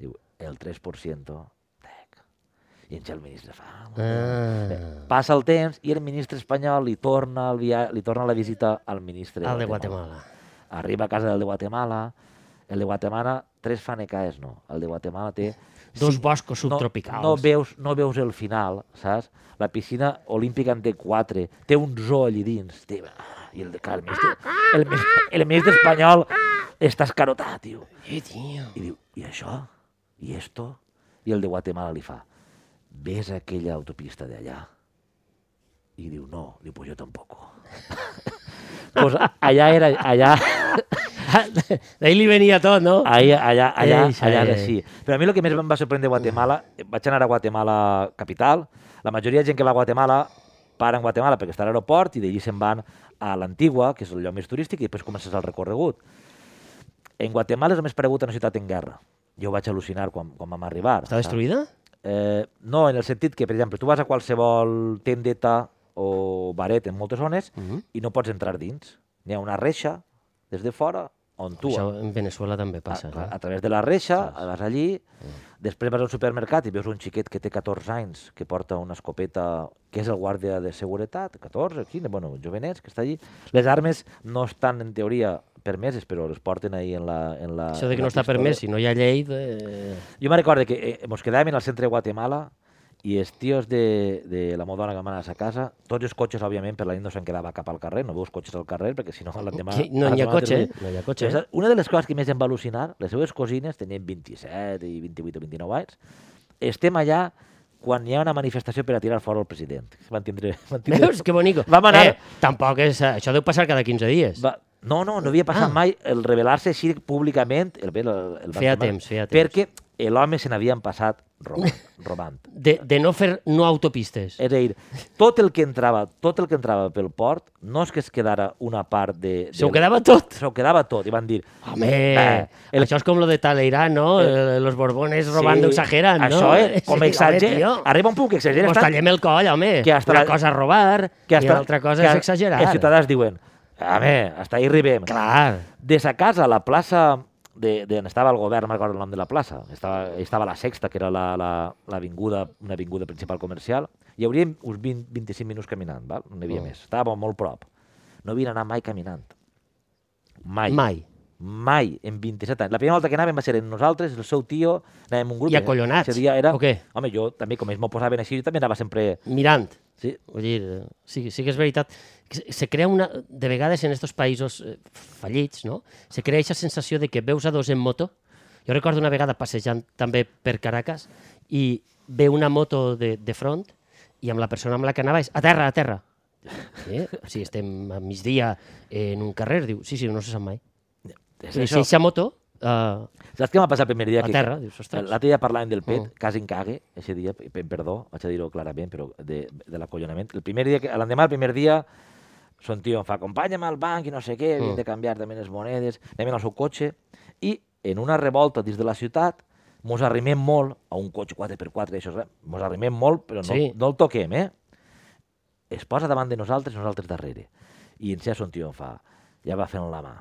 Speaker 1: Diu, el 3%, tec. I en ja el ministre fa... "Ah, molt bé". Bé,
Speaker 2: Ah.
Speaker 1: Passa el temps i el ministre espanyol li torna, el via... li torna la visita al ministre
Speaker 2: Al de Guatemala.
Speaker 1: Arriba a casa del de Guatemala, el de Guatemala, tres fanecaes no, el de Guatemala té
Speaker 2: Dos boscos
Speaker 1: no,
Speaker 2: subtropicals.
Speaker 1: No veus, no veus el final, saps? La piscina olímpica en té quatre, té un zoo allí dins. Té... ah, I el, de- clar, el, ministre, el, ministre, el ministre espanyol està escarotat, tio.
Speaker 2: Eh, tio.
Speaker 1: I diu, i això? I esto? I el de Guatemala li fa, ves aquella autopista d'allà? I diu, no. Diu, pues jo tampoc. pues allà era, allà,
Speaker 2: D'ahir li venia tot, no?
Speaker 1: Ahí, allà, allà,
Speaker 2: Eixa,
Speaker 1: allà
Speaker 2: ei,
Speaker 1: era
Speaker 2: ei.
Speaker 1: així. Però a mi el que més em va sorprendre de Guatemala, vaig anar a Guatemala capital, la majoria de gent que va a Guatemala para en Guatemala perquè està a l'aeroport i d'allí se'n van a l'Antigua, que és el lloc més turístic, i després comences el recorregut. En Guatemala és el més paregut a una ciutat en guerra. Jo vaig al·lucinar quan, quan vam arribar.
Speaker 2: Està destruïda?
Speaker 1: Eh, no, en el sentit que, per exemple, tu vas a qualsevol tendeta o baret en moltes zones
Speaker 2: Mhm.
Speaker 1: i no pots entrar dins. N'hi ha una reixa des de fora on tu...
Speaker 2: Això en Venezuela també passa.
Speaker 1: A, clar,
Speaker 2: eh?
Speaker 1: a través de la reixa, vas allí, després vas al supermercat i veus un xiquet que té 14 anys, que porta una escopeta, que és el guàrdia de seguretat, 14, 15, bueno, jovenets, que està allí. Les armes no estan, en teoria, permeses, però les porten ahí en la... En la
Speaker 2: Això de
Speaker 1: en la
Speaker 2: que no està
Speaker 1: Ah, pistola.
Speaker 2: permès, si no hi ha llei... De...
Speaker 1: Jo me'n recordo que eh, mos quedàvem en el centre de Guatemala i els tios de, de la meva dona que van anar a casa, tots els cotxes, òbviament, per la nit no se'n quedava cap al carrer, no veus cotxes al carrer, perquè si no l'endemà...
Speaker 2: Sí, no hi ha
Speaker 1: l'endemà
Speaker 2: cotxe, eh?
Speaker 1: tens-
Speaker 2: no hi ha cotxe.
Speaker 1: Però és Una de les coses que més em va al·lucinar, les seves cosines tenien 27 i 28 o 29 anys, estem allà quan hi ha una manifestació per a tirar fora el president. Van tindre... Van tindre...
Speaker 2: Veus, que bonico.
Speaker 1: Vam anar...
Speaker 2: Eh, tampoc és... Això deu passar cada 15 dies.
Speaker 1: Va, no, no, no havia passat
Speaker 2: Ah.
Speaker 1: ah. mai el revelar-se així públicament. El, el, el, el
Speaker 2: Feia
Speaker 1: van
Speaker 2: temps, feia temps.
Speaker 1: Perquè l'home se n'havien passat Roman, Roman.
Speaker 2: de, de no fer no autopistes.
Speaker 1: És a dir, tot el que entrava, tot el que entrava pel port, no és que es quedara una part de... de
Speaker 2: Se ho quedava tot.
Speaker 1: Se ho quedava tot, i van dir... eh,
Speaker 2: Home,
Speaker 1: "Bé,
Speaker 2: el... això és com lo de Talleyrand, no? Eh, Los borbones robando exageran, no?
Speaker 1: Això, eh, com
Speaker 2: Sí,
Speaker 1: exager...
Speaker 2: home, tio.
Speaker 1: arriba un punt que exageres
Speaker 2: Pues tallem el coll, home.
Speaker 1: que hasta
Speaker 2: una
Speaker 1: la-
Speaker 2: cosa és robar
Speaker 1: que
Speaker 2: i l'altra cosa
Speaker 1: que
Speaker 2: és exagerar.
Speaker 1: Els ciutadans diuen, home, hasta ahí arribem.
Speaker 2: Clar.
Speaker 1: Des de casa, a la plaça de, de on estava el govern, no recordo el nom de la plaça, estava, estava la sexta, que era la- la- l'avinguda, una avinguda principal comercial, hi hauria uns 20, 25 minuts caminant, val? no n'hi havia
Speaker 2: Mm.
Speaker 1: més, estava molt prop. No havia anat mai caminant. Mai.
Speaker 2: Mai.
Speaker 1: Mai, en 27 anys. La primera volta que anàvem va ser en nosaltres, el seu tio, anàvem un grup.
Speaker 2: I acollonats,
Speaker 1: Ese dia era...
Speaker 2: o què?
Speaker 1: Home, jo també, com ells m'ho posaven així, jo també anava sempre...
Speaker 2: Mirant.
Speaker 1: Sí,
Speaker 2: Vull dir, eh, sí, sí que és veritat. que se- Se crea una... De vegades en aquests països eh, fallits, no? Se crea aquesta sensació de que veus a dos en moto. Jo recordo una vegada passejant també per Caracas i ve una moto de, de front i amb la persona amb la que anava és a terra, a terra. Eh? Si estem a migdia eh, en un carrer, diu, sí, sí, no se sap mai.
Speaker 1: és
Speaker 2: Sí,
Speaker 1: això.
Speaker 2: això... Si moto, eh,
Speaker 1: Saps què m'ha passat el primer dia?
Speaker 2: A
Speaker 1: que,
Speaker 2: terra, dius, ostres.
Speaker 1: L'altre dia parlàvem del pet,
Speaker 2: Mm.
Speaker 1: mm. quasi em cague, ese dia, pe- pe- perdó, vaig a dir-ho clarament, però de, de l'acollonament. El primer dia, que- l'endemà, el primer dia, son tio em fa, acompanya'm al banc i no sé què,
Speaker 2: Mm.
Speaker 1: mm. de canviar també les monedes, anem en el seu cotxe, i en una revolta dins de la ciutat, mos arrimem molt a un cotxe 4x4, això és res, mos arrimem molt, però no,
Speaker 2: Sí.
Speaker 1: no el toquem, eh? es posa davant de nosaltres i nosaltres darrere. I en Cesc, un tio em fa, ja va fent la mà.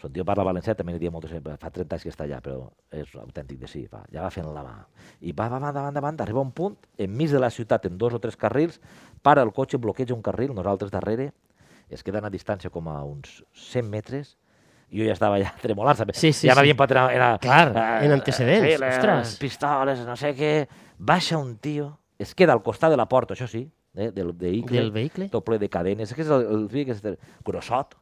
Speaker 1: Son tio parla valencià, també n'hi dia moltes sempre, fa 30 anys que està allà, però és autèntic de sí, va, ja va fent la mà. I va, va, va, davant, davant, arriba a un punt, enmig de la ciutat, en dos o tres carrils, para el cotxe, bloqueja un carril, nosaltres darrere, es queden a distància com a uns 100 metres, i jo ja estava allà tremolant-se.
Speaker 2: Sí, sí,
Speaker 1: ja
Speaker 2: sí.
Speaker 1: m'havien patrat... Era,
Speaker 2: Clar,
Speaker 1: eh,
Speaker 2: en antecedents,
Speaker 1: sí, les
Speaker 2: ostres.
Speaker 1: pistoles, no sé què... Baixa un tio, es queda al costat de la porta, això sí, eh, del vehicle.
Speaker 2: Del vehicle?
Speaker 1: Tot ple de cadenes. Que és el, el fill que és grossot.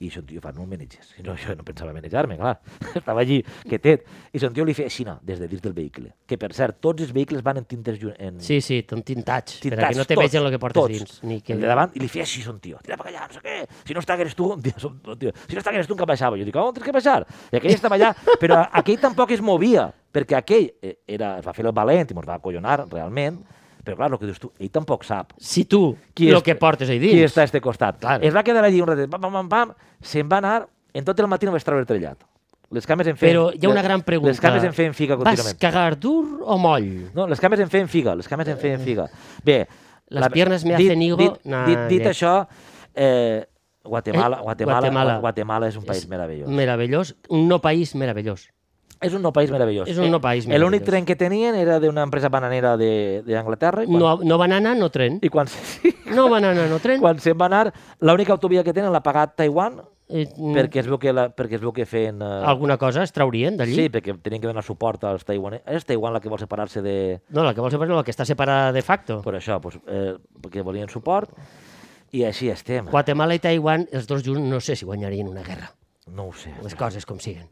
Speaker 1: I son tio fa, no em maneges. I no, jo no pensava manejar-me, clar. Estava allí, que tet. I son tio li feia així, no, des de dins del vehicle. Que, per cert, tots els vehicles van en tintes... ju- En...
Speaker 2: Sí, sí, són tintats, tintats,
Speaker 1: tintats,
Speaker 2: perquè no te
Speaker 1: tots,
Speaker 2: vegin el que portes
Speaker 1: tots.
Speaker 2: dins. Ni que...
Speaker 1: El de davant, i li feia així, son tio. Tira per allà, no sé què. Si no està que eres tu, un dia, som, un dia. si no està que eres tu, que baixava. Jo dic, on tens que baixar? I aquell estava allà, però a- aquell tampoc es movia, perquè aquell eh, era, es va fer el valent i mos va acollonar, realment, però clar, el que dius tu, ell tampoc sap
Speaker 2: Si tu,
Speaker 1: qui
Speaker 2: el
Speaker 1: és-
Speaker 2: que portes ahí dins.
Speaker 1: qui està a este costat.
Speaker 2: Clar.
Speaker 1: Es va quedar allí un ratet, pam, pam, pam, pam, se'n va anar, en tot el matí no vaig treure trellat. Les cames en feien...
Speaker 2: Però hi ha una gran pregunta.
Speaker 1: Les cames en feien fica
Speaker 2: Vas
Speaker 1: contínuament.
Speaker 2: cagar dur o moll?
Speaker 1: No, les cames en feien figa, les cames en feien figa. Bé,
Speaker 2: Las Eh, piernas me hacen higo,
Speaker 1: Dit,
Speaker 2: nah,
Speaker 1: dit, dit
Speaker 2: ja.
Speaker 1: això, eh, Guatemala, Guatemala,
Speaker 2: Eh, Guatemala.
Speaker 1: Guatemala, Guatemala és un país
Speaker 2: És
Speaker 1: meravellós.
Speaker 2: Meravellós, un no país meravellós.
Speaker 1: És un no país meravellós.
Speaker 2: És un no país
Speaker 1: Eh, L'únic
Speaker 2: meravellós.
Speaker 1: tren que tenien era d'una empresa bananera de- d'Anglaterra i quan,
Speaker 2: No, no banana, no tren.
Speaker 1: i quan, se-
Speaker 2: No banana, no tren.
Speaker 1: quan se'n va anar, l'única autovia que tenen l'ha pagat Taiwan
Speaker 2: Eh, mm,
Speaker 1: perquè es veu que, la, perquè es veu que feien... Eh,
Speaker 2: Alguna cosa es traurien d'allí?
Speaker 1: Sí, perquè tenien que donar suport als taiwanesos. És Taiwan la que vol separar-se de...
Speaker 2: No, la que vols separar, la que està separada de facto.
Speaker 1: Per això, pues, eh, perquè volien suport. I així estem.
Speaker 2: Guatemala i Taiwan, els dos junts, no sé si guanyarien una guerra.
Speaker 1: No ho sé.
Speaker 2: Les coses com siguen.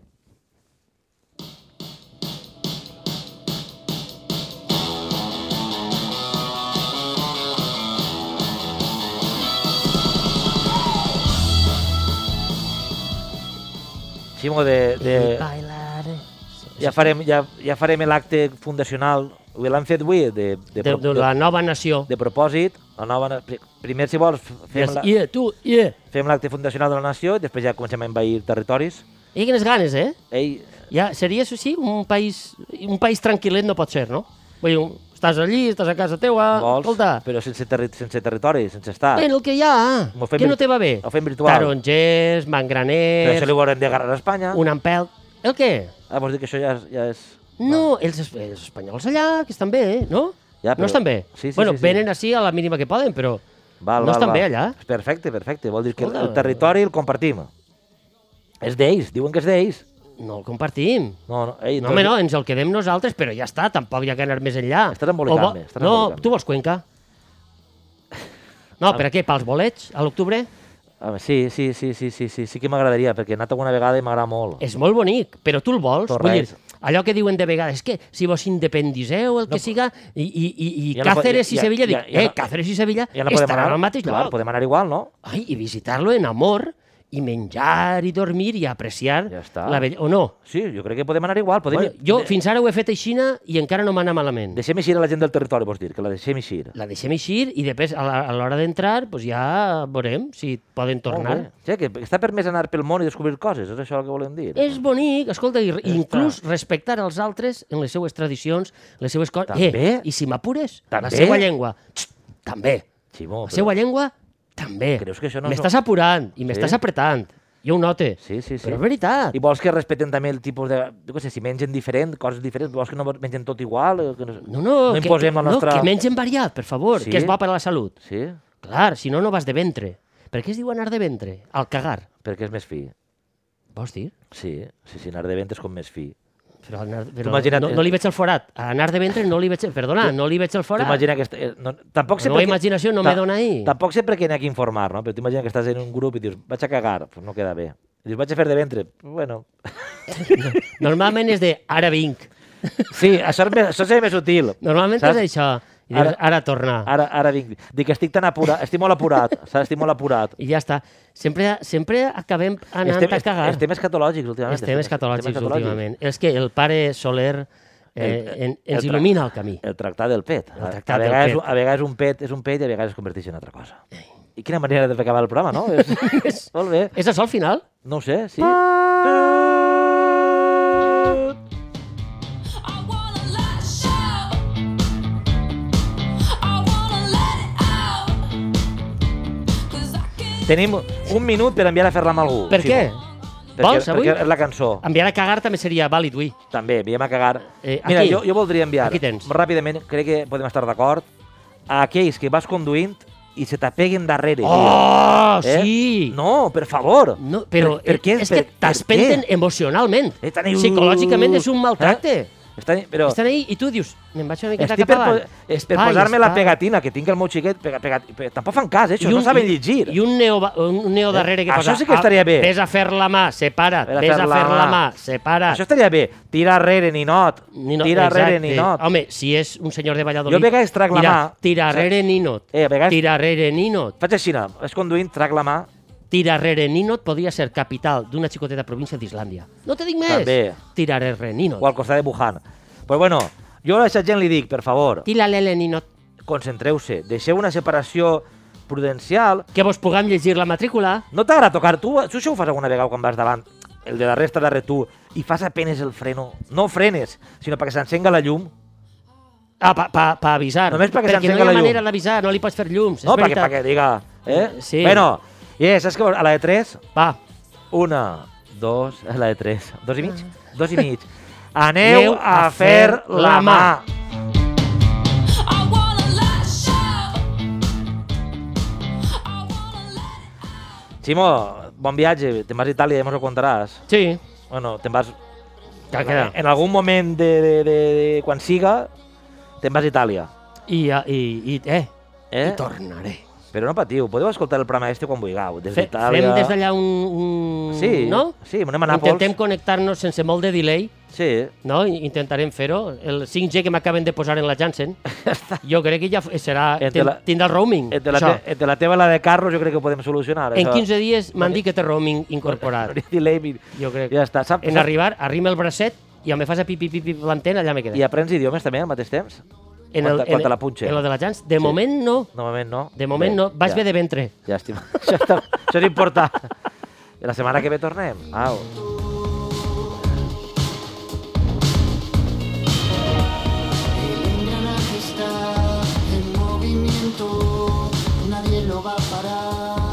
Speaker 1: Ximo, de, de...
Speaker 2: Bailar...
Speaker 1: Ja farem, ja, ja farem l'acte fundacional. Ho L'hem fet avui, de, de,
Speaker 2: De,
Speaker 1: pro-
Speaker 2: de la nova nació.
Speaker 1: de propòsit. La nova, na- pri- primer, si vols, fem
Speaker 2: Yes,
Speaker 1: la-
Speaker 2: yeah, tu, yeah.
Speaker 1: fem l'acte fundacional de la nació i després ja comencem a envair territoris.
Speaker 2: I quines ganes, eh?
Speaker 1: Ei,
Speaker 2: Ja, seria, això sí, un país, un país tranquil·let no pot ser, no? Vull dir, un- estàs allí, estàs a casa teua,
Speaker 1: vols,
Speaker 2: Ah, escolta,
Speaker 1: però sense, terri sense territori, sense estat.
Speaker 2: ben el que hi ha,
Speaker 1: Ho fem
Speaker 2: què
Speaker 1: vir-
Speaker 2: no te va bé?
Speaker 1: ho fem virtual. Però
Speaker 2: Tarongers,
Speaker 1: això
Speaker 2: mangraners,
Speaker 1: li ho haurem d'agarrar a Espanya.
Speaker 2: un empelt... El què?
Speaker 1: Ah, vols dir que això ja és... Ja és...
Speaker 2: No, els, es- els espanyols allà, que estan bé, eh? no?
Speaker 1: Ja, però-
Speaker 2: No estan bé.
Speaker 1: Sí, sí,
Speaker 2: bueno,
Speaker 1: sí, sí.
Speaker 2: venen així a la mínima que poden, però
Speaker 1: Val,
Speaker 2: no
Speaker 1: val,
Speaker 2: estan
Speaker 1: val.
Speaker 2: bé allà.
Speaker 1: Perfecte, perfecte. Vol dir que
Speaker 2: Escolta.
Speaker 1: el territori el compartim. És d'ells, diuen que és d'ells.
Speaker 2: No el compartim.
Speaker 1: No, no, ei, doncs
Speaker 2: No, home, no, ens el quedem nosaltres, però ja està, tampoc hi ha que anar més enllà.
Speaker 1: Estàs embolicant-me,
Speaker 2: O
Speaker 1: estàs
Speaker 2: No,
Speaker 1: embolicant-me.
Speaker 2: tu vols Cuenca? No, per a què? Pels bolets, a l'octubre?
Speaker 1: Home, sí, sí, sí, sí, sí, sí, sí que m'agradaria, perquè he anat alguna vegada i m'agrada molt.
Speaker 2: És molt bonic, però tu el vols?
Speaker 1: Tot
Speaker 2: Vull dir,
Speaker 1: res.
Speaker 2: allò que diuen de vegades, que si vos independiseu, el que siga, i, i, i, i
Speaker 1: Ja no po-
Speaker 2: Càceres i
Speaker 1: ja-
Speaker 2: Sevilla,
Speaker 1: ja-
Speaker 2: dic,
Speaker 1: ja
Speaker 2: eh,
Speaker 1: no-
Speaker 2: Càceres i Sevilla
Speaker 1: Ja no podem
Speaker 2: estaran
Speaker 1: anar
Speaker 2: al mateix
Speaker 1: Clar,
Speaker 2: lloc.
Speaker 1: podem anar igual, no?
Speaker 2: Ai, I visitar-lo en amor i menjar i dormir i apreciar
Speaker 1: Ja està.
Speaker 2: la bellesa. O no?
Speaker 1: Sí, jo crec que podem anar igual. Podem...
Speaker 2: Bueno, jo fins ara ho he fet així i encara no m'ha anat malament.
Speaker 1: Deixem eixir a la gent del territori, vols dir, que la deixem eixir.
Speaker 2: La deixem eixir i després a la- a l'hora d'entrar pues ja veurem si poden tornar.
Speaker 1: Sí, que està permès anar pel món i descobrir coses, és això el que volem dir.
Speaker 2: És bonic, escolta, i, i inclús respectar els altres en les seues tradicions, les seues coses.
Speaker 1: També.
Speaker 2: Eh, I si m'apures, la
Speaker 1: També.
Speaker 2: seva llengua, txt, també.
Speaker 1: Ximo,
Speaker 2: La
Speaker 1: però-
Speaker 2: seva llengua, també.
Speaker 1: Creus que això no és
Speaker 2: M'estàs apurant i m'estàs apretant. Jo ho note.
Speaker 1: Sí, sí, sí.
Speaker 2: Però és veritat.
Speaker 1: I vols que respeten també el tipus de... Jo què sé, si mengen diferent, coses diferents, vols que no mengen tot igual? eh, Que no,
Speaker 2: No, no,
Speaker 1: no
Speaker 2: que,
Speaker 1: imposem la nostra...
Speaker 2: no, que mengen variat, per favor,
Speaker 1: Sí?
Speaker 2: que és bo per a la salut.
Speaker 1: Sí?
Speaker 2: Clar, si no, no vas de ventre. Per què es diu anar de ventre? Al cagar.
Speaker 1: Perquè és més fi.
Speaker 2: Vols dir?
Speaker 1: Sí, sí, sí, anar de ventre és com més fi.
Speaker 2: Però, anar, però
Speaker 1: imagina't-
Speaker 2: no, no li veig el forat. A anar de ventre no li veig... Perdona, no li veig el forat.
Speaker 1: T'imagina que... est- eh, No, tampoc
Speaker 2: La
Speaker 1: sé
Speaker 2: meva
Speaker 1: per què-
Speaker 2: imaginació no
Speaker 1: ta-
Speaker 2: me dona ahí.
Speaker 1: Tampoc sé per què n'hi ha que informar, no? Però t'imagina que estàs en un grup i dius, vaig a cagar, pues no queda bé. I dius, vaig a fer de ventre. Bueno,
Speaker 2: Normalment és de ara vinc.
Speaker 1: sí, això, és més, això seria més útil.
Speaker 2: Normalment
Speaker 1: Saps?
Speaker 2: Saps? és això. I dius, ara,
Speaker 1: Ara-
Speaker 2: ara tornar. Ara.
Speaker 1: Ara, ara vinc. Dic que estic tan apurat, estic molt apurat, saps? Estic molt apurat.
Speaker 2: I ja està. Sempre, sempre acabem anant
Speaker 1: Estem,
Speaker 2: a cagar.
Speaker 1: estem escatològics últimament.
Speaker 2: estem escatològics últimament. És que el pare Soler
Speaker 1: El-
Speaker 2: eh, en,
Speaker 1: el
Speaker 2: ens
Speaker 1: tra-
Speaker 2: il·lumina el camí.
Speaker 1: El tractat del pet. A,
Speaker 2: tractat
Speaker 1: a,
Speaker 2: del
Speaker 1: vegades,
Speaker 2: pet.
Speaker 1: a vegades un pet és un pet i a vegades es converteix en altra cosa. I quina manera de acabar el programa, no? És, molt bé.
Speaker 2: És això al final?
Speaker 1: No ho sé, sí.
Speaker 2: Ah,
Speaker 4: I wanna let it show. I wanna let it out. 'Cause I can't
Speaker 1: Tenim un minut per enviar a fer-la amb algú.
Speaker 2: Per
Speaker 1: Ximo.
Speaker 2: què?
Speaker 1: Perquè,
Speaker 2: Vols, avui?
Speaker 1: Perquè és la cançó.
Speaker 2: Enviar a cagar també seria vàlid, ui.
Speaker 1: També, enviem a cagar.
Speaker 2: Eh,
Speaker 1: Mira,
Speaker 2: aquí.
Speaker 1: jo, jo voldria enviar,
Speaker 2: Aquí tens.
Speaker 1: ràpidament, crec que podem estar d'acord, a aquells que vas conduint i se t'apeguen darrere.
Speaker 2: Oh,
Speaker 1: tio.
Speaker 2: sí!
Speaker 1: Eh? No, per favor.
Speaker 2: No, però eh,
Speaker 1: per, per què,
Speaker 2: és que
Speaker 1: per- per
Speaker 2: t'espenten
Speaker 1: què?
Speaker 2: emocionalment.
Speaker 1: Estan ahí, uh,
Speaker 2: Psicològicament és un maltracte.
Speaker 1: Eh? Estan, però
Speaker 2: Estan ahí i tu dius, me'n vaig una miqueta
Speaker 1: estic per,
Speaker 2: cap avant.
Speaker 1: po- eh, per
Speaker 2: Espai,
Speaker 1: posar-me la
Speaker 2: espai.
Speaker 1: pegatina que tinc el meu xiquet. Pega, pega, pe- tampoc fan cas, eh, això,
Speaker 2: I
Speaker 1: no saben
Speaker 2: i-
Speaker 1: llegir.
Speaker 2: I un neo, ba- un neo darrere que
Speaker 1: Això
Speaker 2: posa...
Speaker 1: sí que
Speaker 2: "Ah,
Speaker 1: estaria bé."
Speaker 2: Ves a fer la mà, separa't.
Speaker 1: Ves a
Speaker 2: Ves a
Speaker 1: fer
Speaker 2: fer
Speaker 1: la
Speaker 2: la
Speaker 1: mà.
Speaker 2: mà, separa't.
Speaker 1: Això estaria bé. Tira arrere, ninot.
Speaker 2: Ninot,
Speaker 1: tira arrere,
Speaker 2: exacte.
Speaker 1: ninot.
Speaker 2: Home, si és un senyor de Valladolid...
Speaker 1: Jo a vegades trac la
Speaker 2: mira,
Speaker 1: mà.
Speaker 2: Tira
Speaker 1: O sigui,
Speaker 2: arrere, ninot.
Speaker 1: eh, a vegades-
Speaker 2: Tira arrere, ninot.
Speaker 1: Faig així, no? vas conduint, trac la mà.
Speaker 2: Tira arrere, ninot podria ser capital d'una xicoteta província d'Islàndia. No te dic més.
Speaker 1: També.
Speaker 2: Tira arrere, ninot.
Speaker 1: o al costat de Wuhan. Però bueno, jo a aquesta gent li dic, per favor,
Speaker 2: Tira lele, ninot.
Speaker 1: concentreu-se, deixeu una separació prudencial.
Speaker 2: Que vos puguem llegir la matrícula.
Speaker 1: No t'agrada tocar tu? Tu això ho fas alguna vegada quan vas davant, el de darrere està darrere tu, i fas apenes el freno. No frenes, sinó perquè s'encenga la llum.
Speaker 2: Ah, pa, pa, pa avisar.
Speaker 1: Només perquè
Speaker 2: perquè no
Speaker 1: s'encenga
Speaker 2: hi ha
Speaker 1: la llum.
Speaker 2: manera d'avisar, no li pots fer llums.
Speaker 1: No,
Speaker 2: és
Speaker 1: perquè,
Speaker 2: veritat.
Speaker 1: perquè diga... Eh?
Speaker 2: Sí.
Speaker 1: Bueno, i yeah, saps que a la de 3,
Speaker 2: Va,
Speaker 1: una, dos, a la de 3, dos i mig, dos i mig. Ah. Aneu a fer la mà.
Speaker 4: I wanna let it show. I wanna let it
Speaker 1: Ximo, bon viatge, te'n vas a Itàlia, ja mos ho contaràs.
Speaker 2: Sí, Eh,
Speaker 1: Bueno, te'n vas
Speaker 2: que queda.
Speaker 1: En algun moment de, de, de, de quan siga, te'n vas a Itàlia.
Speaker 2: I, eh, i, i, eh,
Speaker 1: Eh?
Speaker 2: i tornaré.
Speaker 1: Però no patiu, podeu escoltar el programa este quan vulgueu. Des
Speaker 2: Fe,
Speaker 1: d'Itàlia...
Speaker 2: fem des d'allà un, un...
Speaker 1: Sí,
Speaker 2: no?
Speaker 1: sí, anem a Nàpols.
Speaker 2: Intentem connectar-nos sense molt de delay,
Speaker 1: Sí,
Speaker 2: no? I Intentarem fer-ho. El 5G que m'acaben de posar en la Janssen, jo crec que ja f- serà...
Speaker 1: Entre
Speaker 2: ten-
Speaker 1: la-
Speaker 2: Tindrà el roaming,
Speaker 1: entre la,
Speaker 2: això.
Speaker 1: te, entre la teva i la de Carlos jo crec que ho podem solucionar.
Speaker 2: En 15 dies m'han dit que té roaming incorporat,
Speaker 1: Delay,
Speaker 2: jo crec.
Speaker 1: ja està. Sap,
Speaker 2: En arribar, arrima el bracet i ja me fas a pipi pipi l'antena, allà me queda.
Speaker 1: I aprens idiomes també al mateix temps?
Speaker 2: en
Speaker 1: quan te- quan
Speaker 2: en,
Speaker 1: te la punxen.
Speaker 2: En lo de la Janssen, de moment no.
Speaker 1: Normalment no.
Speaker 2: De moment no. Vaig
Speaker 1: ja.
Speaker 2: bé de ventre.
Speaker 1: Llàstima. Això, està, això és important. I la setmana que ve tornem. Au.
Speaker 8: El engranaje está en movimiento, nadie lo va a parar.